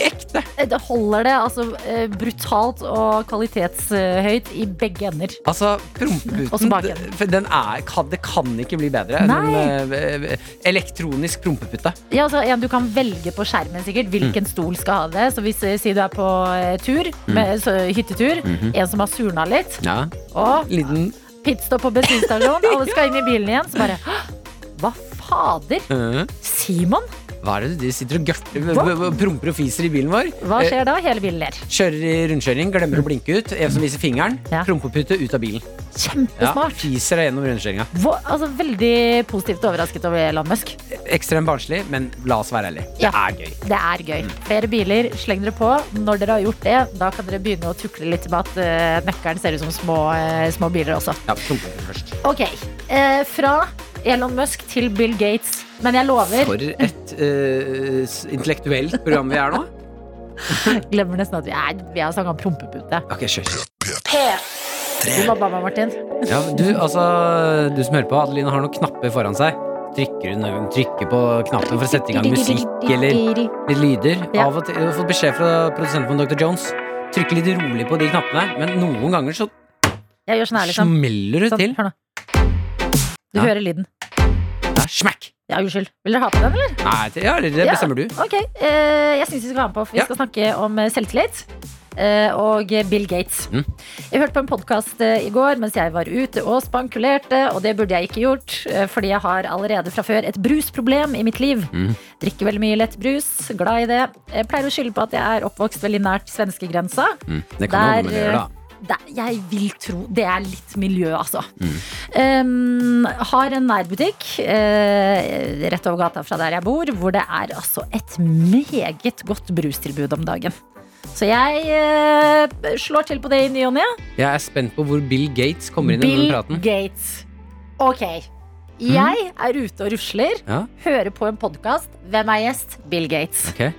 S4: Ekte!
S3: Det holder det altså eh, brutalt og kvalitetshøyt i begge ender.
S4: Altså,
S3: Og så
S4: prompeputen
S3: baken.
S4: d- for den er, kan, Det kan ikke bli bedre enn en eh, elektronisk prompepute.
S3: Ja, altså, en du kan velge på skjermen sikkert hvilken
S4: Mm.
S3: stol skal ha det. Så hvis eh, si du er på eh, tur, med, så, hyttetur,
S4: Mhm.
S3: en som har surna litt,
S4: Ja.
S3: og
S4: Liten
S3: pitstop på bensinstasjonen, alle skal inn i bilen igjen, så bare «Hå! Hva fader?
S4: eh,
S3: Simon?
S4: Hva er det du sitter og gørter
S3: Hva?
S4: b- b- Promper og fiser i bilen vår?
S3: Hva
S4: Eh,
S3: skjer da? Hele bilen ler.
S4: Kjører i rundkjøring, glemmer å blinke ut. En som viser fingeren. Prompepute ut av bilen.
S3: Kjempesmart.
S4: Ja, fiser deg gjennom rundkjøringa.
S3: Hva, altså, veldig positivt overrasket over Elon Musk.
S4: Ekstremt barnslig, men la oss være ærlige. Det
S3: Ja.
S4: er gøy.
S3: Det er gøy.
S4: Mm.
S3: Flere biler, sleng dere på. Når dere har gjort det, da kan dere begynne å tukle litt med at eh, nøkkelen ser ut som små, eh, små biler også.
S4: Ja, prompepute først.
S3: Ok, eh, fra Elon Musk til Bill Gates. Men jeg lover,
S4: For et eh, s- intellektuelt program vi er nå.
S3: glemmer nesten at vi, er, vi har snakket om prompepute.
S4: Ok, kjør.
S3: Du mobba meg, Martin.
S4: Ja, du, altså, du som hører på, Adeline har noen knapper foran seg. Trykker hun hun trykker på knappen for å sette i gang musikk eller litt lyder.
S3: Ja.
S4: Av og til, jeg har fått beskjed fra produsenten vår, Dr. Jones. Trykker litt rolig på de knappene, men noen ganger så
S3: Jeg gjør sånn her, liksom.
S4: smeller du til.
S3: Hør nå. Du
S4: Ja.
S3: hører lyden.
S4: Ja, smack!
S3: Ja, unnskyld. Vil dere ha på den, eller?
S4: Nei, det- ja, det
S3: Ja,
S4: bestemmer du.
S3: Ok, eh, Jeg syns vi skal være med på, for vi skal snakke om eh, selvtillit. eh, Og Bill Gates.
S4: Mm.
S3: Jeg hørte på en podkast i går mens jeg var ute og spankulerte, og det burde jeg ikke gjort, eh, fordi jeg har allerede fra før et brusproblem i mitt liv.
S12: Mm.
S3: Drikker veldig mye lett brus, glad i det. Jeg pleier å skylde på at jeg er oppvokst veldig nært svenskegrensa.
S12: Mm,
S4: det kan jo ha noe med det å gjøre, da.
S3: eh, der, jeg vil tro det er litt miljø, altså. Um, har en nærbutikk eh, rett over gata fra der jeg bor, hvor det er altså et meget godt brustilbud om dagen. Så jeg eh, slår til på det i ny og ne.
S4: Jeg er spent på hvor Bill Gates kommer inn i
S3: Bill
S4: denne praten. Mm.
S3: Gates. Ok. Jeg er ute og rusler,
S4: Ja.
S3: hører på en podkast. Hvem er gjest? Bill Gates.
S4: Ok,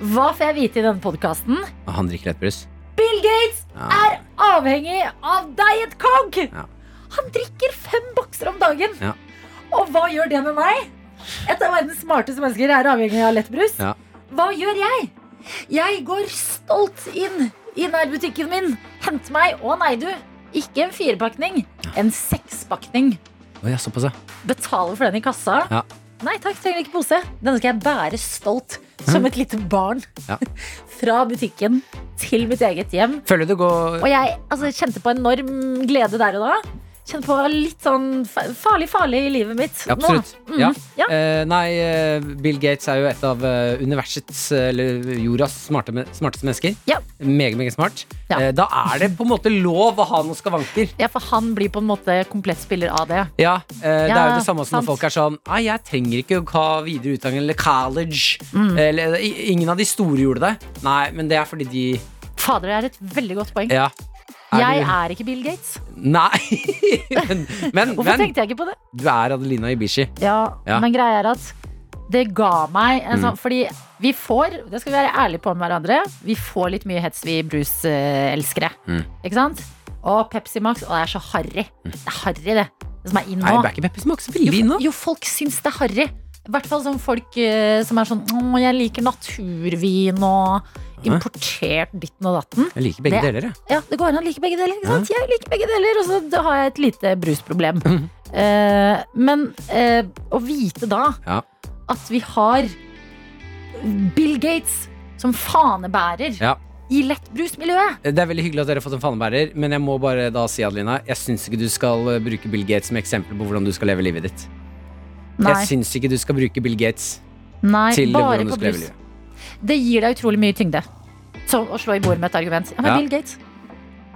S3: Hva får jeg vite i denne podkasten?
S4: Og han drikker lettbrus.
S3: Bill Gates
S4: Ja.
S3: er avhengig av Diet Coke! Han drikker fem bokser om dagen.
S4: Ja.
S3: Og hva gjør det med meg? Et av verdens smarteste mennesker er avhengig av lettbrus.
S4: Ja.
S3: Hva gjør jeg? Jeg går stolt inn i nærbutikken min. Henter meg Å nei, du. Ikke en firepakning. En sekspakning.
S4: Oi, ja, såpass, ja.
S3: Betaler for den i kassa.
S4: Ja.
S3: Nei takk, trenger ikke pose. Denne skal jeg bære stolt som et lite barn.
S4: Mm. Ja.
S3: Fra butikken til mitt eget hjem.
S4: Føler du det går
S3: Og jeg altså, kjente på enorm glede der og da. Kjente på litt sånn fa- farlig, farlig i livet mitt. nå.
S4: Absolutt.
S3: Mm,
S4: Ja.
S3: ja.
S4: Eh, nei, eh, Bill Gates er jo et av eh, universets, eh, eller jordas, smarte, men- smarteste mennesker.
S3: Ja.
S4: Meget, meget smart. Eh, da er det på en måte lov å ha noen skavanker.
S3: ja, for han blir på en måte komplett spiller av det.
S4: Ja, eh, Det er jo
S3: Ja,
S4: det samme som når
S3: sant.
S4: folk er sånn Nei, jeg trenger ikke å ha videre utdanning eller college.
S3: Mm.
S4: Eh, Eller, i- ingen av de store gjorde det. Nei, men det er fordi de
S3: Fader, det er et veldig godt poeng.
S4: Ja.
S3: jeg
S4: du-
S3: er ikke Bill Gates.
S4: Nei! men, men, men
S3: Hvorfor tenkte jeg ikke på det?
S4: du er Adelina Ibishi.
S3: Ja,
S4: Ja.
S3: men greia er at det ga meg en
S4: Mm.
S3: sånn Fordi vi får, det skal vi være ærlige på med hverandre, vi får litt mye hets, vi bruselskere.
S4: Mm.
S3: Ikke sant? Og Pepsi Max. Å, det er så harry. Det er harry, det. Det som er inn nå.
S4: Nei, det er ikke Pepsi Max veldig inn nå.
S3: Jo, folk syns det er harry. I hvert fall sånn folk eh, som er sånn Å, jeg liker naturvin og
S4: Ja.
S3: importert ditten og datten.
S4: Jeg liker begge
S3: Det-
S4: deler, jeg.
S3: Ja, det går an å like begge deler. Ikke sant? Jeg liker begge deler, og så da har jeg et lite brusproblem. Eh, men eh, å vite da
S4: Ja.
S3: at vi har Bill Gates som fanebærer
S4: Ja.
S3: i lettbrusmiljøet
S4: Det er veldig hyggelig at dere har fått en fanebærer, men jeg må bare da si, Adelina, jeg syns ikke du skal eh, bruke Bill Gates som eksempel på hvordan du skal leve livet ditt.
S3: Nei.
S4: Jeg syns ikke du skal bruke Bill Gates
S3: Nei,
S4: til
S3: bare
S4: hvordan du
S3: på
S4: skal leve
S3: brus.
S4: livet.
S3: Det gir deg utrolig mye tyngde. Som å slå i bordet med et argument. Ja, men
S4: Ja.
S3: Bill Gates.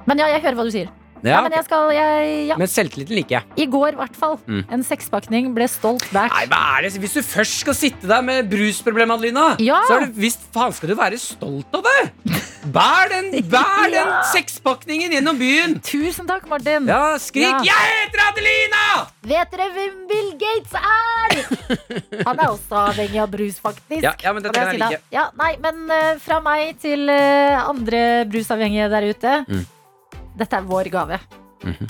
S3: Men ja, jeg hører hva du sier. Ja, men jeg skal jeg, ja.
S4: Men selvtilliten liker jeg.
S3: I går, i hvert fall.
S4: Mm.
S3: En sekspakning ble stolt bært.
S4: Nei, hva er det? Hvis du først skal sitte der med brusproblem, Adelina,
S3: Ja.
S4: så er det visst faen skal du være stolt av det! Bær den, bær den
S3: Ja.
S4: sekspakningen gjennom byen!
S3: Tusen takk, Martin.
S4: Ja, skrik
S3: Ja.
S4: 'Jeg heter Adelina!'
S3: Vet dere hvem Bill Gates er? Han er også avhengig av brus, faktisk.
S4: Ja, ja, men det
S3: Kan
S4: trenger
S3: jeg si
S4: jeg
S3: da?
S4: like.
S3: Ja, nei, men eh, fra meg til eh, andre brusavhengige der ute.
S4: Mm. Mhm.
S3: Dette er vår gave.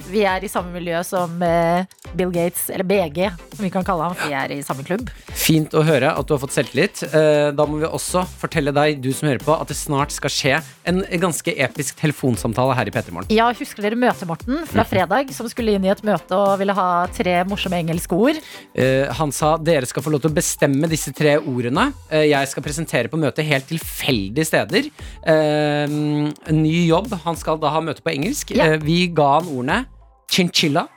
S3: Vi er i samme miljø som eh, Bill Gates, eller BG, som vi kan kalle ham. for Vi er i samme klubb.
S4: Fint å høre at du har fått selvtillit. Eh, Da må vi også fortelle deg du som hører på at det snart skal skje en ganske episk telefonsamtale her i P3 Morgen.
S3: Ja, husker dere Møte-Morten
S4: Mhm.
S3: fra fredag, som skulle inn i et møte og ville ha tre morsomme engelske ord?
S4: Eh, han sa dere skal få lov til å bestemme disse tre ordene. Eh, jeg skal presentere på møtet helt tilfeldige steder. Eh, ny jobb. Han skal da ha møte på engelsk. Eh, vi ga han ordene chinchilla,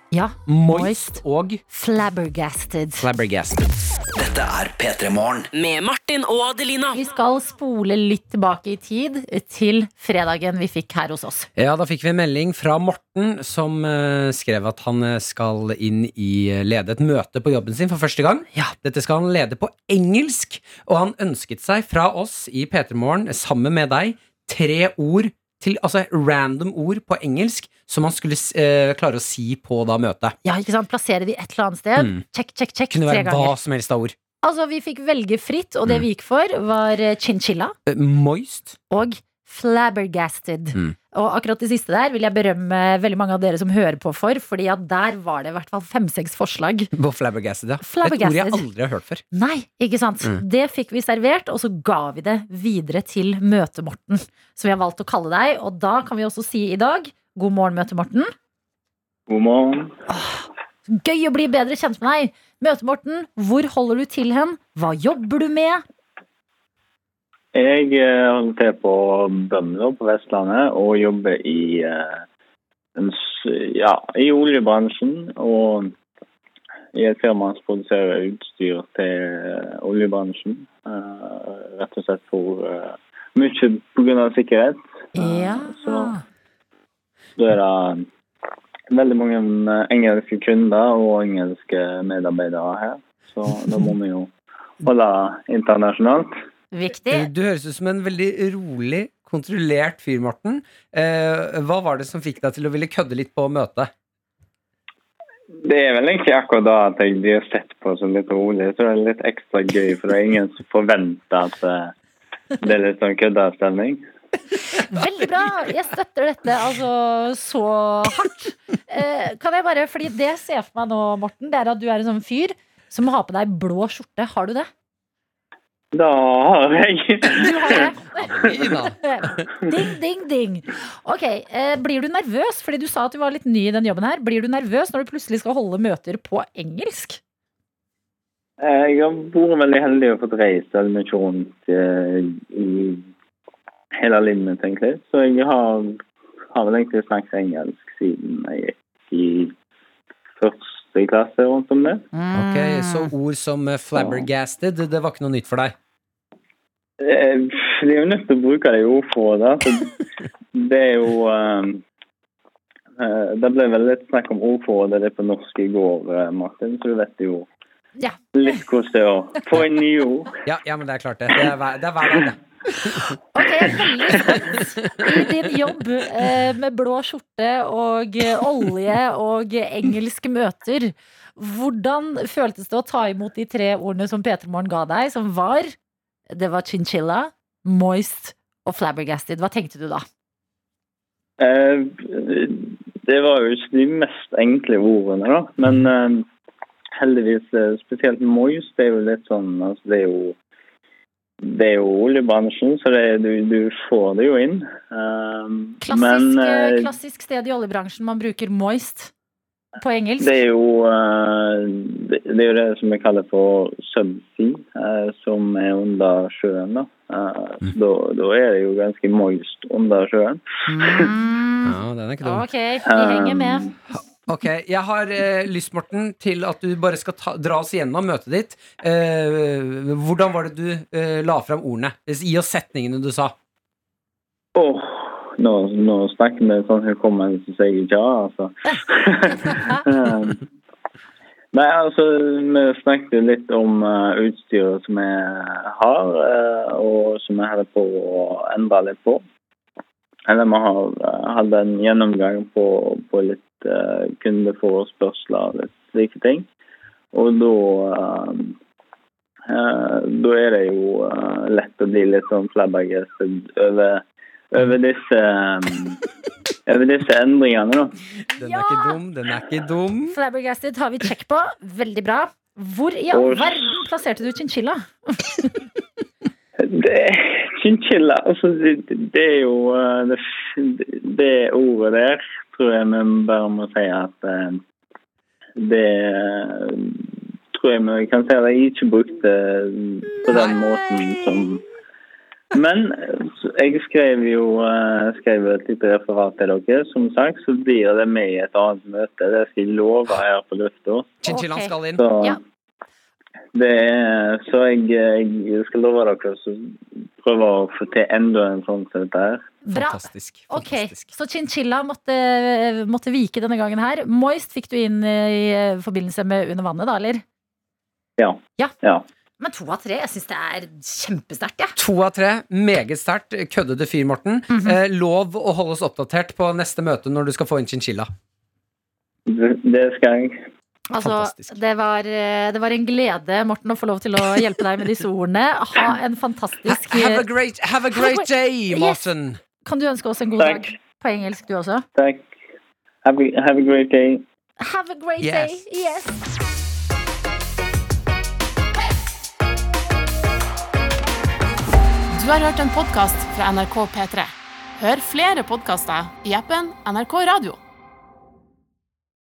S4: moist, og
S3: Flabbergasted.
S4: flabbergasted.
S2: Dette er P3 Morgen.
S6: Med Martin og Adelina.
S3: Vi skal spole litt tilbake i tid til fredagen vi fikk her hos oss.
S4: Ja, da fikk vi en melding fra Morten som eh, skrev at han eh, skal inn i eh, lede et møte på jobben sin for første gang. Dette skal han lede på engelsk, og han ønsket seg fra oss i P3 Morgen, sammen med deg, tre ord til, altså random ord på engelsk som han skulle eh, klare å si på da møtet.
S3: Ja, ikke sant? Plassere de et eller annet sted.
S4: Mm.
S3: Check, check, check.
S4: Kunne være
S3: Tre
S4: hva Mm.
S3: ganger.
S4: som helst av ord.
S3: Altså, vi fikk velge fritt, og det vi gikk for, var eh, chinchilla
S4: Eh, moist.
S3: og flabbergasted.
S4: Mm.
S3: Og akkurat det siste der vil jeg berømme veldig mange av dere som hører på for, fordi at der var det i hvert fall fem-seks forslag.
S4: På flabbergasted, ja. Et ord jeg
S3: Flabbergasted.
S4: aldri har hørt før.
S3: Nei, ikke sant?
S4: Mm.
S3: Det fikk vi servert, og så ga vi det videre til Møte-Morten, som vi har valgt å kalle deg. Og da kan vi også si i dag god morgen, Møte-Morten.
S15: God morgen.
S3: Gøy å bli bedre kjent med deg. Møte-Morten, hvor holder du til hen? Hva jobber du med?
S15: Jeg eh, holder til på Bømlo på Vestlandet og jobber i, eh, en s- ja, i oljebransjen. Og i et firma som produserer utstyr til eh, oljebransjen. eh, Rett og slett for eh, mye pga. sikkerhet.
S3: Ja.
S15: Da er det veldig mange eh, engelske kunder og engelske medarbeidere her. Så da må vi jo holde internasjonalt.
S3: Viktig.
S4: Eh, Du høres ut som en veldig rolig, kontrollert fyr, Morten. Eh, hva var det som fikk deg til å ville kødde litt på møtet?
S15: Det er vel egentlig akkurat da at jeg blir sett på som litt rolig. Så det er litt ekstra gøy, for det er ingen som forventer at eh, det er litt sånn køddestemning.
S3: Veldig bra! Jeg støtter dette altså så hardt. Eh, kan jeg bare, fordi det jeg ser for meg nå, Morten, det er at du er en sånn fyr som har på deg blå skjorte. Har du det?
S15: Da har jeg
S3: Ding, ding, ding. Ok, eh, Blir du nervøs? Fordi du sa at du var litt ny i den jobben her. Blir du nervøs når du plutselig skal holde møter på engelsk?
S15: Eh, Jeg har vært veldig heldig og fått reist veldig mye rundt eh, i hele livet mitt, egentlig. Så jeg har, har vel egentlig snakket engelsk siden jeg gikk i første klasse rundt om det.
S4: Ok,
S3: Mm.
S4: Så ord som eh, flabbergasted, det var ikke noe nytt for deg?
S15: Eh, De er jo nødt til å bruke det i ordforrådet. så Det er jo eh, eh, Det ble vel litt snakk om ordforrådet det er på norsk i går, eh, Martin, så du vet jo
S3: Ja.
S15: litt hvordan det er å få inn nye ord.
S4: Ja, ja, men det er klart det. Det er hver, det er hver dag, det.
S3: I din jobb eh, med blå skjorte og eh, olje og engelske møter, hvordan føltes det å ta imot de tre ordene som P3 Morgen ga deg, som var Det var chinchilla, moist og flabbergasted. Hva tenkte du da?
S15: Eh, Det var jo ikke de mest enkle ordene, da. Men eh, heldigvis eh, spesielt Moist, det er jo litt sånn altså Det er jo det er jo oljebransjen, så det, er- du, du får det jo inn. Eh,
S3: Klassisk, eh,
S15: eh,
S3: klassisk sted i oljebransjen man bruker moist på engelsk.
S15: Det er jo eh, det, det, er jo det som vi kaller for subsea, eh, som er under sjøen. Da. Eh,
S4: Mm.
S15: da, da er det jo ganske moist under sjøen.
S4: Ja, den er ikke dum.
S3: Mm. Ok, vi henger
S15: Um,
S3: med.
S4: Ok, Jeg har eh, lyst, Morten, til at du bare skal ta, dra oss gjennom møtet ditt. Eh, hvordan var det du eh, la fram ordene? Gi oss setningene du sa.
S15: Åh,
S10: nå, nå snakker vi sånn hun kommer så sier jeg ikke ja, altså. Nei, altså, vi snakket litt om eh, utstyret som vi har, eh, og som vi holder på å endre litt på. Eller vi har, eh, hadde en gjennomgang på, på litt eh, kundeforespørsler og litt slike ting. Og da eh, Eh, da er det jo eh, lett å bli litt sånn flabbergasted over, over disse eh, over disse endringene, da.
S4: Den er ikke dum, den er ikke dum.
S3: Flabbergasted har vi check på. Veldig bra. Hvor i all verden plasserte du chinchilla?
S10: Det, chinchilla, altså det, det er jo eh, det, det ordet der tror jeg vi bare må si at eh, det tror jeg vi kan si at jeg ikke brukte på den måten som Men jeg skrev jo eh, skrev et lite referat til dere, som sagt. Så blir det med i et annet møte. Det skal jeg love her på lufta.
S4: Chinchillaen skal inn.
S10: Så, det er, så jeg, jeg skal love dere å prøve å få til enda en sånn som dette her.
S3: Bra. Ok, Så chinchilla måtte, måtte vike denne gangen her. Moist fikk du inn i forbindelse med Under vannet, da, eller?
S10: Ja.
S3: Ja.
S10: ja.
S3: Men to av tre, jeg syns det er kjempesterkt, jeg.
S4: To av tre. Meget sterkt. Køddete fyr, Morten. eh, lov å holde oss oppdatert på neste møte når du skal få en chinchilla.
S10: Det, det skal jeg.
S3: Altså, det var, eh, det var en glede, Morten, å få lov til å hjelpe deg med disse ordene. Ha en fantastisk
S4: Have a great, have a great day,
S3: Yes.
S4: Morten!
S3: Kan du ønske oss en god
S10: Takk.
S3: dag på engelsk, du også?
S10: Takk. Have a, have a great day.
S3: Have a great
S10: Yes.
S3: day. Yes.
S1: Du har hørt en podkast fra NRK P3. Hør flere podkaster i appen NRK Radio.